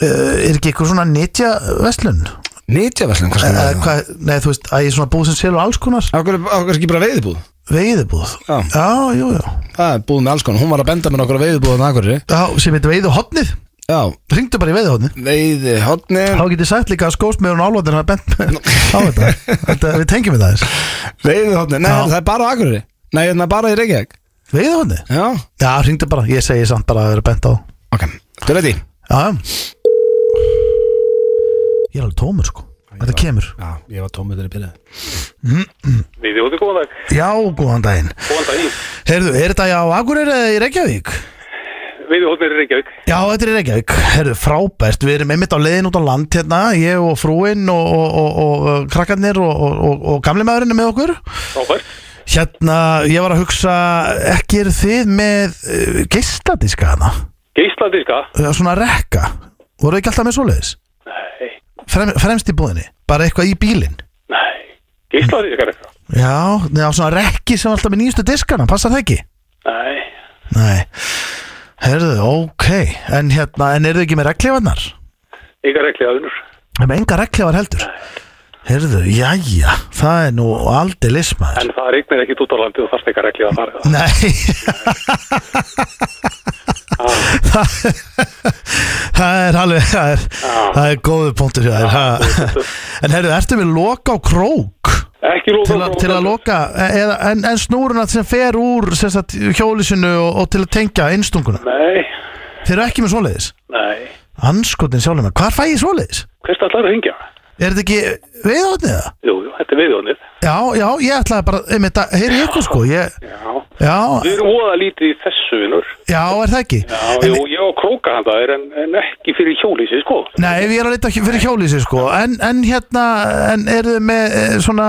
Speaker 3: Er ekki eitthvað svona netja veslun?
Speaker 1: Nýtja veslun, hvað skal
Speaker 3: Eh,
Speaker 1: það?
Speaker 3: hvað- Nei, þú veist, að ég er svona búið sem selur alls konar
Speaker 1: Akkur er ekki bara veiðibúð
Speaker 3: Veiðibúð
Speaker 1: Já.
Speaker 3: já, jú, já
Speaker 1: Það er búð með alls konar Hún var að benda mér okkur að veiðibúðan akkur
Speaker 3: Já, sem heitir veiðu hotnið
Speaker 1: Já,
Speaker 3: Ringdu bara í veiðu hotnið
Speaker 1: veiði Mm.
Speaker 3: Þá getur ég sagt líka að skósmiðurinn álóðin hafa bent á þetta. þetta Við tengjum við það þess
Speaker 1: Veiðihotni, nei
Speaker 3: Já.
Speaker 1: það er bara á Akureyri Nei, það er bara í Reykjavík
Speaker 3: Veiðu hotnið?
Speaker 1: Já,
Speaker 3: Já, ringdu bara, ég segi samt bara að vera bent á
Speaker 1: ok, þú er þetta
Speaker 3: Já Ég er alveg tómur sko Þetta kemur
Speaker 1: Já, ég var tómið þegar ég byrjaði
Speaker 5: Við þjóðu góðan dag,
Speaker 3: Já, góðan daginn
Speaker 5: góðan daginn.
Speaker 3: Heyrðu, er þetta á Akureyri eða í Reykjavík?
Speaker 5: Við þjóðum er í Reykjavík.
Speaker 3: Já, þetta er í Reykjavík Heyrðu, frábært Við erum einmitt á leiðin út á land hérna Ég og frúinn og, og, og, og, og krakkarnir og, og, og, og gamli maðurinn er með okkur
Speaker 5: Frábært.
Speaker 3: Hérna, ég var að hugsa Ekki eru þið með uh, geisladiska hana?
Speaker 5: Geisladiska.
Speaker 3: Já, Svona rekka Voru ekki alltaf með svoleiðis?
Speaker 5: Nei,
Speaker 3: Frem, fremst í búðinni Bara eitthvað í bílinn
Speaker 5: nei. Geisladiska er eitthvað.
Speaker 3: Já, neða svona rekki sem alltaf með nýjustu diskana, passa það ekki?
Speaker 5: Nei.
Speaker 3: Nei, herðu, ok, en hérna, en eru þið ekki með reglífarnar?
Speaker 5: Engar reglíða unnur.
Speaker 3: Með enga reglífar heldur? Herðu, jæja, það er nú aldrei lismæður.
Speaker 5: En það regnir ekki út á landi og þarfst engar reglíða að fara.
Speaker 3: Nei,
Speaker 5: Ah,
Speaker 3: það, það er alveg, það er, það er góðu punktur hjá þér. ha. En herðu, ertu við loka á krók?
Speaker 5: ekki lóka.
Speaker 3: Til, a, til að loka, e- eða, en, en snúruna sem fer úr sem sagt, hjólisinu og, og til að tengja einstunguna.
Speaker 5: Nei,
Speaker 3: Þeir eru ekki með svoleiðis?
Speaker 5: nei.
Speaker 3: Anskotin sjálfum mig, hvar fæ ég svoleiðis?
Speaker 5: Hvers það ætlar að hengja?
Speaker 3: Er þetta ekki veiðhóttnið það?
Speaker 5: Jú, jú, þetta er viðjóðnir.
Speaker 3: Já, já, ég ætlaði bara, einmitt að heyri ykkur sko, ég,
Speaker 5: Já.
Speaker 3: já,
Speaker 5: Við erum óða lítið í þessu vinnur.
Speaker 3: já, er það ekki?
Speaker 5: Já,
Speaker 3: En-
Speaker 5: jú, ég á króka hann það er en, en ekki fyrir hjólísi, sko.
Speaker 3: Nei, við erum að leita fyrir hjólísi sko, en, en hérna, en eru þið með eh, svona,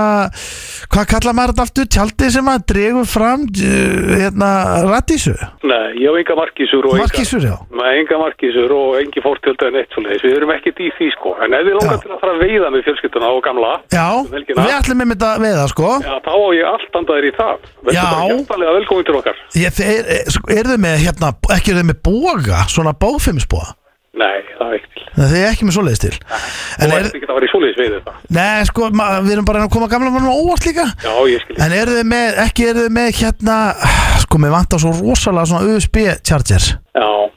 Speaker 3: hvað kallar maður þetta aftur, tjaldi sem að dregur fram, eh, hérna, rattísu?
Speaker 5: Nei, ég á enga markísur og enga-
Speaker 3: Markísur, já.
Speaker 5: Nei, enga markísur og engi fórtjölda en eitt svoleiðis. Við erum ekkert í því sko. En ef við langar
Speaker 3: Já.
Speaker 5: til að fara að veiða með fjölskylduna og gamla,
Speaker 3: Já,
Speaker 5: Helgina.
Speaker 3: við ætlum einmitt að veiða sko,
Speaker 5: já, þá á ég allt andaðir í það. Vertu
Speaker 3: Já.
Speaker 5: bara hjartalega velkomin til okkar.
Speaker 3: ég, eh, er, er, er þið með, hérna, ekki eru þið með boga, svona bófimmsboga?
Speaker 5: Nei, það er ekki til.
Speaker 3: Nei, Þið er ekki með svoleiðis til.
Speaker 5: Þú
Speaker 3: En er,
Speaker 5: ert ekki að fara í svoleiðis veið þetta.
Speaker 3: Nei, sko, ma- við erum bara að koma gamla mannum á óvart líka
Speaker 5: Já, ég skil.
Speaker 3: En eru þið með, ekki eru þið með hérna Sko, mér vantar svo rosalega svona USB charger
Speaker 5: Já,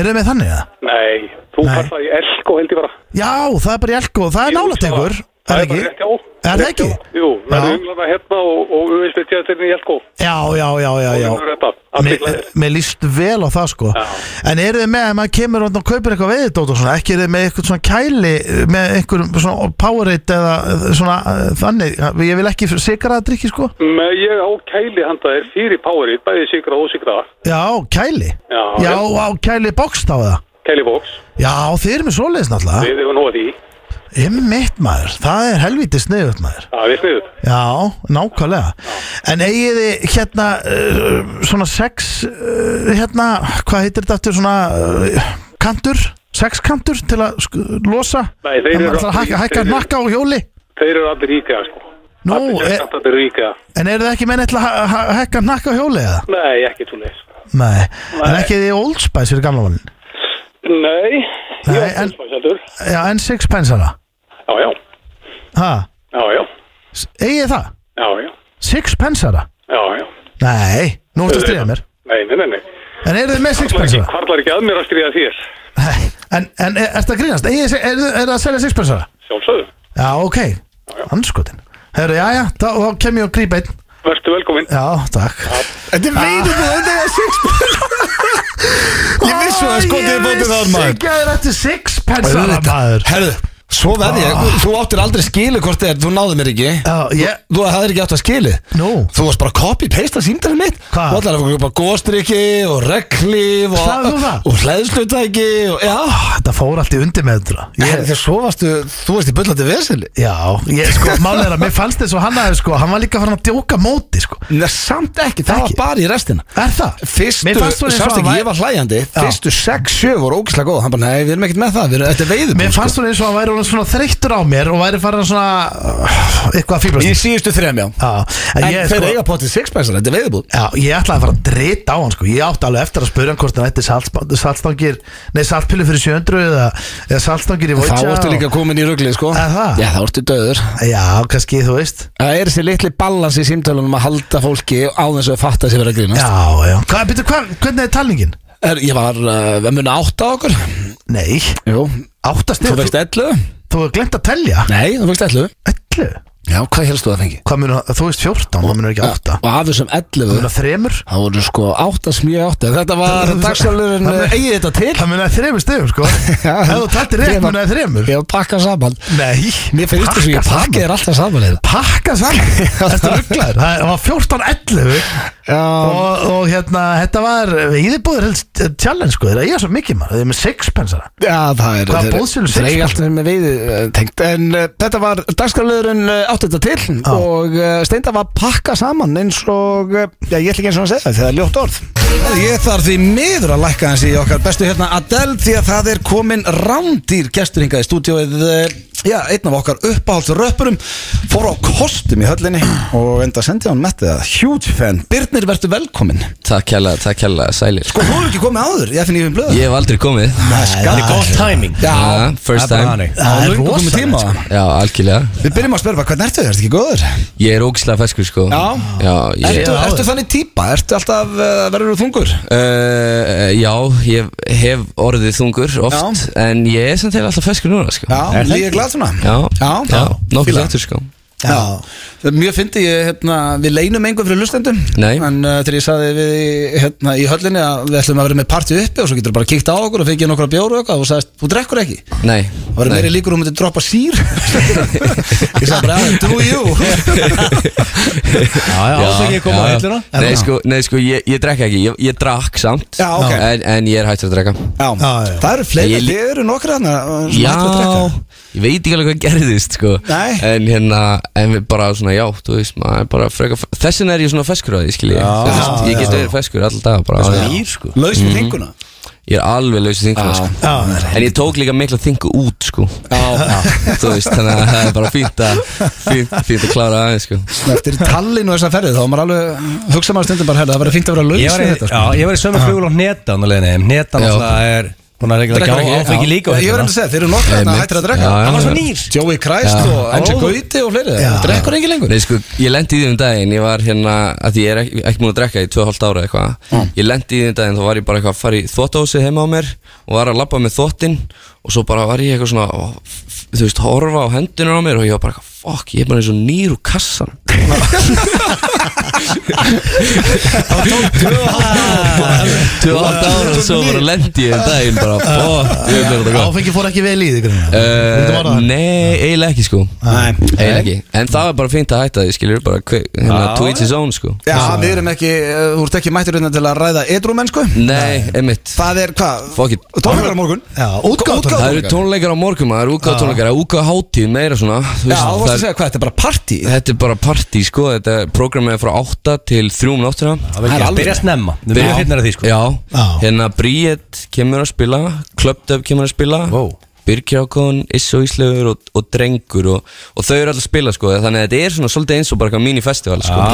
Speaker 3: Eru þið með þannig að?
Speaker 5: nei, þú
Speaker 3: Nei.
Speaker 5: fær það í elk og held ég bara.
Speaker 3: Já, það er bara í elko, það er nálægt ykkur Er
Speaker 5: Það
Speaker 3: það
Speaker 5: er bara rétt
Speaker 3: ekki?
Speaker 5: hjá.
Speaker 3: Er það
Speaker 5: Rétt hjá.
Speaker 3: ekki?
Speaker 5: Jú,
Speaker 3: Já.
Speaker 5: verður umlana hérna og, og USBT-tjarnir í elk og.
Speaker 3: Já, já, já, já, já
Speaker 5: Þetta, allir
Speaker 3: Mér,
Speaker 5: glæðir.
Speaker 3: mér líst vel á það sko
Speaker 5: Já.
Speaker 3: En eru þið með að maður kemur þarna og kaupir eitthvað veiðdót og svona Ekki eru þið með eitthvað svona kæli Með einhverjum svona Powerade eða svona eh, þannig Ég vil ekki sigra að drikki sko
Speaker 5: Nei, Ég á kæli handa þér fyrir Powerade, bæði sigra og sigra.
Speaker 3: Já, kæli
Speaker 5: Já,
Speaker 3: Já, á kæli bókst á það
Speaker 5: Kæli Vox,
Speaker 3: Já, þið eru með svoleiðis náttúrulega
Speaker 5: við hefum nóð því.
Speaker 3: Ymmit maður, það er helviti sniðut maður
Speaker 5: Það er sniðut.
Speaker 3: Já, nákvæmlega En eigið þið hérna uh, svona sex uh, hérna, hvað heitir þetta aftur svona uh, kantur, sexkantur til að sk- losa
Speaker 5: Nei, þeir
Speaker 3: Það
Speaker 5: eru
Speaker 3: ætlar að
Speaker 5: allir-
Speaker 3: hækka, hækka
Speaker 5: þeir eru-
Speaker 3: nakka á hjóli
Speaker 5: Þeir eru allir íkja, sko.
Speaker 3: Nú,
Speaker 5: Allir
Speaker 3: er,
Speaker 5: er... samt að þetta ríka
Speaker 3: en eru þið ekki menn eitthvað að ha- ha- hekka nakka á hjóli eða?
Speaker 5: Nei, ekki svo leis
Speaker 3: Nei, en
Speaker 5: Nei.
Speaker 3: ekki þið Old Spice fyrir gamla mann
Speaker 5: Nei,
Speaker 3: Nei,
Speaker 5: já,
Speaker 3: en-
Speaker 5: en... heldur
Speaker 3: Já, en Sixpence hana
Speaker 5: Já, já,
Speaker 3: Ha,
Speaker 5: já, já,
Speaker 3: S- eigið þið það?
Speaker 5: já, já,
Speaker 3: Sixpence hana?
Speaker 5: já, já
Speaker 3: Nei, nú ertu að stríða mér
Speaker 5: Nei, nei, nei, nei
Speaker 3: En eru þið með Sixpence
Speaker 5: Ekki-
Speaker 3: hana?
Speaker 5: Hvarlar ekki að mér að stríða þér
Speaker 3: Nei, en, en er, ertu að grínast? Eigið, er, er, er það að selja Sixpence hana?
Speaker 5: Sjálfsögðu
Speaker 3: Já, ok, anskotin Herru, já, já, þá þá kem ég og gríp einn
Speaker 5: Verstu velkomin
Speaker 3: Já, takk
Speaker 1: Þetta er veitum við, þetta er sixpence Ég vissi að það skotið er bótið það
Speaker 3: Ég
Speaker 1: maður
Speaker 3: vissi sko. ekki að þetta er Sixpence hana maður
Speaker 1: Herðu, svo verði ég
Speaker 3: Ah.
Speaker 1: Þú áttir aldrei skilu hvort þið er, þú náðu mér ekki
Speaker 3: Já, ég,
Speaker 1: Þú hafðir ekki átt að skili
Speaker 3: Nú.
Speaker 1: Þú varst bara að copy-pasta símdæri mitt
Speaker 3: Hvað?
Speaker 1: Þú ætlar að fóra bara góðstrykki og reglíf og,
Speaker 3: Sagðir þú það?
Speaker 1: og hlæðslutæki og, Já,
Speaker 3: þetta fór allt í undir með þetta sko.
Speaker 1: Herðu, þegar svo varstu Þú varst í bullandi veseli
Speaker 3: Já, ég, sko, málið er að mér fannst þess og hann aðeins, sko, hann var líka farin að djóka móti, sko
Speaker 1: Nei, samt ekki, það
Speaker 3: Ekki.
Speaker 1: var bara í restina
Speaker 3: Er það?
Speaker 1: Fyrstu,
Speaker 3: Mér fannst þú eins og
Speaker 1: sást
Speaker 3: hann
Speaker 1: ekki,
Speaker 3: væri-
Speaker 1: ég var hlæjandi Fyrstu 6-7 voru ógislega góð Hann bara, nei, við erum ekkert með það, við erum, þetta er sko." veiðum
Speaker 3: Mér fannst hún eins og hann væri orðinn svona þreyttur á mér og væri farin svona uh, eitthvað fýblast
Speaker 1: Í síðustu þrejum, já
Speaker 3: Já, en
Speaker 1: En
Speaker 3: ég,
Speaker 1: þeir
Speaker 3: sko,
Speaker 1: eiga potið 6-pæsar, þetta er veiðbúð
Speaker 3: já, ég ætlaði að fara að drita á hann, sko Ég átti alveg eftir að spurja hann hvort hann ætti saltsp- saltstangir Nei, saltpillu fyrir 700 eða, eða saltstangir í Vojtja
Speaker 1: Þá ertu líka komin í ruggli, sko
Speaker 3: Er það?
Speaker 1: Já, þá ertu döður
Speaker 3: Já, kannski, þú veist
Speaker 1: Það er þessi litli ballans í símtölunum að halda fólki á þess að fatta að sér vera að grínast
Speaker 3: Já, já Hvað, byrju, hva, hvernig er talningin?
Speaker 1: er, Ég var, uh, við muni átta á okkur
Speaker 3: Nei,
Speaker 1: Jú,
Speaker 3: áttast
Speaker 1: þú
Speaker 3: Þú,
Speaker 1: fegst
Speaker 3: þú,
Speaker 1: ellu
Speaker 3: þú hefur glemt að telja
Speaker 1: Nei, þú fegst ellu
Speaker 3: Ellu?
Speaker 1: Já, hvað helst þú að fengi?
Speaker 3: Hvað munur, þú veist 14, það munur ekki 8
Speaker 1: Og af þessum ellu
Speaker 3: Það munur þremur
Speaker 1: Það voru sko 8 smjög 8 Þetta var dagsalurinn
Speaker 3: Það-
Speaker 1: eh, eigið þetta til
Speaker 3: Það munur þremur stegum, sko
Speaker 1: Já.
Speaker 3: Ef þú taltir rétt
Speaker 1: Ég var-
Speaker 3: munur þremur
Speaker 1: eh, Ég var pakkað saman
Speaker 3: Nei
Speaker 1: Mér finnst þess að ég pakkið er alltaf saman eða
Speaker 3: Pakka saman Þetta rugglar Það var 14.11
Speaker 1: Já
Speaker 3: og, og hérna, þetta var Íðibúður helst eh, challenge sko Þegar ég er svo mikið maður, þeir eru með sixpensara
Speaker 1: Já, það er
Speaker 3: Hvað
Speaker 1: þeir-
Speaker 3: boðsölu
Speaker 1: Þeir
Speaker 3: sexu?
Speaker 1: eiga alltaf með veiði eh, tengt En uh, þetta var dagskrafleðurinn uh, átt þetta til
Speaker 3: Já.
Speaker 1: Og uh, Steinda var pakka saman eins og uh, Já, ég ætla ekki eins og að segja það Þegar það er ljótt orð Ég þarf því miður að lækka hans í okkar bestu hérna Adele Því að það er komin rándýr gestur hingað í stúdíóið eh, Já, einn af okkar uppáhaldsröppurum Fór á kostum í höllinni Og enda sendi hann mettið að Huge fan Birnir, verður velkomin
Speaker 6: Takk kjærlega, takk kjærlega, sælir
Speaker 1: Sko, þú hefur ekki komið áður, ég finn ég um blöð
Speaker 6: Ég hef aldrei komið
Speaker 1: Þetta er gott
Speaker 2: timing
Speaker 1: Já,
Speaker 6: Já,
Speaker 2: Það
Speaker 6: first
Speaker 2: er bara þannig.
Speaker 6: time
Speaker 1: það er
Speaker 3: er
Speaker 1: rosalega
Speaker 3: rosalegt,
Speaker 1: tíma
Speaker 6: Já, algjörlega
Speaker 1: Við byrjum að spyrja bara, hvernig ertu, ertu ekki góður?
Speaker 6: Ég er ógislega feskur sko
Speaker 1: Já.
Speaker 6: Já, ég
Speaker 1: Ertu,
Speaker 3: Já,
Speaker 1: ertu
Speaker 3: já.
Speaker 1: þannig típa, ertu alltaf, uh, verður þú þungur?
Speaker 6: Uh, já, ég hef orðið þungur oft En ég er samt til alltaf feskur núna sko
Speaker 1: Já,
Speaker 2: Er það
Speaker 1: ég er
Speaker 2: ekki?
Speaker 1: glad svona
Speaker 6: Já,
Speaker 1: já,
Speaker 6: já Nokkuð
Speaker 1: fíla.
Speaker 6: þáttur sko
Speaker 1: já. Það er Mjög fyndi ég, hérna, við leinum engum fyrir lustendum
Speaker 6: Nei.
Speaker 1: En uh, þegar ég saði við í- hérna, í höllinni að við ætlum að vera með party uppi Og svo getur bara kíkt á okkur og fengið nokkra bjóru og eitthvað Og þú sagðist, þú drekkur ekki
Speaker 6: Nei,
Speaker 1: Það var meiri
Speaker 6: nei
Speaker 1: líkur um að droppa sír Ég sagði bara, "Ah, do you
Speaker 3: Já, já,
Speaker 6: Já,
Speaker 3: alls ekki koma á
Speaker 6: já.
Speaker 3: hilluna
Speaker 6: Nei sko, nei, sko ég, ég drekk ekki, ég, ég drakk samt
Speaker 1: Já, ok.
Speaker 6: en, en ég er hættur að drekka
Speaker 1: Já,
Speaker 3: já.
Speaker 1: það eru fleiri,
Speaker 6: Ég lí-
Speaker 1: þið eru nokkra þarna uh, sem
Speaker 6: Já,
Speaker 1: hættu að drekka.
Speaker 6: ég veit ekki alveg hvað gerðist sko
Speaker 1: Nei.
Speaker 6: En hérna, en við bara svona, já, þú veist maður er bara freka Þessin er ég svona feskur á því, skil ég Þú veist, Ég get verið feskur alltaf dag bara á því.
Speaker 1: sko Laus við þinguna
Speaker 6: Ég er alveg laus í þinguna sko
Speaker 3: Já, það er
Speaker 6: En ég tók líka miklu að þingu út sko
Speaker 1: Já,
Speaker 6: Þú veist, þannig að það er bara fínt að Fínt, fínt að klára aðeins sko
Speaker 1: eftir tallinn og þessa ferðið þá var maður alveg hugsa maður stundum bara herra, það var fínt að vera laus
Speaker 2: Ég var
Speaker 1: við
Speaker 2: í,
Speaker 1: þetta sko."
Speaker 2: sko. já, ég var í sömu flugul á netan á leiðinni Netan
Speaker 6: Já.
Speaker 2: alltaf er Búin að regla
Speaker 1: Drekkur
Speaker 2: ekki
Speaker 1: ekki,
Speaker 2: áfengi
Speaker 1: já.
Speaker 2: líka á
Speaker 1: Ég var
Speaker 2: hilluna.
Speaker 1: að segja, þeir eru nokkra þarna
Speaker 6: Einmitt.
Speaker 1: hættir að drekka
Speaker 6: Já, já,
Speaker 2: Hann var
Speaker 6: já.
Speaker 2: svo nýr
Speaker 1: Joey Christ
Speaker 6: Já.
Speaker 1: og Angie
Speaker 2: Ó.
Speaker 1: Gauti og fleiri það drekkur ekki lengur
Speaker 6: Nei sko, ég lendi í því um daginn Ég var hérna, að því ég er ekki, ekki múin að drekka í 2,5 ára eitthvað Ég lendi í því um daginn, þá var ég bara eitthvað að fara í þvóttási heima á mér Og var að labba með þvóttin Og svo bara var ég eitthvað svona ó, f- f- Þú veist, horfa á hendunar á mér Og ég var bara eitthvað, fuck, ég er bara eins og nýr úr kassan Tvö átt ára og svo bara lendi ég um daginn Bara, fuck, ég er þetta gott
Speaker 3: Áfengi fór ekki vel í þig um
Speaker 6: Uh, nei, eiginlega ekki sko
Speaker 1: Nei.
Speaker 6: Eiginlega ekki En það var bara fínt að hætta því Skilur bara hve- hérna, to each his own sko
Speaker 1: Já, við erum ekki, uh, þú ert ekki mættur hérna til að ræða edru mennsku
Speaker 6: Nei, einmitt
Speaker 1: Það er hvað?
Speaker 6: Fuck it
Speaker 1: Tónleikar á morgun
Speaker 3: Já, útgátt
Speaker 6: Það eru tónleikar á morgum Það eru úka tónleikar Það eru úka hátíð meira svona
Speaker 1: Já,
Speaker 6: þú
Speaker 1: þú
Speaker 6: veist,
Speaker 1: varst
Speaker 6: það
Speaker 1: að
Speaker 6: er-
Speaker 1: segja hvað, þetta er bara party
Speaker 6: Þetta er bara partí sko Þetta programmið er frá 8 til 3 um nóttina
Speaker 2: Það
Speaker 1: Það er
Speaker 2: var ekki að
Speaker 1: alveg-
Speaker 2: byrja snemma Við byrja
Speaker 1: hérna sko.
Speaker 2: hittnir
Speaker 6: Já.
Speaker 2: að því sko
Speaker 6: Já
Speaker 3: Já.
Speaker 6: Hérna Bríett kemur að spila Club Dub kemur að spila
Speaker 2: Vó.
Speaker 6: Birgir Ákon, Issu Íslaugur og, og Drengur og, og þau eru alltaf að spila sko þannig að þetta er svona svolítið eins og bara eitthvað mini-festival sko.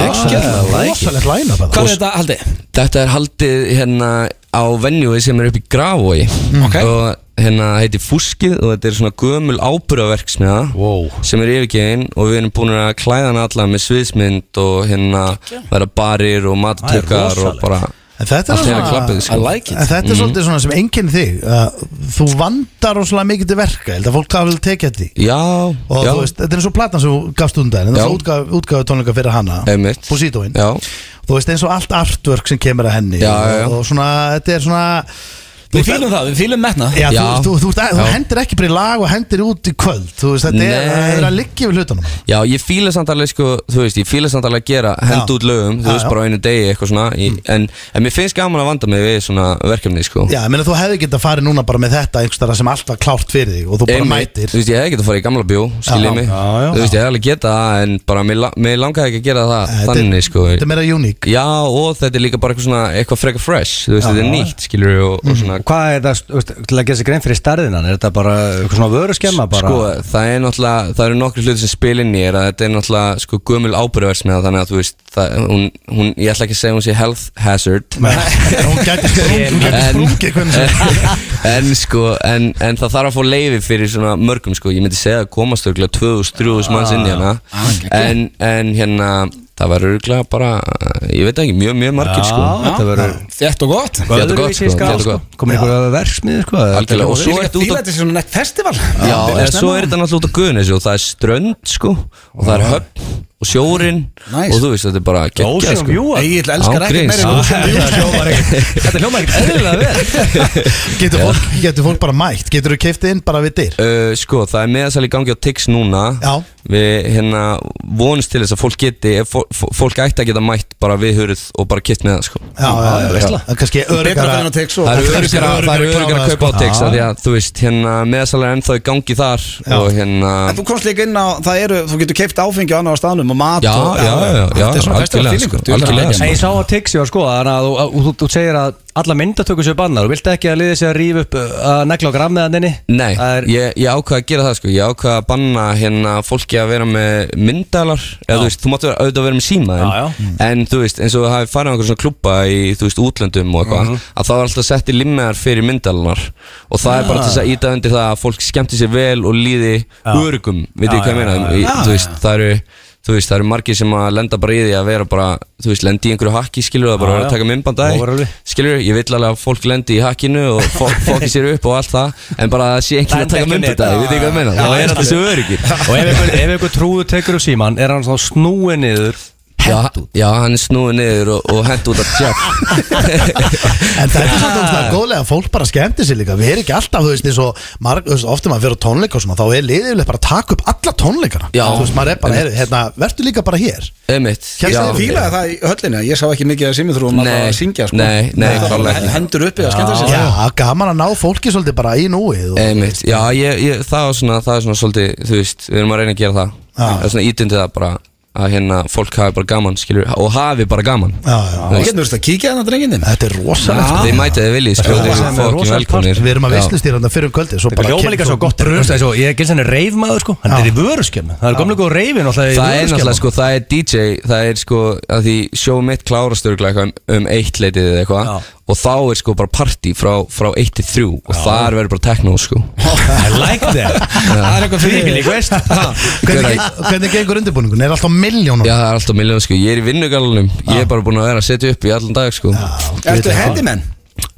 Speaker 3: Rósalegt læna bara
Speaker 1: Hvað er þetta haldið?
Speaker 6: Þetta er haldið hérna á venjúi sem er upp í Grafói
Speaker 1: ok.
Speaker 6: og hérna heitir Fúskið og þetta er svona gömul ábyrðaverksmiða wow. sem er yfirgegin og við erum búin að klæða hana alla með sviðsmynd og hérna vera barir og mattökar og bara
Speaker 3: En þetta er
Speaker 6: allt hérna
Speaker 3: svona-
Speaker 1: Ah.
Speaker 6: klappið
Speaker 1: I
Speaker 6: sko.
Speaker 1: like
Speaker 3: En
Speaker 1: it
Speaker 3: þetta er svolítið svona sem enginn þig að Þú vandar rosalega mikið til verka Ég held að fólk hafa vel tekið eftir því
Speaker 6: Já,
Speaker 3: Og
Speaker 6: já,
Speaker 3: þú veist, þetta er eins og platan sem þú gafst undan En
Speaker 6: Já.
Speaker 3: það útgáðu útgáf tónleika fyrir hana
Speaker 6: Einmitt.
Speaker 3: Positoin
Speaker 6: já,
Speaker 3: Þú veist eins og allt artwork sem kemur að henni
Speaker 6: Já, já, já.
Speaker 3: Og, og svona, þetta er svona
Speaker 1: Við fýlum það, við fýlum metna
Speaker 3: Já,
Speaker 6: Já.
Speaker 3: þú, þú, þú, þú, þú
Speaker 6: Já.
Speaker 3: hendir ekki bara í lag og hendir út í kvöld Þú veist, þetta er,
Speaker 6: Nei.
Speaker 3: það er að liggja við hlutunum
Speaker 6: já, ég fíla samt alveg sko, þú veist, ég fíla samt alveg að gera hend
Speaker 3: Já.
Speaker 6: út lögum, þú
Speaker 3: Já,
Speaker 6: veist,
Speaker 3: já.
Speaker 6: bara á einu degi eitthvað svona, í, en, en mér finnst gaman að vanda mig við svona verkefni, sko
Speaker 3: Já, ég meina þú hefði getað farið núna bara með þetta einhvers þar sem allt var klárt fyrir þig og þú bara
Speaker 6: Einmitt,
Speaker 3: mætir
Speaker 6: Þú veist, ég hefði getað að fara í gamla bjó, skiljið
Speaker 3: Já,
Speaker 6: mig
Speaker 3: já, já.
Speaker 6: Þú veist, ég hefði alveg getað það, en bara mér, la- mér langaði ekki að gera það
Speaker 3: Þetta er-
Speaker 6: þannig, sko
Speaker 3: Þetta er meira uník
Speaker 6: Já, og þetta er líka bara eitthvað svona, eitthvað freka fresh, þú veist, þetta er nýtt, skiljið og,
Speaker 3: Mhm.
Speaker 6: og svona
Speaker 2: Hvað er þetta, þú veist, til að gera sér grein fyrir starðinan, er þetta bara eitthvað svona vöruskemma bara?
Speaker 6: Sko, það er náttúrulega, það eru nokkru hluti sem spil inn í er að þetta er náttúrulega, sko, gömul ábyrðversmiða þannig að, þú veist, það, hún, hún, ég ætla ekki að segja hún sé health hazard
Speaker 3: Hún gæti sprungið hún gæti sprungið hvernig sem
Speaker 6: en sko, en, en það þarf að fá leiði fyrir svona mörgum sko, ég myndi segja að komast örgulega 2000-3000 manns inn í hana en, en hérna það var örgulega bara, ég veit ekki, mjög, mjög margir sko
Speaker 2: þetta verður
Speaker 1: Þett og gott
Speaker 6: Þetta er gott, sko, þetta er gott.
Speaker 2: Komin ykkur verksmið, sko þetta er
Speaker 6: Algjörlega, og
Speaker 2: góð-
Speaker 6: svo ertu út á-
Speaker 1: Þetta er svona nett festival
Speaker 6: Já, en svo er þetta náttúrulega út á Guðunessi og það er strönd sko og það er höfn og sjórin
Speaker 1: Nice.
Speaker 6: og þú veist, þetta er bara geggja
Speaker 2: Ocean
Speaker 6: sko
Speaker 2: View.
Speaker 1: Egil elskar
Speaker 6: Án
Speaker 1: ekkert
Speaker 6: gríns.
Speaker 1: meira en Ocean View,
Speaker 2: Þetta hljómar ekkert- þetta hljómar ekkert eðlilega vel
Speaker 3: Getur fólk, getur fólk bara mætt? Getur þú keiftið inn bara við dyr?
Speaker 6: Uh, sko, það er meðasal í gangi á TIX núna
Speaker 3: Já.
Speaker 6: Við hérna vonumst til þess að fólk geti ef fó- fó- Fólk ætti að geta mætt bara við hörð og bara kitt með það sko
Speaker 3: Já, já, já,
Speaker 2: veistla.
Speaker 3: Það er kannski
Speaker 1: Betra
Speaker 3: örgara
Speaker 1: fyrir en að tek svo
Speaker 3: Það
Speaker 6: Það eru
Speaker 3: er
Speaker 6: öryggar
Speaker 3: öruggara-
Speaker 6: það eru öryggar að
Speaker 3: öruggara
Speaker 6: kaupa á
Speaker 3: sko.
Speaker 6: TIX af
Speaker 3: Já.
Speaker 6: Því að þú veist, hérna meðasal er ennþá í gangi þar
Speaker 3: Já.
Speaker 6: Og hérna
Speaker 1: En þú komst líka inn á, það eru, þú getur keipt áfengi á annar á staðnum og mat
Speaker 6: Já,
Speaker 1: og,
Speaker 6: já, já, já,
Speaker 1: Þetta er svona festival feeling
Speaker 6: algjörlega, sko, algjörlega,
Speaker 2: En ég sá að Tixi var sko Þannig að þú- að þú- þú segir að alla myndatökur séu bannar Þú vilt ekki að liðið sér að rífa upp uh, að negla á grammeðaninni
Speaker 6: Nei,
Speaker 2: Það er
Speaker 6: ég, ég ákvað að gera það sko Ég ákvað að banna hérna fólki að vera með myndalar Eða þú veist, þú máttu vera- auðvitað að vera með síma
Speaker 2: Já, já.
Speaker 6: en, en þú veist, eins og það hafi farið á einhverjum svona klubba í, þú veist, útlöndum og eitthvað
Speaker 2: Mhm.
Speaker 6: Að það var alltaf sett í limmeðar fyrir myndalanar Og það er bara til þess
Speaker 2: Ah.
Speaker 6: að íta undir það að fólk skemmti sér vel og líði örugum Veit ég hvað ég meina, Í- þú veist, það eru Þú veist, það eru margir sem að lenda bara í því að vera bara, þú veist, lendi í einhverju hakki, skilur
Speaker 2: Já,
Speaker 6: það bara að vera að
Speaker 2: já.
Speaker 6: taka myndband að
Speaker 2: Overall.
Speaker 6: því skilur, ég vil alveg að fólk lendi í hakkinu og fó- fokki sér upp og allt það en bara að það sé einhvern að taka mynda þetta ég veit ekki hvað ég meina, þá er þetta svo öryggir
Speaker 2: Og ef einhver- ef einhver trúðu tekur upp síman Er hann þá snúið niður
Speaker 6: já, já, hann er snúið niður og, og hent út að tjá
Speaker 3: En þetta er svolítið ógeðslega góðlega að fólk bara skemmtir sér líka Við erum ekki alltaf, þú veist, eins og marg, þú veist, ofta maður fyrir tónleika og svona Þá er liðiðilega bara að taka upp alla tónleikana
Speaker 6: Já.
Speaker 3: Þú veist, maður er bara, heyrðu, hérna, verður líka bara hér
Speaker 6: emitt
Speaker 1: Kjæmst þið fílaði það í höllinu, ég sá ekki mikið að simithrum að
Speaker 6: Nei,
Speaker 1: fara að syngja sko.
Speaker 6: nei, nei,
Speaker 1: Það var
Speaker 6: klárlega
Speaker 1: bara
Speaker 6: ekki.
Speaker 1: Hendur uppi að skemmta sér
Speaker 3: Já, gaman að ná fólki svolítið bara í núið og,
Speaker 6: emitt, já, ég, ég, það var svona það er svona svolítið, þú veist, við erum að reyna að gera það það er svona ítundi það bara að hérna fólk hafi bara gaman, skilur, og hafi bara gaman
Speaker 3: já, já.
Speaker 1: Þú getur verið að kíkja þannig að drengin þinn
Speaker 3: Þetta er rosalegt
Speaker 6: þið mætið þið viljið, skilur, þið eru fokkin velkonir
Speaker 3: Við erum að veistlustýranda fyrir um kvöldi Svo
Speaker 2: Þetta
Speaker 3: bara
Speaker 2: hljóma líka svo gott Þú veist, Ég er ekki eins og reifmaður sko Hann er í vöruskemmu Það er komlega góð reifin Það
Speaker 6: Það er náttúrulega sko, það er DJ, það er sko að því sjóum mitt klárast örgulega eitthvað um, um eitt leitið eða eitthvað
Speaker 2: Já.
Speaker 6: og þá er sko bara party frá, frá eitt til þrjú og þar verður bara techno sko
Speaker 2: I like that Það er eitthvað fríkil, ég veist
Speaker 3: Hvernig, geng- hvernig gengur undirbúningun? Er alltaf miljónum?
Speaker 6: Já það er alltaf milljón sko, ég er í vinnugalunum, ég er bara búin að vera að setja upp í allan dag sko
Speaker 1: Ertu handyman?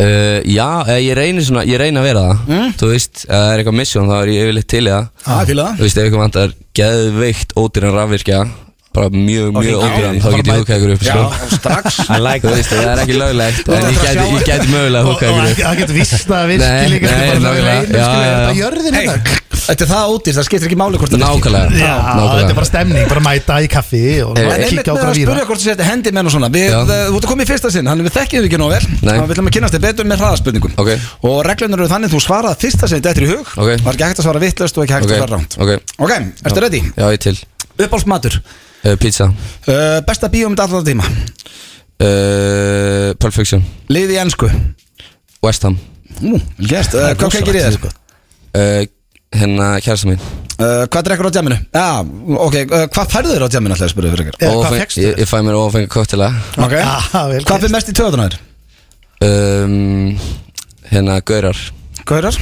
Speaker 6: Uh, já, eh, ég reynir svona, ég reynir að vera það Þú veist, ef það er eitthvað mission þá er ég yfirleitt til í það
Speaker 1: Já, ég fíla það.
Speaker 6: Þú veist, ef eitthvað vantar geðveikt ódýran rafvirkja Bara mjög, mjög
Speaker 1: hringdu í
Speaker 6: ódýran,
Speaker 1: mig.
Speaker 6: þá
Speaker 1: Bara
Speaker 6: get ég
Speaker 1: mæta.
Speaker 6: húkað ykkur upp
Speaker 1: Já,
Speaker 6: sko.
Speaker 1: strax
Speaker 2: I like
Speaker 6: Þú
Speaker 2: that
Speaker 6: veist, það er ekki löglegt En
Speaker 1: ert
Speaker 6: ég
Speaker 1: að
Speaker 6: gæti,
Speaker 1: sjá-
Speaker 6: ég gæti mögulega
Speaker 3: Og og
Speaker 6: húkað ykkur upp
Speaker 3: það getur vist að
Speaker 6: Nei,
Speaker 3: virki líka
Speaker 6: nei,
Speaker 3: bara svona
Speaker 6: nákvæmlega.
Speaker 3: reynum,
Speaker 6: Já,
Speaker 3: skilur,
Speaker 6: já,
Speaker 3: Þetta
Speaker 6: já.
Speaker 3: jörðin
Speaker 1: Hey,
Speaker 3: hérna
Speaker 1: Þetta er það ódýrst, það skiptir ekki máli hvort það
Speaker 6: Nákvæmlega
Speaker 3: Já, þetta er bara stemning, bara mæta í kaffi og
Speaker 6: Hey,
Speaker 1: En
Speaker 3: bara
Speaker 1: Eh, einmitt
Speaker 3: kíkja á
Speaker 1: með að
Speaker 3: gravýra
Speaker 1: spyrja hvort þú setja handyman og svona Við,
Speaker 6: Já.
Speaker 1: uh, Þú ert að koma í fyrsta sinn, þannig við þekkjum þig ekki nóg vel
Speaker 6: Nei.
Speaker 1: Þannig við ætlum að kynast þig betur með hraðaspurningum
Speaker 6: Ok.
Speaker 1: Og reglunar eru þannig þú svarað fyrsta sinn þetta er í hug
Speaker 6: Ok.
Speaker 1: Var ekki hægt að svara vittlust og ekki hægt
Speaker 6: Ok,
Speaker 1: að svara ránt
Speaker 6: ok.
Speaker 1: ok, ertu ready?
Speaker 6: Já, ég til
Speaker 1: Uppálsmatur
Speaker 6: uh, Pizza
Speaker 1: uh, Besta bíómynd allan tíma
Speaker 6: uh, Perfection
Speaker 1: Liði í ennsku
Speaker 6: West Ham
Speaker 1: Eh,
Speaker 6: sko.
Speaker 1: Nú, vel gert, uh, hvað kekir í þér?
Speaker 6: uh, hérna kærasta mín
Speaker 1: Uh, hvað drekkur á djaminu? Já, ok, uh, hvað færðu þér á djaminu alltaf spurðu fyrir
Speaker 6: Eh,
Speaker 1: ykkur?
Speaker 3: Eða hvað
Speaker 6: Óáfeng-
Speaker 3: fékkstu
Speaker 6: ég, ég fæ mér ofengi koktila
Speaker 1: Ok,
Speaker 3: Ah, vel
Speaker 1: hvað fyrir mest í töðunar?
Speaker 6: um, hérna gaurar
Speaker 1: Gaurar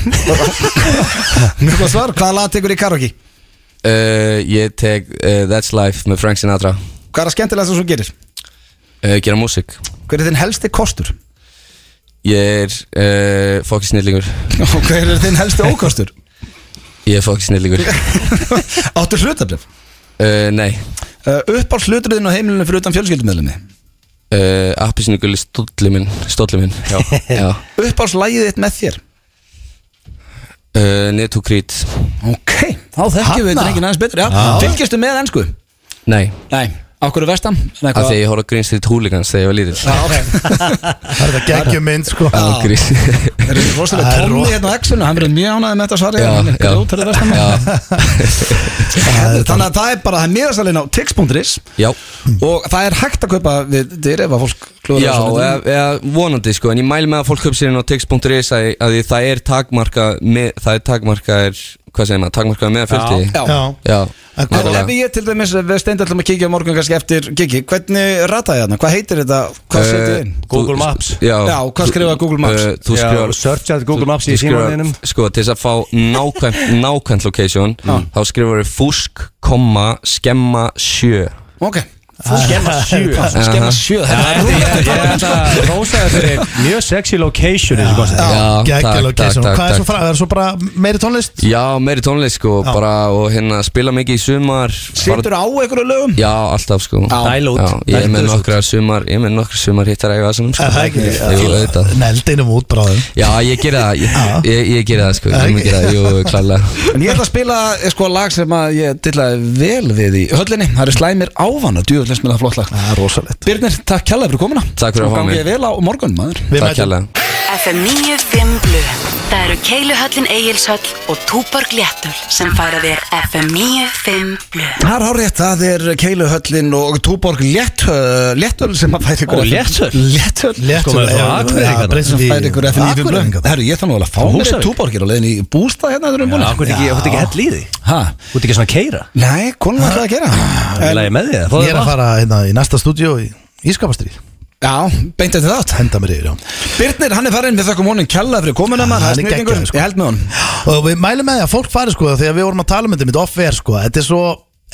Speaker 1: Mjög góð svar, hvaða lag tekur í karaoke?
Speaker 6: uh, ég tek uh, That's Life með Frank Sinatra
Speaker 1: Hvað er að skemmtilega sem þú gerir?
Speaker 6: uh, gera músík
Speaker 1: Hver er þinn helsti kostur?
Speaker 6: ég er uh, fokki snillingur
Speaker 1: Og hver er þinn helsti ókostur?
Speaker 6: ég er fokki snillingur
Speaker 1: Áttu hlutabrif?
Speaker 6: uh, nei
Speaker 1: Uh, uppáls hluturinn á heimilinu fyrir utan fjölskyldumöðlumi
Speaker 6: uh, appisinu gulli stólli minn stólli minn já, já.
Speaker 1: Uppáls lagið þitt með þér
Speaker 6: Uh, Netu Creed
Speaker 1: Ok, þá þekkjum við
Speaker 3: Hanna?
Speaker 1: þetta ekki næðins betur já. Fylgjastu með ennsku?
Speaker 6: nei
Speaker 1: Nei, okkur er vestam
Speaker 6: af því að ég horf að Green Street Hooligans þegar ég var lítill
Speaker 3: Það er það geggjum mynd sko
Speaker 6: Án gríns.
Speaker 1: Það er rosalega
Speaker 3: Það er
Speaker 1: tónni
Speaker 3: ro-
Speaker 1: hérna á X-unu, hann verður mjög ánæðið með þetta svar
Speaker 6: Já,
Speaker 1: hann er
Speaker 6: já.
Speaker 1: grjótarður vestan maður. Herðu, Þannig að það er bara það er miðasalinn á tix.ris
Speaker 6: já
Speaker 1: og það er hægt að kaupa við dyr ef að fólk klúður
Speaker 6: Já, eða, eða vonandi sko En ég mæli með að fólk köpsir inn á tix.is að, að því það er takmarka með, Það er takmarka er, hvað segir maður, takmarka með fjöldi
Speaker 1: Já,
Speaker 3: Já
Speaker 6: já
Speaker 3: En
Speaker 1: Og
Speaker 3: hvað-
Speaker 6: nákvæmlega.
Speaker 1: ef ég til dæmis, eh, við steindallum að kíkja á morgun kannski eftir gigi, hvernig rataði þarna? Hvað heitir þetta? Hvað setið
Speaker 6: Eh,
Speaker 1: inn?
Speaker 2: Google
Speaker 6: þú-
Speaker 2: Maps.
Speaker 6: Já,
Speaker 1: Já, hvað
Speaker 6: þú-
Speaker 1: skrifaði Google Maps?
Speaker 6: eh, Þú
Speaker 2: Já,
Speaker 6: skrifar
Speaker 2: searchaði Google
Speaker 6: þú-
Speaker 2: Maps
Speaker 6: þú
Speaker 2: í
Speaker 6: skrifar-
Speaker 2: símanum.
Speaker 6: Sko, til þess að fá nákvæmt, nákvæmt location Þá skrifar við fúsk, komma, skemma, sjö
Speaker 1: Ok
Speaker 3: Skemma sjö
Speaker 1: Skemma sjö þetta er
Speaker 2: Ég held að rósaði fyrir mjög sexy location í þessu kosti.
Speaker 6: Já,
Speaker 3: Geggjum
Speaker 6: takk,
Speaker 3: location
Speaker 6: takk,
Speaker 3: Og Hvað
Speaker 6: takk,
Speaker 3: er svo frá? Það er svo bara meiri tónlist
Speaker 6: Já, meiri tónlist sko
Speaker 3: Já.
Speaker 6: bara, og hérna spila mikið í sumar
Speaker 1: Sittur á einhverju lögum?
Speaker 6: Já, alltaf sko
Speaker 2: Dæl út.
Speaker 6: Já, Ég er
Speaker 2: Dæl
Speaker 6: með
Speaker 2: út.
Speaker 6: nokkra sumar Ég er með nokkra sumar hittar að ég vasanum sko.
Speaker 3: Er það ekki?
Speaker 6: Jú, auðvitað
Speaker 3: Neldinum út bráðum
Speaker 6: Já, ég geri það Ég,
Speaker 3: Já.
Speaker 6: ég, ég geri það sko Ég mun
Speaker 3: Ekki?
Speaker 6: gera það, jú, klálega
Speaker 1: En ég ætla að spila eh, sko lag sem að ég dillaði vel við í höllinni Það eru slæmir ávana, djúvöldins með það flott lag
Speaker 3: Það er rosalegt
Speaker 1: Birnir, takk kjalla fyrir komuna
Speaker 6: Ah. Takk fyrir að fá mig.
Speaker 1: Gangi ég vel á morgun maður
Speaker 3: Við
Speaker 6: Takk
Speaker 3: mætum-
Speaker 6: hérlega
Speaker 7: FM 95 Blu Það eru Keiluhöllin Egilshöll og Túborg Léttul sem færa þér FM 95 Blu
Speaker 1: Það er hárétt, það er Keiluhöllin og Túborg Léttöl Léttöl sem að færi ykkur
Speaker 2: Ó, Léttöl?
Speaker 1: Léttöl
Speaker 3: Léttur
Speaker 2: Sko, maður er frá Akureyri hérna.
Speaker 1: sem færi ykkur eftir nýjum blöð
Speaker 3: blöðingar
Speaker 1: Herru, ég þarf nú alveg að fá
Speaker 2: Frá
Speaker 1: mér
Speaker 2: Húsavík.
Speaker 1: Túborgir á leiðin í bústað hérna þegar við erum
Speaker 2: Já,
Speaker 1: búin
Speaker 2: hvað ekki, hvað ekki hell í því?
Speaker 1: Hæ?
Speaker 2: Hvað ekki svona keira?
Speaker 1: Nei, konum ætlaði að
Speaker 2: Ég
Speaker 1: gera En-
Speaker 2: Ah, lagi með því það,
Speaker 3: Ég er að fara hérna í næsta stúdíu í Ískapastríð
Speaker 1: Já, beint eftir þátt
Speaker 3: Henda mér yfir á
Speaker 1: Birnir, hann er farin, við þökkum honum kjalla fyrir komuna maður Það
Speaker 3: hann
Speaker 1: er
Speaker 3: er
Speaker 1: snillingur,
Speaker 3: geggjaður, sko.
Speaker 1: ég held með honum
Speaker 3: Og við mælum með því að fólk fari sko Þegar við vorum að tala um þetta mitt off-air sko Þetta er svo,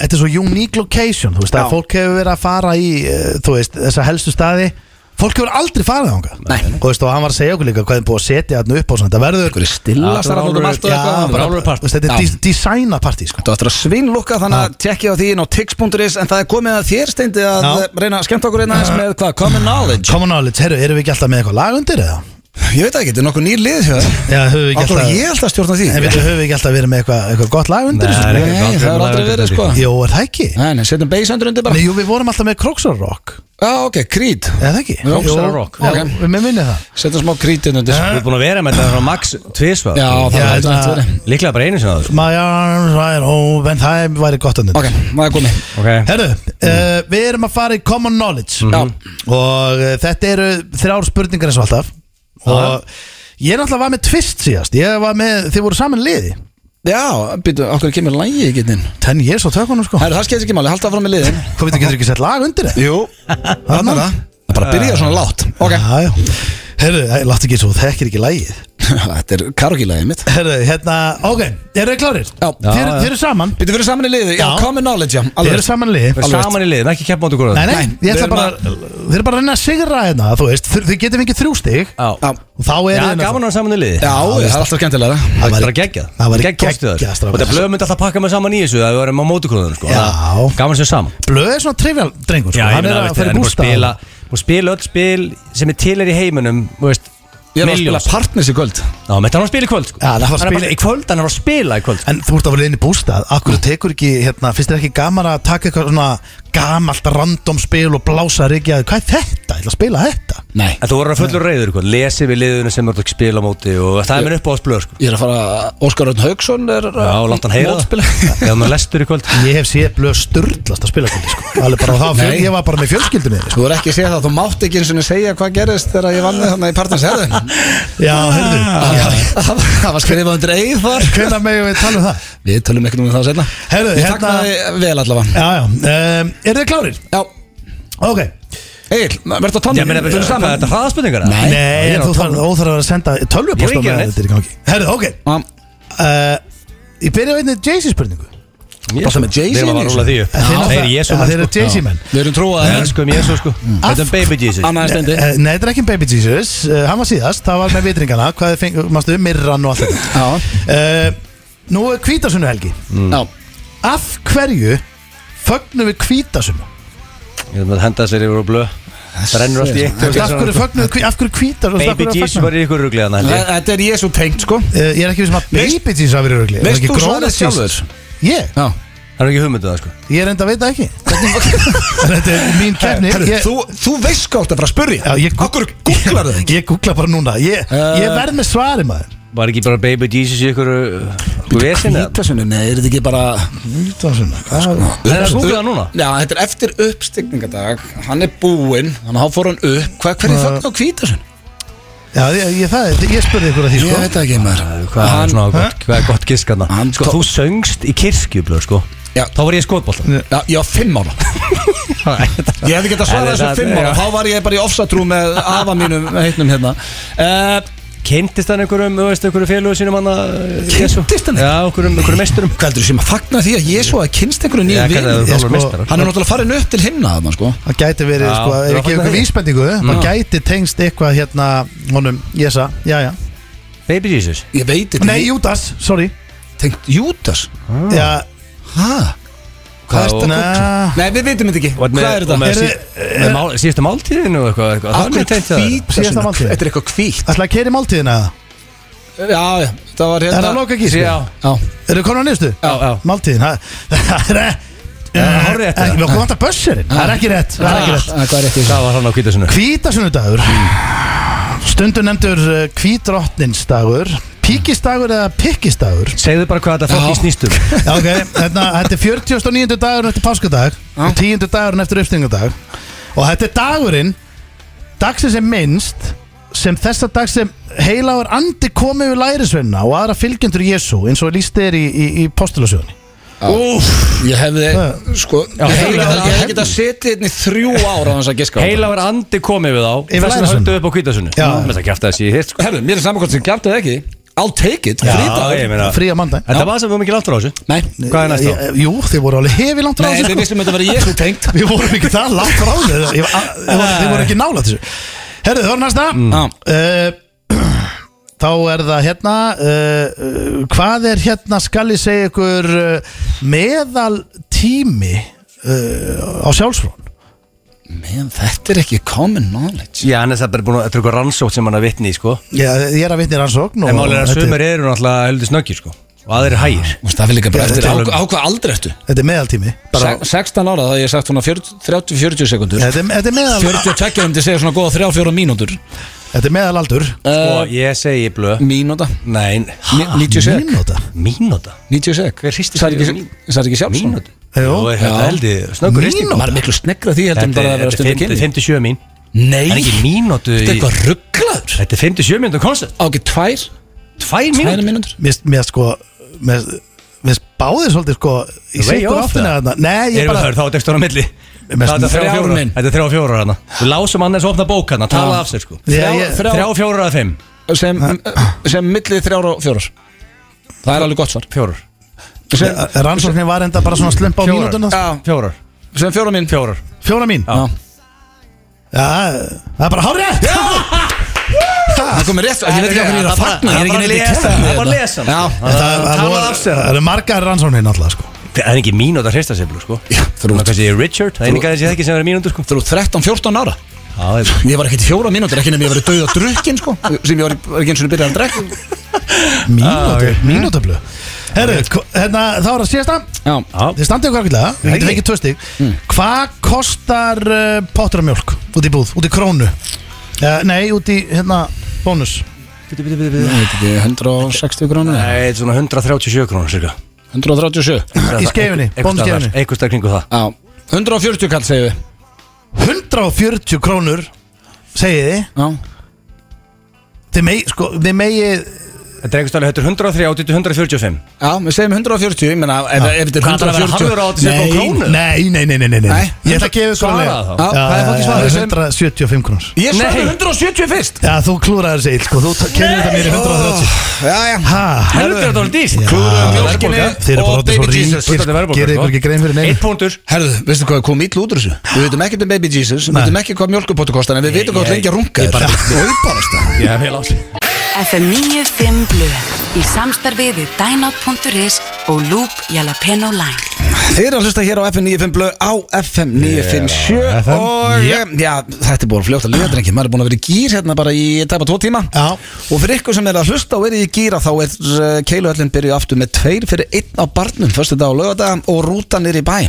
Speaker 3: þetta er svo unique location Þú veist
Speaker 1: Já.
Speaker 3: að fólk hefur verið að fara í eh, Þú veist, þessa helstu staði Fólk hefur aldrei farið á hanga
Speaker 1: Nei.
Speaker 3: Og veist, og hann var að segja okkur líka hvað er búið að setja þarna upp á svona, Þetta verður
Speaker 1: stilla
Speaker 2: það var
Speaker 1: starf út um
Speaker 2: alvöru-
Speaker 1: allt og
Speaker 3: Já,
Speaker 1: eitthvað
Speaker 3: bara,
Speaker 2: alvöru partí.
Speaker 3: þú veist, þetta
Speaker 1: Já.
Speaker 3: er dís- designa partí sko
Speaker 1: Þú ættir að svinlukka
Speaker 3: Ah.
Speaker 1: þannig að tekja á því inn á tix.is en það er komið að þér steindi að
Speaker 3: Já.
Speaker 1: reyna að skemmta okkur einna eins með hvað, common knowledge
Speaker 3: Common knowledge, herru, erum við ekki alltaf með eitthvað lag undir eða?
Speaker 1: Ég veit það ekki, þetta er nokkuð nýr lið hjá þér
Speaker 3: Já, höfum við ekki
Speaker 1: Akkur
Speaker 3: alltaf
Speaker 1: ég alltaf stjórna því
Speaker 3: En við höfum við ekki alltaf verið með eitthvað, eitthvað gott lag undir
Speaker 2: Nei,
Speaker 3: þessu?
Speaker 1: Nei, það
Speaker 2: nei. Aldrei
Speaker 1: hefur aldrei
Speaker 2: lagað
Speaker 1: verið
Speaker 2: þetta,
Speaker 1: sko
Speaker 3: Jó, er það ekki?
Speaker 1: Nei, nei, setjum bass undir undir
Speaker 3: Nei,
Speaker 1: bara
Speaker 3: jú, við vorum alltaf með Crocsar Rock
Speaker 1: Já, ok, krít
Speaker 3: Eða það ekki?
Speaker 1: Jú, Crocs
Speaker 3: Jú,
Speaker 1: are rock.
Speaker 3: já,
Speaker 1: Ok.
Speaker 3: Við með minni það
Speaker 1: Setjum smá krít inn undir
Speaker 2: Við erum búin að vera með þetta frá Max tvisvað
Speaker 1: Já, það
Speaker 3: Já,
Speaker 1: er
Speaker 3: þetta-
Speaker 1: alltaf verið
Speaker 2: Líklega bara einu sinna
Speaker 3: My arms are open, það væri gott undir
Speaker 1: Ok, maður er komið
Speaker 2: það
Speaker 3: Herru, uh, við erum að fara í Common Knowledge
Speaker 1: Já.
Speaker 3: Og uh, þetta eru þrjár spurningar eins og alltaf Og ég náttúrulega var með twist síðast Ég var með, þið voru saman liði
Speaker 1: Já, býtu, okkur kemur lægi ekki inn
Speaker 3: Ten years á tökunum sko
Speaker 1: Herru, það skeitt ekki máli, halda áfram með liðin
Speaker 3: Hvað veitum, getur ekki sett lag undir það?
Speaker 1: Jú, þarna er það Það bara byrja svona látt Ok,
Speaker 3: Já, já Herru, æ, láttu ekki svo, þú þekkir ekki lagið
Speaker 1: þetta er karokilagið mitt
Speaker 3: Herru, hérna, ok, eru þið klárir?
Speaker 1: Já.
Speaker 3: Þið
Speaker 2: Já, já.
Speaker 3: þið eru saman
Speaker 1: Býtu, við erum saman í liði, já,
Speaker 3: Já.
Speaker 1: common knowledge, já
Speaker 3: Þið
Speaker 1: alveg.
Speaker 3: eru saman í liði
Speaker 2: Við erum saman í liðin, ekki keppa ándur
Speaker 3: Nei,
Speaker 2: góða
Speaker 3: nei,
Speaker 1: Nei,
Speaker 3: ég
Speaker 1: við
Speaker 3: ætla
Speaker 1: erum
Speaker 3: bara Þið eru bara að reyna að sigra hérna, þú veist Þið þið getið mikið þrjú stig
Speaker 1: Já,
Speaker 2: Já,
Speaker 3: Og þá
Speaker 2: Já,
Speaker 3: eru þið
Speaker 2: gaman að vera saman í liði
Speaker 1: já, það er alltaf skemmtilega
Speaker 3: Það
Speaker 2: Það
Speaker 3: væri-
Speaker 2: var geggjað
Speaker 3: það væri
Speaker 2: Gegg kostur þar.
Speaker 3: geggjað, strákar.
Speaker 2: Og þetta blöð myndi alltaf pakka mig saman í þessu að við varum á mótukróðunum sko
Speaker 3: Já.
Speaker 2: Gaman sem saman
Speaker 3: Blöð er svona trivial drengur sko.
Speaker 2: Já, ég
Speaker 3: Hann
Speaker 2: meina,
Speaker 3: er að
Speaker 2: veist,
Speaker 3: fara
Speaker 2: hann er
Speaker 3: í
Speaker 2: búin að
Speaker 3: bústa
Speaker 2: spila Búin að spila öll spil sem er til er í heiminum Þú veist,
Speaker 1: Ég er að spila
Speaker 2: miljóns
Speaker 1: partners í kvöld
Speaker 2: Já, menn þetta hann var að spila í kvöld sko
Speaker 3: Já, hann var að
Speaker 2: er
Speaker 3: spila-
Speaker 2: bara í kvöld, hann var að spila í kvöld sko.
Speaker 3: En þú ert að vera inn í bústað Akkur tekur ekki, hérna, finnst þér ekki gaman að taka eitthvað svona gamalt random spil og blása rigjaði Hvað er þetta? Ég ætla að spila þetta
Speaker 1: Nei,
Speaker 2: En þú voru að fullur reyður eitthvað, lesið við liðuna sem þú ert að spila á móti og það er minn upp á spilur sko.
Speaker 1: ég er að fara Óskar Örn Haugsson er uh,
Speaker 2: Já, látt hann heyra það. Já, maður lestur í kvöld.
Speaker 3: Ég hef séð blöð sturdlast að spila þetta sko. Alveg bara það,
Speaker 1: Nei.
Speaker 3: ég var bara með fjölskyldinni sko.
Speaker 1: Þú voru ekki að segja það, þú mátt ekki eins og segja hvað gerist þegar ég vann þig þannig í partins herðin
Speaker 3: Já, heyrðu
Speaker 1: Það var skrifað undir eigið þar
Speaker 3: Hvenær megum við tala um það?
Speaker 1: Við tölum ekkert um það senna
Speaker 3: Heyrðu,
Speaker 1: Ég
Speaker 3: hérna-
Speaker 1: fagnaði vel allavega
Speaker 3: Já, já, um, er þið klárir?
Speaker 1: Já,
Speaker 3: Ok
Speaker 1: Egil, verður það
Speaker 2: Já,
Speaker 1: tónum
Speaker 2: menn, er þetta
Speaker 1: saman
Speaker 2: hraðaspurningar?
Speaker 1: Nei.
Speaker 3: Nei,
Speaker 2: ég er
Speaker 3: en
Speaker 2: á
Speaker 3: þú þarf óþarf að vera að senda
Speaker 2: Ég er
Speaker 3: tölvupósta
Speaker 2: ekki að
Speaker 3: með
Speaker 2: neitt.
Speaker 3: þetta er í gangi Herðu, ok
Speaker 1: Já,
Speaker 3: uh, Ég byrja á einni Jay-Z spurningu
Speaker 1: Bara með Jay-Z
Speaker 2: Þeir
Speaker 1: í
Speaker 2: var rúlega því upp.
Speaker 3: Þeir
Speaker 2: Þeir
Speaker 3: náttúrulega-
Speaker 2: eru sko. Jésu
Speaker 3: Þeir eru Jay-Z Mm. menn
Speaker 1: Við erum trúað
Speaker 2: Þeir elskum Jésu sko. Þetta er baby Jesus.
Speaker 1: Annaði stendi
Speaker 3: Eh, Nei, þetta er ekki um Baby Jesus uh, Hann var síðast, það var með vitringana Hvað þið fengur, mástu, mirran og allt þetta uh, Nú er kvítasunnu helgi
Speaker 2: Mm.
Speaker 1: Já,
Speaker 3: Af hverju fögnum við kvítasunnu?
Speaker 2: Ég er með að henda sér yfir og blöð. Það rennur allt í eitt.
Speaker 3: Af hverju fögnum við kví- af hverju kvítasunnu?
Speaker 2: Baby Jesus var í ykkur ruglega
Speaker 1: Þa-
Speaker 2: þannig.
Speaker 1: þetta er Jésu tengt sko
Speaker 3: Eh, Ég er ekki við sem að
Speaker 1: Veist-
Speaker 3: Baby Jesus hafi verið örgli
Speaker 1: Veist þú svarið sjálfur?
Speaker 3: Ég?
Speaker 1: Já
Speaker 2: Það er ekki hugmynduð það sko.
Speaker 3: Ég er enda að veita ekki Þetta er mín kefni
Speaker 1: Herru,
Speaker 3: Ég,
Speaker 1: þú, þú veist hvað átt að fara að spurja
Speaker 3: Já, ég gú-
Speaker 1: Akkur googlar það ekki
Speaker 3: ég googla bara núna Ég, ég verð með svari maður
Speaker 2: Var ekki bara baby Jesus í ykkur uh, vesinu?
Speaker 1: Kvítasunni, nei, er þetta ekki bara
Speaker 3: Kvítasunna
Speaker 1: sko.
Speaker 2: Það er að googla það núna.
Speaker 1: Já, þetta er eftir uppstigningadag Hann er búinn, þannig að hann fór hann upp Hvað, hverju
Speaker 3: Já.
Speaker 1: þögn á kvítasunni?
Speaker 3: Já, ég, ég, það, ég spurði ykkur að því sko
Speaker 1: veit ekki maður
Speaker 2: Hvað er
Speaker 1: Hann-
Speaker 2: svona gott, hvað er gott giskarna?
Speaker 1: Hann
Speaker 2: Sko,
Speaker 1: tó-
Speaker 2: þú söngst í kirkjublu, sko.
Speaker 1: Já.
Speaker 2: Þá var ég skotboltan.
Speaker 1: Já, ég var fimm ára Ég hefði getað svarað
Speaker 2: Nei,
Speaker 1: þessu
Speaker 2: það-
Speaker 1: fimm ára
Speaker 2: já.
Speaker 1: Þá var ég bara í ofsatrú með afa mínum heitnum hérna uh,
Speaker 2: Eh, Kynntist hann einhverjum, þú veist, einhverjum félögur sínum hann að...
Speaker 1: Kynntist hann?
Speaker 2: Já, einhverjum, einhverjum meisturum.
Speaker 1: um- Hvað heldur þú sem að fagna því að Jésu að kynst einhverju nýju
Speaker 2: Já, hvað er það,
Speaker 1: vini?
Speaker 2: þú
Speaker 1: Ég
Speaker 2: alveg
Speaker 1: sko,
Speaker 2: meistarar.
Speaker 1: Hann er náttúrulega farin upp til himna þarna sko
Speaker 3: Það gæti verið,
Speaker 2: Já,
Speaker 3: sko,
Speaker 2: það var
Speaker 3: ef ég gef
Speaker 2: fagnar
Speaker 3: ykkur
Speaker 2: því.
Speaker 3: vísbendingu eh, Það gæti tengst eitthvað hérna Honum, Jesa, já, já
Speaker 2: Baby Jesus.
Speaker 1: Ég veit þetta
Speaker 3: Nei, Júdas, sorry
Speaker 1: Tengt Júdas
Speaker 3: Já,
Speaker 1: Hæ?
Speaker 2: Hvað
Speaker 3: og-
Speaker 2: ertu að
Speaker 3: Nei,
Speaker 1: Nei, við veitum þetta ekki
Speaker 2: Og
Speaker 1: Hvað er
Speaker 2: og
Speaker 1: þetta? Er-
Speaker 2: Með, sí, með mál, síðustu máltíðinu og eitthvað, eitthvað
Speaker 1: Af
Speaker 2: það er
Speaker 1: hverju
Speaker 2: mjög tengt það
Speaker 1: hvít-
Speaker 3: Síðasta
Speaker 1: svona-
Speaker 3: máltíð.
Speaker 1: Þetta er eitthvað hvít
Speaker 3: ætla að keiri máltíðina eða?
Speaker 1: Já, já, það var
Speaker 3: Er
Speaker 1: hérna
Speaker 3: það loka gísku?
Speaker 2: Já,
Speaker 1: Já,
Speaker 3: Eru konar nýrstu?
Speaker 2: já, já
Speaker 3: Máltíðin, það er
Speaker 2: það
Speaker 3: Eh,
Speaker 2: er hárrétt.
Speaker 3: Ekki, Við okkur vantar bösserinn Það er ekki rétt, það er ekki rétt
Speaker 1: Ah, það var rétt í þessu
Speaker 2: Það var hann á kvítasunu
Speaker 3: Hvítasunnudagur Stundum nefndur uh, hvítróttinsdagur Píkistagur eða pikkistagur
Speaker 2: Segðu bara hvað þetta
Speaker 1: Já.
Speaker 2: fokki snýstum
Speaker 3: Já, ok, hérna, þetta er 49. dagur eftir páskadag og 10. dagur eftir uppstingadag og þetta er dagurinn dagsins er minnst sem þessa dag sem heilagur andi komið við lærisvenna og aðra fylgjendur Jésu eins og líst er í, í, í postulasjóðunni
Speaker 1: Úf, ég hefði,
Speaker 3: Það-
Speaker 1: sko Ég hefði
Speaker 2: heila-
Speaker 1: getað- ég hefði getað setið hérna í þrjú ára Þannig að giska á þetta.
Speaker 2: Heilaver andi komið við á
Speaker 3: Yfir
Speaker 2: Þess vegna
Speaker 3: lærisveinu.
Speaker 2: höldu upp á kvítasunu
Speaker 3: Já.
Speaker 2: Með það kjæfti að sé hitt sko.
Speaker 1: Herru, mér er saman hvort sem gert eða ekki I'll take it, frítagur
Speaker 2: ég meina
Speaker 3: frí á mandag
Speaker 2: Þetta var sem við vorum ekki langt frá þessu
Speaker 1: Nei,
Speaker 2: Hvað er næst þá?
Speaker 3: Jú, þið voru alveg hefi langt frá
Speaker 1: Nei, við
Speaker 3: þessu sko.
Speaker 1: vissum um að þetta var Jésu tengt
Speaker 3: Við vorum ekki það langt frá þessu Ég- a- Þið voru- þið voru ekki nála þessu Herðu, það var næsta
Speaker 1: Já.
Speaker 3: Eh, Þá er það hérna uh, uh, Hvað er hérna skal ég segja ykkur uh, meðal tími uh, á sjálfsfrón
Speaker 1: Men, þetta er ekki common knowledge
Speaker 2: Já, en það er bara búin að Þetta er eitthvað rannsótt sem hann er vitni í sko
Speaker 3: Ég, ég er að vitni rannsókn og-
Speaker 2: En málega er að
Speaker 3: þetta
Speaker 2: sömur eru náttúrulega heldur snöggir sko Og aðeir hægir
Speaker 1: Þú veist, Það vil ekki bara
Speaker 3: Já,
Speaker 1: eftir á,
Speaker 3: þetta er
Speaker 2: alveg-
Speaker 1: á hvað aldrei ertu
Speaker 3: Þetta er meðaltími bara,
Speaker 1: Se- 16 ára það ég sagt svona 40 30-40 sekundur
Speaker 3: þetta, er, þetta, er meðal,
Speaker 1: 42 um til segja svona góða 3-4 mínútur
Speaker 3: þetta er meðal aldur
Speaker 2: Og Sko, ég segi blö
Speaker 1: Mínúta
Speaker 2: Nein
Speaker 1: Ni- 90 sek
Speaker 3: Mínúta
Speaker 2: Mínúta
Speaker 1: 90 sek
Speaker 2: Hver hristi
Speaker 1: Það er
Speaker 2: sig
Speaker 1: ekki- það er ekki sjálfsson
Speaker 2: Mínúta Jú, er þetta
Speaker 1: Já.
Speaker 2: heldur Snöggur hristingur.
Speaker 1: Maður er miklu snegra því heldur en
Speaker 2: Þetta
Speaker 1: bara að
Speaker 2: er-
Speaker 1: vera
Speaker 2: þetta
Speaker 1: stundum
Speaker 2: er
Speaker 1: kynni
Speaker 2: 57 mín
Speaker 1: Nei
Speaker 2: Það er ekki
Speaker 1: Þetta
Speaker 2: mínútu
Speaker 1: er
Speaker 2: í
Speaker 1: eitthvað rugglaður
Speaker 2: Þetta er 57 mínútu koncert
Speaker 1: Á ekki tvær
Speaker 2: Tvær
Speaker 1: Tvær
Speaker 2: mínútur
Speaker 1: mínútur
Speaker 3: Mér finnst sko Mér finnst báðir svolítið sko Í
Speaker 2: Way
Speaker 3: sittur
Speaker 2: off,
Speaker 3: áttina
Speaker 2: eða?
Speaker 3: þarna Nei, ég
Speaker 2: Erum við
Speaker 3: bara
Speaker 2: þar, þá er textur á milli
Speaker 3: Mest-
Speaker 2: Þetta er þrjá
Speaker 1: Þrjár
Speaker 2: fjórar
Speaker 1: minn.
Speaker 2: Þetta er þrjá fjórar hana Við lásum annars opna bók hana,
Speaker 1: Já.
Speaker 2: tala af sér sko
Speaker 3: Já, ég-
Speaker 1: Þrjá-
Speaker 2: Þrjá fjórar að fimm
Speaker 1: sem, eh, sem millið þrjár og fjórar það er alveg gott svar
Speaker 2: Fjórar
Speaker 1: sem,
Speaker 3: Rannsóknin var enda bara svona slumpa á
Speaker 2: Fjórar.
Speaker 3: mínútuna
Speaker 1: já,
Speaker 2: Fjórar
Speaker 1: sem fjóra mín
Speaker 2: Fjórar
Speaker 3: Fjóra mín
Speaker 1: Já.
Speaker 3: Já, það er bara hárið
Speaker 1: það komið rétt ég veit ekki hvað ég er að fagna ég er ekki neitt í
Speaker 2: lesa
Speaker 1: kefni við
Speaker 2: Það er bara að
Speaker 1: þetta.
Speaker 2: lesa
Speaker 1: já,
Speaker 2: Tala af sér
Speaker 3: Það eru margar rannsóknir náttúrulega sko
Speaker 2: Það er ekki mínútu að hrista sér blú sko
Speaker 1: þrjú.
Speaker 2: Það kannski er Richard Það er einhvern veginn sem ég þekki sem er mínútu sko
Speaker 1: þú eru 13-14 ára
Speaker 2: Já, það er-
Speaker 1: ég var ekkert í fjóra mínútur ekki nefnir ég var döð á
Speaker 2: Ah,
Speaker 1: drukkin sko sem ég var, var ekki eins og byrjað að drekka
Speaker 3: Mínútu, mínútöflu Herru, ko- hérna, þá er það síðasta
Speaker 1: Já,
Speaker 3: Þið standið okkur ákveðlega, við getum fengið tvö stig
Speaker 2: Hmm.
Speaker 3: Hvað kostar uh, pottur af mjólk út í búð, út í krónu? Uh, nei, út í, hérna, bónus
Speaker 2: Bíddu, bíddu, bíddu,
Speaker 1: ég
Speaker 2: bíddu.
Speaker 1: veit ekki, 160 krónur eða?
Speaker 2: Nei, svona 137 krónur cirka
Speaker 1: 137
Speaker 3: Í skeifunni, bónuskeifunni.
Speaker 2: Eitthvað staðar kringu það
Speaker 1: Já, 140 kall segir við
Speaker 3: 140 krónur, segið þið
Speaker 1: Já,
Speaker 3: Þið megi, sko, þið megi
Speaker 2: Þetta er eitthvað staðar, þetta er 130 til 145
Speaker 1: já við segjum 140, ég meina ef, ef þetta er
Speaker 2: Hvað ætlar að vera
Speaker 1: 140
Speaker 2: harður á þetta sem kom krónur?
Speaker 3: nei, nei, nei, nei, nei, nei.
Speaker 1: Nei,
Speaker 3: Ég ætla að gefa ykkur
Speaker 2: svaraðu
Speaker 3: alveg-
Speaker 2: þá.
Speaker 1: Já, það er fólkið svarað
Speaker 3: Já,
Speaker 1: sem-
Speaker 3: 175 krónur
Speaker 1: Ég svarði
Speaker 2: Nei.
Speaker 1: 170 fyrst
Speaker 3: Já, þú klúraður segil, sko, þú kemur þetta mér í 130
Speaker 1: Já, já
Speaker 3: Hæ?
Speaker 2: Heldur þetta alveg dýst
Speaker 1: Klúðraðu
Speaker 2: mjólkinni
Speaker 3: Þeir eru bara
Speaker 1: og
Speaker 3: orðið svo
Speaker 1: Baby Jesus.
Speaker 3: ríkir,
Speaker 2: Þetta er verðbólga,
Speaker 3: gerir
Speaker 2: sko.
Speaker 3: ykkur ekki grein fyrir neinu
Speaker 2: Eitt punktur
Speaker 1: Herðu, veistu hvað kom ítl út úr þessu? Við veitum ekkert um Baby Jesus, við veitum ekki hvað mjölkupottu kostar En við veitum hvað
Speaker 2: ég-
Speaker 1: lengi að runga
Speaker 2: ég bara-
Speaker 1: Og uppáðast það
Speaker 2: Já, vel ásli
Speaker 7: FM 95 Blu í samstarfið við Dynote.is og Loop Jalapeno Line
Speaker 1: Þið eru að hlusta hér á FM 95 blöð á FM 957 Og já, þetta er búin fljótt að liða drengi Maður er búin að vera í gýr hérna bara í tæpa tvo tíma
Speaker 3: Já.
Speaker 1: Og fyrir ykkur sem er að hlusta og er í gýra Þá er uh, keiluhöllin byrjuð aftur með tveir Fyrir einn á barnum, fyrstu dag og lögadag Og rútan er í bæ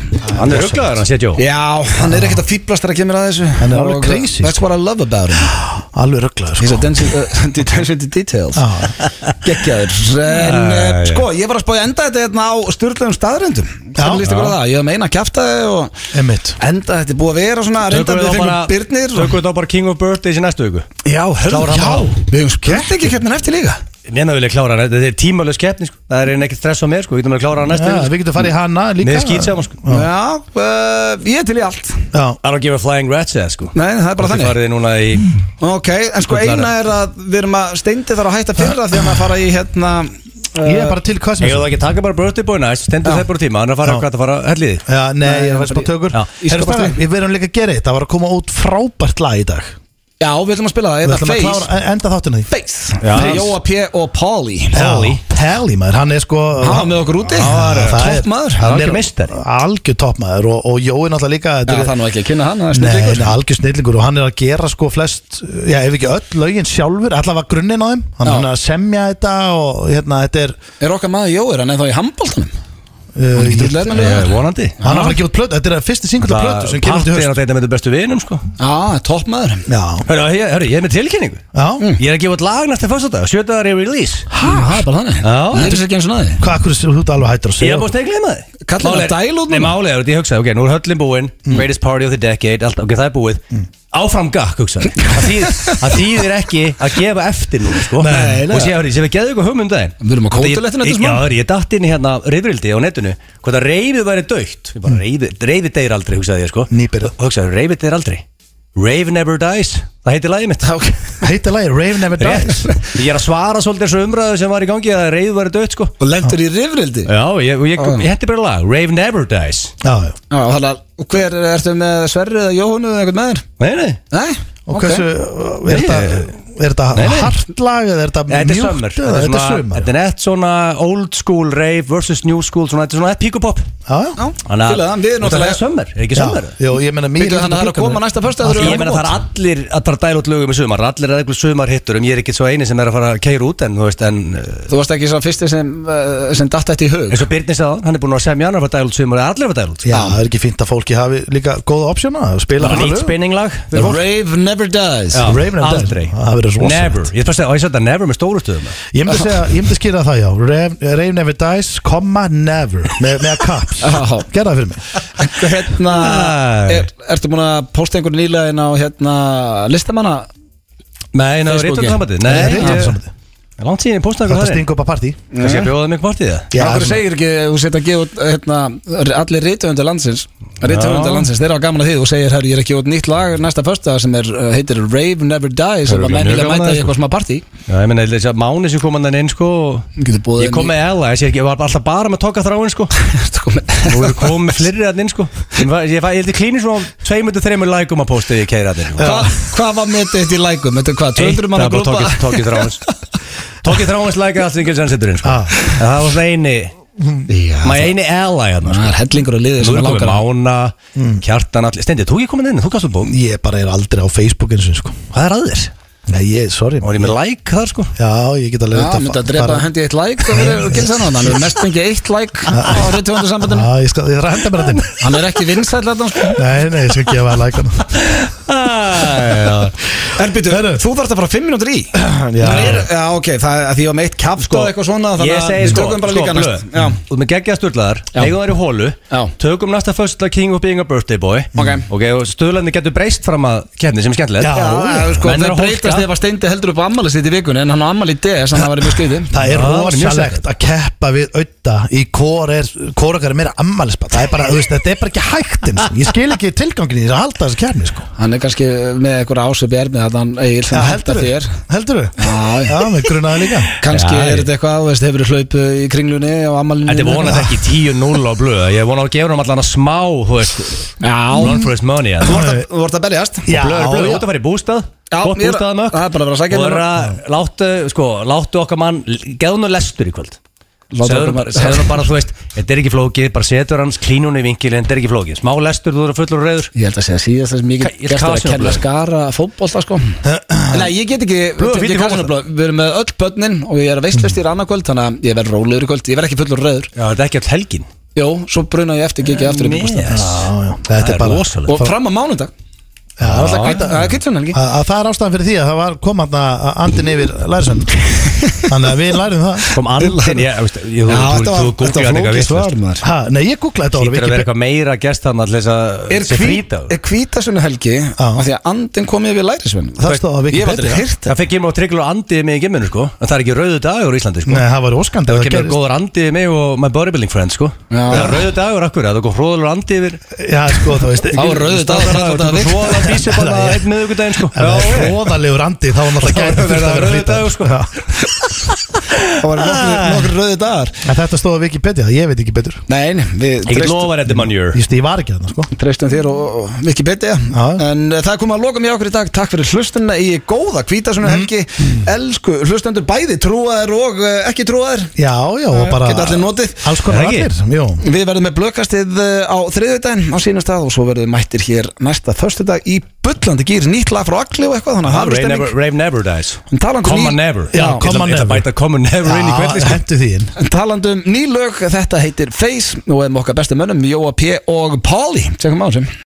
Speaker 2: Hann er huglaður, hann setjó
Speaker 1: Já, hann er ekkert að fýblast þegar að kemur að þessu
Speaker 3: Hann er alveg
Speaker 1: Og, uh,
Speaker 3: crazy,
Speaker 1: That's what I love about him
Speaker 3: Alveg rugglaður,
Speaker 1: He's
Speaker 3: sko
Speaker 1: attention, uh, attention to details
Speaker 3: Já.
Speaker 1: Gekkjaður En uh,
Speaker 2: Æ,
Speaker 1: sko, ég var að spáði enda þetta hérna á styrlegum staðrendum Hvernig líst ykkur á það? Ég hef meina að kjafta og
Speaker 3: Emmitt
Speaker 1: Enda þetta er búið að vera svona Reynda við fengum byrnir
Speaker 2: Tökum við þá bara King of Birthdays í næstu viku
Speaker 1: Já, hörðu, já Við hefum skemmt ekki hérna eftir líka
Speaker 2: Mér vil ég klára hann, þetta er tímalög skeppni sko. Það er einn ekkert stress á mér, sko. við getum að klára hann næstu
Speaker 3: Já,
Speaker 2: viku
Speaker 3: við getum farið í hana líka
Speaker 2: Með skýt saman sko.
Speaker 1: Já, uh, ég er til í allt
Speaker 3: Já,
Speaker 2: I don't give a flying rat's ass sko.
Speaker 1: Nei, það er bara
Speaker 2: Þið
Speaker 1: þannig
Speaker 2: farið núna í
Speaker 3: Mm.
Speaker 1: Ok, en sko
Speaker 2: Þú klarar
Speaker 1: eina er að við erum að steindi þar að hætta fyrra Þegar maður fara í hérna
Speaker 3: ég er bara til hvað sem
Speaker 2: Ég vil ekki taka bara birthday boy næst Stendur
Speaker 1: Já.
Speaker 2: þeir bara tíma, hann er að fara
Speaker 3: Já. Eh,
Speaker 2: hvað það fara helliði
Speaker 3: Já, nei, ég er að spá tökur
Speaker 2: Já,
Speaker 1: í
Speaker 3: Herra
Speaker 1: skapastri.
Speaker 3: Stefán, Við verðum líka að gera þetta, það var að koma út frábært lag í dag
Speaker 1: Já, við ætlum að spila það
Speaker 3: Við
Speaker 1: Þetta
Speaker 3: ætlum að
Speaker 1: er Face
Speaker 3: klára, enda þáttina því
Speaker 1: Face
Speaker 2: Já.
Speaker 1: Fyrir Jóa P. og Polly
Speaker 2: Pelli.
Speaker 3: Pelli Pelli maður, hann er sko
Speaker 1: Hann var með okkur úti
Speaker 3: Það eh, er- það er-
Speaker 1: Toppmaður
Speaker 2: hann er
Speaker 3: hann
Speaker 2: algjör meistari.
Speaker 3: Algjör toppmaður og, og Jói náttúrulega líka
Speaker 1: Já,
Speaker 3: þetta
Speaker 1: það
Speaker 3: er-
Speaker 1: er nú ekki að kynna hann það er
Speaker 3: Nei,
Speaker 1: snillingur.
Speaker 3: hann er algjör snillingur og hann er að gera sko flest Já, ef ekki öll lögin sjálfur Allavega grunninn á þeim Hann
Speaker 1: Já.
Speaker 3: hann er að semja þetta og hérna, þetta er
Speaker 1: Er okkar maður Jóir hann ennþá í handbóltanum?
Speaker 3: uh,
Speaker 1: er ekki
Speaker 3: ég-
Speaker 1: drullið með lög.
Speaker 2: Eh, Vonandi
Speaker 3: Hann er að fara að gefa út plötu Þetta er fyrsti singull af plötu sem kemur út í
Speaker 2: Patti er
Speaker 3: höst
Speaker 2: að deyta með þetta bestu vinum sko.
Speaker 1: Já, topp maður
Speaker 3: Já,
Speaker 2: Hörru, ég, hörru, ég er með tilkynningu
Speaker 3: já
Speaker 2: Ég er að gefa út lag næstu fyrstadag, sjötaðar í release
Speaker 1: Hæ? Það er bara þannig
Speaker 2: Já.
Speaker 1: Ég er þess ekki eins og næði
Speaker 3: Hvað, hverju þú ert alveg hættur að
Speaker 2: Ég
Speaker 3: segja
Speaker 2: er búin að stegla með þig
Speaker 1: Kallar Mm.
Speaker 2: Málið
Speaker 1: það
Speaker 2: er-
Speaker 1: dæl út
Speaker 2: Nei,
Speaker 1: núna?
Speaker 2: málið er, ég hugsaði, ok, nú er höllin búin Greatest party of the decade, allt, ok, það er búið
Speaker 1: Mm.
Speaker 2: Áfram gakk, hugsaði ég. Það þýðir, það þýðir ekki að gefa eftir nú, sko
Speaker 1: Nei, nei.
Speaker 2: Og sé, hörru, ég sé við um geðu ykkur hugmyndaðin
Speaker 1: Við erum á kótulettin þetta
Speaker 2: smá Já,
Speaker 1: smá
Speaker 2: hörru, ég datt inn í hérna reyfrildi á netinu Hvort að reyfið væri dögt Ég bara, reyfið, reyfið deyr aldrei, hugsaði ég, sko
Speaker 1: Mm.
Speaker 3: Nýbyrjuð.
Speaker 2: Og Hugsaði, reyfið deyr aldrei Rave never dies, það heitir lagið mitt okay.
Speaker 3: Heita lagi Rave Never Dies
Speaker 2: Ég er að svara svolítið þessu umræðu sem var í gangi að reyfið væri dögt, sko
Speaker 1: Og lendur í rifrildi Já,
Speaker 2: Já, ég, ég, ég,
Speaker 1: Já.
Speaker 2: ég hendi bara lag Rave never dies
Speaker 3: Já, já
Speaker 1: þannig að og Hver er- ertu með Sverri eða Jóhannu eða eitthvað með þér?
Speaker 2: Nei, nei
Speaker 1: Nei?
Speaker 3: Og
Speaker 1: ok.
Speaker 3: hversu, er þetta er
Speaker 2: Nei,
Speaker 3: þetta
Speaker 2: nei.
Speaker 3: hartlag eða er þetta
Speaker 2: Nei, Þetta er
Speaker 3: mjúkt
Speaker 2: sömmer
Speaker 3: eða
Speaker 2: Þetta er
Speaker 3: þetta er
Speaker 2: svona-
Speaker 3: sömmer
Speaker 2: þetta er nett svona old school rave versus new school svona, Þetta er svona nett píkupop
Speaker 3: Já, já.
Speaker 1: Já, fylgðu það, við
Speaker 2: Þetta er
Speaker 1: náttúrulega
Speaker 2: sömmer, er ekki
Speaker 3: Já,
Speaker 2: sömmer?
Speaker 3: já, ég meina mér
Speaker 1: Bíddu, þannig að það er að koma næsta föstudag, þeir eru
Speaker 2: Ég meina það er allir að fara að dæla út lögum í sumar Allir er eitthvað sumar hittur um ég er ekki svo eini sem er að fara að keira út En þú veist, en eh,
Speaker 1: Þú varst ekki svo fyrsti sem, uh, sem datt þetta í hug
Speaker 2: eins og Birnir sagði, hann er búin að semja hann að fara að dæla út sumar Allir er að fara að dæla út
Speaker 3: Já, það er ekki fínt að fólki hafi líka góða opsjóna Spila
Speaker 2: Bara
Speaker 3: hana
Speaker 2: nýtt
Speaker 3: lög.
Speaker 2: spinninglag
Speaker 1: The rave never dies
Speaker 2: Já,
Speaker 3: Raven and Dead.
Speaker 2: aldrei
Speaker 3: Það verður rosalegt.
Speaker 2: Never, ég þarf að segja, og ég sagði þetta never með stóru stöðum
Speaker 3: Ég myndi segja, ég myndi skýra það já Rave, rave Never Dies, komma never með, með kaps,
Speaker 1: Já.
Speaker 3: gerða það fyrir mig
Speaker 1: En Hérna,
Speaker 2: Nei.
Speaker 1: er, ertu búin að posta einhvern nýlega inn á hérna, listamanna?
Speaker 2: Nei, ná,
Speaker 1: Facebooki.
Speaker 2: reytum sambandi
Speaker 3: Nei,
Speaker 2: Nei,
Speaker 3: rithöfundasambandið.
Speaker 2: ég- langt síðan ég postaði
Speaker 3: Þetta
Speaker 2: eitthvað
Speaker 3: er
Speaker 2: þar
Speaker 3: stingu upp að partí
Speaker 2: Kannski að bjóða mig partí það
Speaker 1: Já, Akkur segir ekki, þú setja að gefa út hérna, allir reytöfundar landsins reytöfundar landsins, þeir hafa gaman að því þú segir, herru, ég er ekki út nýtt lag næsta föstudag sem er, uh, heitir Rave Never Die sem
Speaker 2: Hörru,
Speaker 1: að menn
Speaker 2: mjög
Speaker 1: vilja
Speaker 2: gaman
Speaker 1: mæta í
Speaker 2: að þessu.
Speaker 1: eitthvað smá partí
Speaker 2: Já, ég meina, þessi að mánu sem kom hann inn, sko og-
Speaker 1: Getur boðið
Speaker 2: Ég kom
Speaker 1: inn
Speaker 2: með Ella, ég, sé ekki, ég var alltaf bara með tóka þráin, sko Nú erum komið með flirri hann inn, sko Ég var- ég var- ég held ég klínir svona 2-3 lækum að posta í keira hann
Speaker 1: Hva, Hvað var metið þetta í lækum? Þetta er hvað, 200 manna grúpa?
Speaker 2: Tóki þráin Tóki þráin lækir allt sem hann setur inn, sko
Speaker 3: Ah.
Speaker 2: En Það var svona eini
Speaker 1: Já,
Speaker 2: Maður eini Ella hérna,
Speaker 1: það
Speaker 2: sko
Speaker 1: er hellingur að liði
Speaker 2: Nú
Speaker 1: sem er
Speaker 2: erum komið
Speaker 1: langar að- Mm.
Speaker 2: Mána, Kjartan, allir Stendi, þú ekki komin inn, þú kastum bók
Speaker 3: Ég bara er aldrei á Facebook eins og eins, sko
Speaker 2: Hvað er að þér?
Speaker 3: Nei, ég, sorry
Speaker 2: Og er ég með like þar sko
Speaker 3: Já, ég get alveg
Speaker 1: Já,
Speaker 3: reynt að
Speaker 1: myndi
Speaker 3: fa-
Speaker 1: að drepa
Speaker 3: fara-
Speaker 1: hendi eitt like og verið og gera þannig Hann er mest fengið eitt like á reyndtöfundarsambandinu
Speaker 3: Já, ég skal, ég þarf að henda mér þetta inn.
Speaker 1: Hann er ekki vinsæll þetta sko
Speaker 3: Nei, nei, ég skal gefa að like hana
Speaker 2: Ah,
Speaker 1: Erbítu, þú þarft að fara 5 mínútur í
Speaker 3: Já.
Speaker 1: Það er, já ok, það er því að meitt kjaft og eitthvað svona
Speaker 2: Sko, Ég
Speaker 1: Þannig að
Speaker 2: segi
Speaker 1: við
Speaker 2: sko,
Speaker 1: tökum bara
Speaker 2: sko,
Speaker 1: líka
Speaker 2: blöð
Speaker 1: næst Já,
Speaker 2: Þú með geggjað sturlaðar, eigum þær í hólu
Speaker 1: Já.
Speaker 2: Tökum næsta föstudag King of Being a Birthday Boy
Speaker 1: Ok.
Speaker 2: Ok, og stöðlandi getur breyst fram að kefni sem er skemmtilegt
Speaker 3: Já.
Speaker 1: já sko,
Speaker 2: Menn eru
Speaker 1: það
Speaker 2: að hólka.
Speaker 1: breytast ef að Steindi heldur upp ammali sitt í vikunni En hann á ammali í DS, þannig að það væri mjög skriði
Speaker 3: Það er
Speaker 2: Já, það er mjög
Speaker 3: rosalegt að keppa við auða í hvor er, hvor okkar er meira ammælisbað það er bara, þú veist, þetta er bara ekki hægt eins og ég skil ekki tilgangin í þess að halda þessu kjarni sko.
Speaker 1: Hann er kannski með einhverja ásöp í ermið að hann eigil sem henda þér
Speaker 3: heldur þú?
Speaker 1: Já, já.
Speaker 3: Já, með grunaði líka
Speaker 1: Kannski
Speaker 2: Já,
Speaker 1: er þetta eitthvað, þú veist, hefur hlaupu í kringlunni á ammalinu
Speaker 2: Þetta er vonað ekki 10-0 á blöð Ég vona að gefa hann allan að smá, þú veist
Speaker 1: Já,
Speaker 2: Run for his money eða.
Speaker 1: þú ert að- þú ert að berjast
Speaker 3: Já,
Speaker 2: Blöð er blöð,
Speaker 3: já.
Speaker 2: út að fara í bústað
Speaker 1: Já,
Speaker 2: Gott
Speaker 1: ég er-
Speaker 2: bústað mökk
Speaker 1: það er bara að vera að sækja
Speaker 2: Og
Speaker 1: mér.
Speaker 2: er að láttu, sko, láttu okkar mann Geðu nú lestur í kvöld
Speaker 1: Láttu
Speaker 2: Segðu
Speaker 1: okkar
Speaker 2: nú bara,
Speaker 1: mann-
Speaker 2: segðu nú bara, þú veist Þetta er ekki flókið, bara setur hans klínunni í vinkil Þetta er ekki flókið, smá lestur, þú eru fullur og reyður
Speaker 1: Ég held að segja síðast þess mikið
Speaker 2: Ka- ég
Speaker 1: gert er að
Speaker 2: kasinu
Speaker 1: kenna
Speaker 2: blöð.
Speaker 1: skara fótbolta sko Nei, ég get ekki
Speaker 2: Blöð,
Speaker 1: ég-
Speaker 2: fínt í
Speaker 1: ég kasinu
Speaker 2: fótbolta.
Speaker 1: blöð. Við erum með öll börnin og ég er að veistlustýra annað kvöld þannig að ég verð rólegur í kvöld, ég verð ekki fullur rauður
Speaker 2: Já, þetta er ekki all helgin
Speaker 1: Jó, svo bruna ég eftir gikið aftur upp í bústað
Speaker 2: Yes.
Speaker 3: Já, já, þetta er bara
Speaker 2: rosalegt.
Speaker 1: Og fram á mánudag, það er
Speaker 3: Já, alltaf
Speaker 1: alltaf
Speaker 3: kvitt-
Speaker 1: kvitt- það er kvitsun helgi
Speaker 3: að, að það er ástæðan fyrir því að það var kom hann að andin yfir lærisönd þannig að við lærum það
Speaker 2: Kom andin, ég, veist, ég, þú, þú, þú googlaði hann eitthvað vitlaust.
Speaker 1: maður
Speaker 3: ha, Nei, ég googlaði þetta
Speaker 2: Hlýtur að vera
Speaker 3: Wikipedia.
Speaker 2: eitthvað meira gest hann alltaf
Speaker 1: Er,
Speaker 2: þess að
Speaker 1: hví,
Speaker 2: frýta
Speaker 1: er hvítasunni helgi af því að andin komið við lærisvinn
Speaker 3: Það stóð á
Speaker 1: Ég hef aldrei
Speaker 3: Wikipedia.
Speaker 1: hýrt
Speaker 2: Það fekk ég mér á trygglu og andið mig í gimminu sko En það er ekki rauðu dagur í Íslandi sko
Speaker 3: Nei, það var óskandi
Speaker 2: Það
Speaker 3: að
Speaker 2: kemur
Speaker 3: gerðist.
Speaker 2: góður andið mig og my bodybuilding friend sko
Speaker 1: Já.
Speaker 2: Það er rauðu dagur akkur, það er góð hróðalur andið yfir
Speaker 3: Já, sko, þú veist
Speaker 1: Þá er rauður dagur
Speaker 2: Það er
Speaker 1: allan dag.
Speaker 2: hróðalur bísið bara einn miðugudaginn sko
Speaker 3: Það er
Speaker 2: Já,
Speaker 3: hróðalegur andi, þá var
Speaker 2: Það
Speaker 3: náttúrulega gæti
Speaker 2: var
Speaker 3: þurft að vera
Speaker 2: rauður
Speaker 3: flýtaður.
Speaker 2: dagur, sko.
Speaker 3: Já.
Speaker 1: Það var nokkur rauði dagar
Speaker 2: sko.
Speaker 3: En þetta stóð á Wikipedia, ég veit ekki betur
Speaker 1: Nei, nei, við
Speaker 2: Ég get
Speaker 1: treystum-
Speaker 2: lofa þetta manjur
Speaker 3: Ég veist, ég var ekki þarna, sko
Speaker 1: Treystum þér og, og mikið betið
Speaker 3: Já.
Speaker 1: En eh, það er komið að loka mér okkur í dag Takk fyrir hlustunna í góða hvítasunni
Speaker 2: Mhm.
Speaker 1: helgi Elsku hlustendur bæði trúaðir og eh, ekki trúaðir
Speaker 3: Já, já, og bara
Speaker 1: Geta allir notið
Speaker 3: Alls konar
Speaker 2: Er það
Speaker 3: allir, jú
Speaker 1: Við verðum með blökastið eh, á þriðjudaginn á sínum stað og svo verðum við mættir hér næsta föstudag í bullandi gýr nýtt lag frá Agli og eitthvað þannig að hafa
Speaker 2: Rave never,
Speaker 1: stemming
Speaker 2: rave never dies
Speaker 1: En talandi um
Speaker 2: Comma
Speaker 1: ný-
Speaker 2: never
Speaker 3: Já,
Speaker 2: Ég ætla-
Speaker 3: comma
Speaker 2: Ég ætla
Speaker 3: never.
Speaker 2: að bæta comma never inn í kveldi
Speaker 3: Já,
Speaker 2: sko
Speaker 3: hentu því inn
Speaker 1: En talandi um ný lög, þetta heitir Face og er með okkar bestu mönnum Jóa P. og Páli Tjekkum á þessum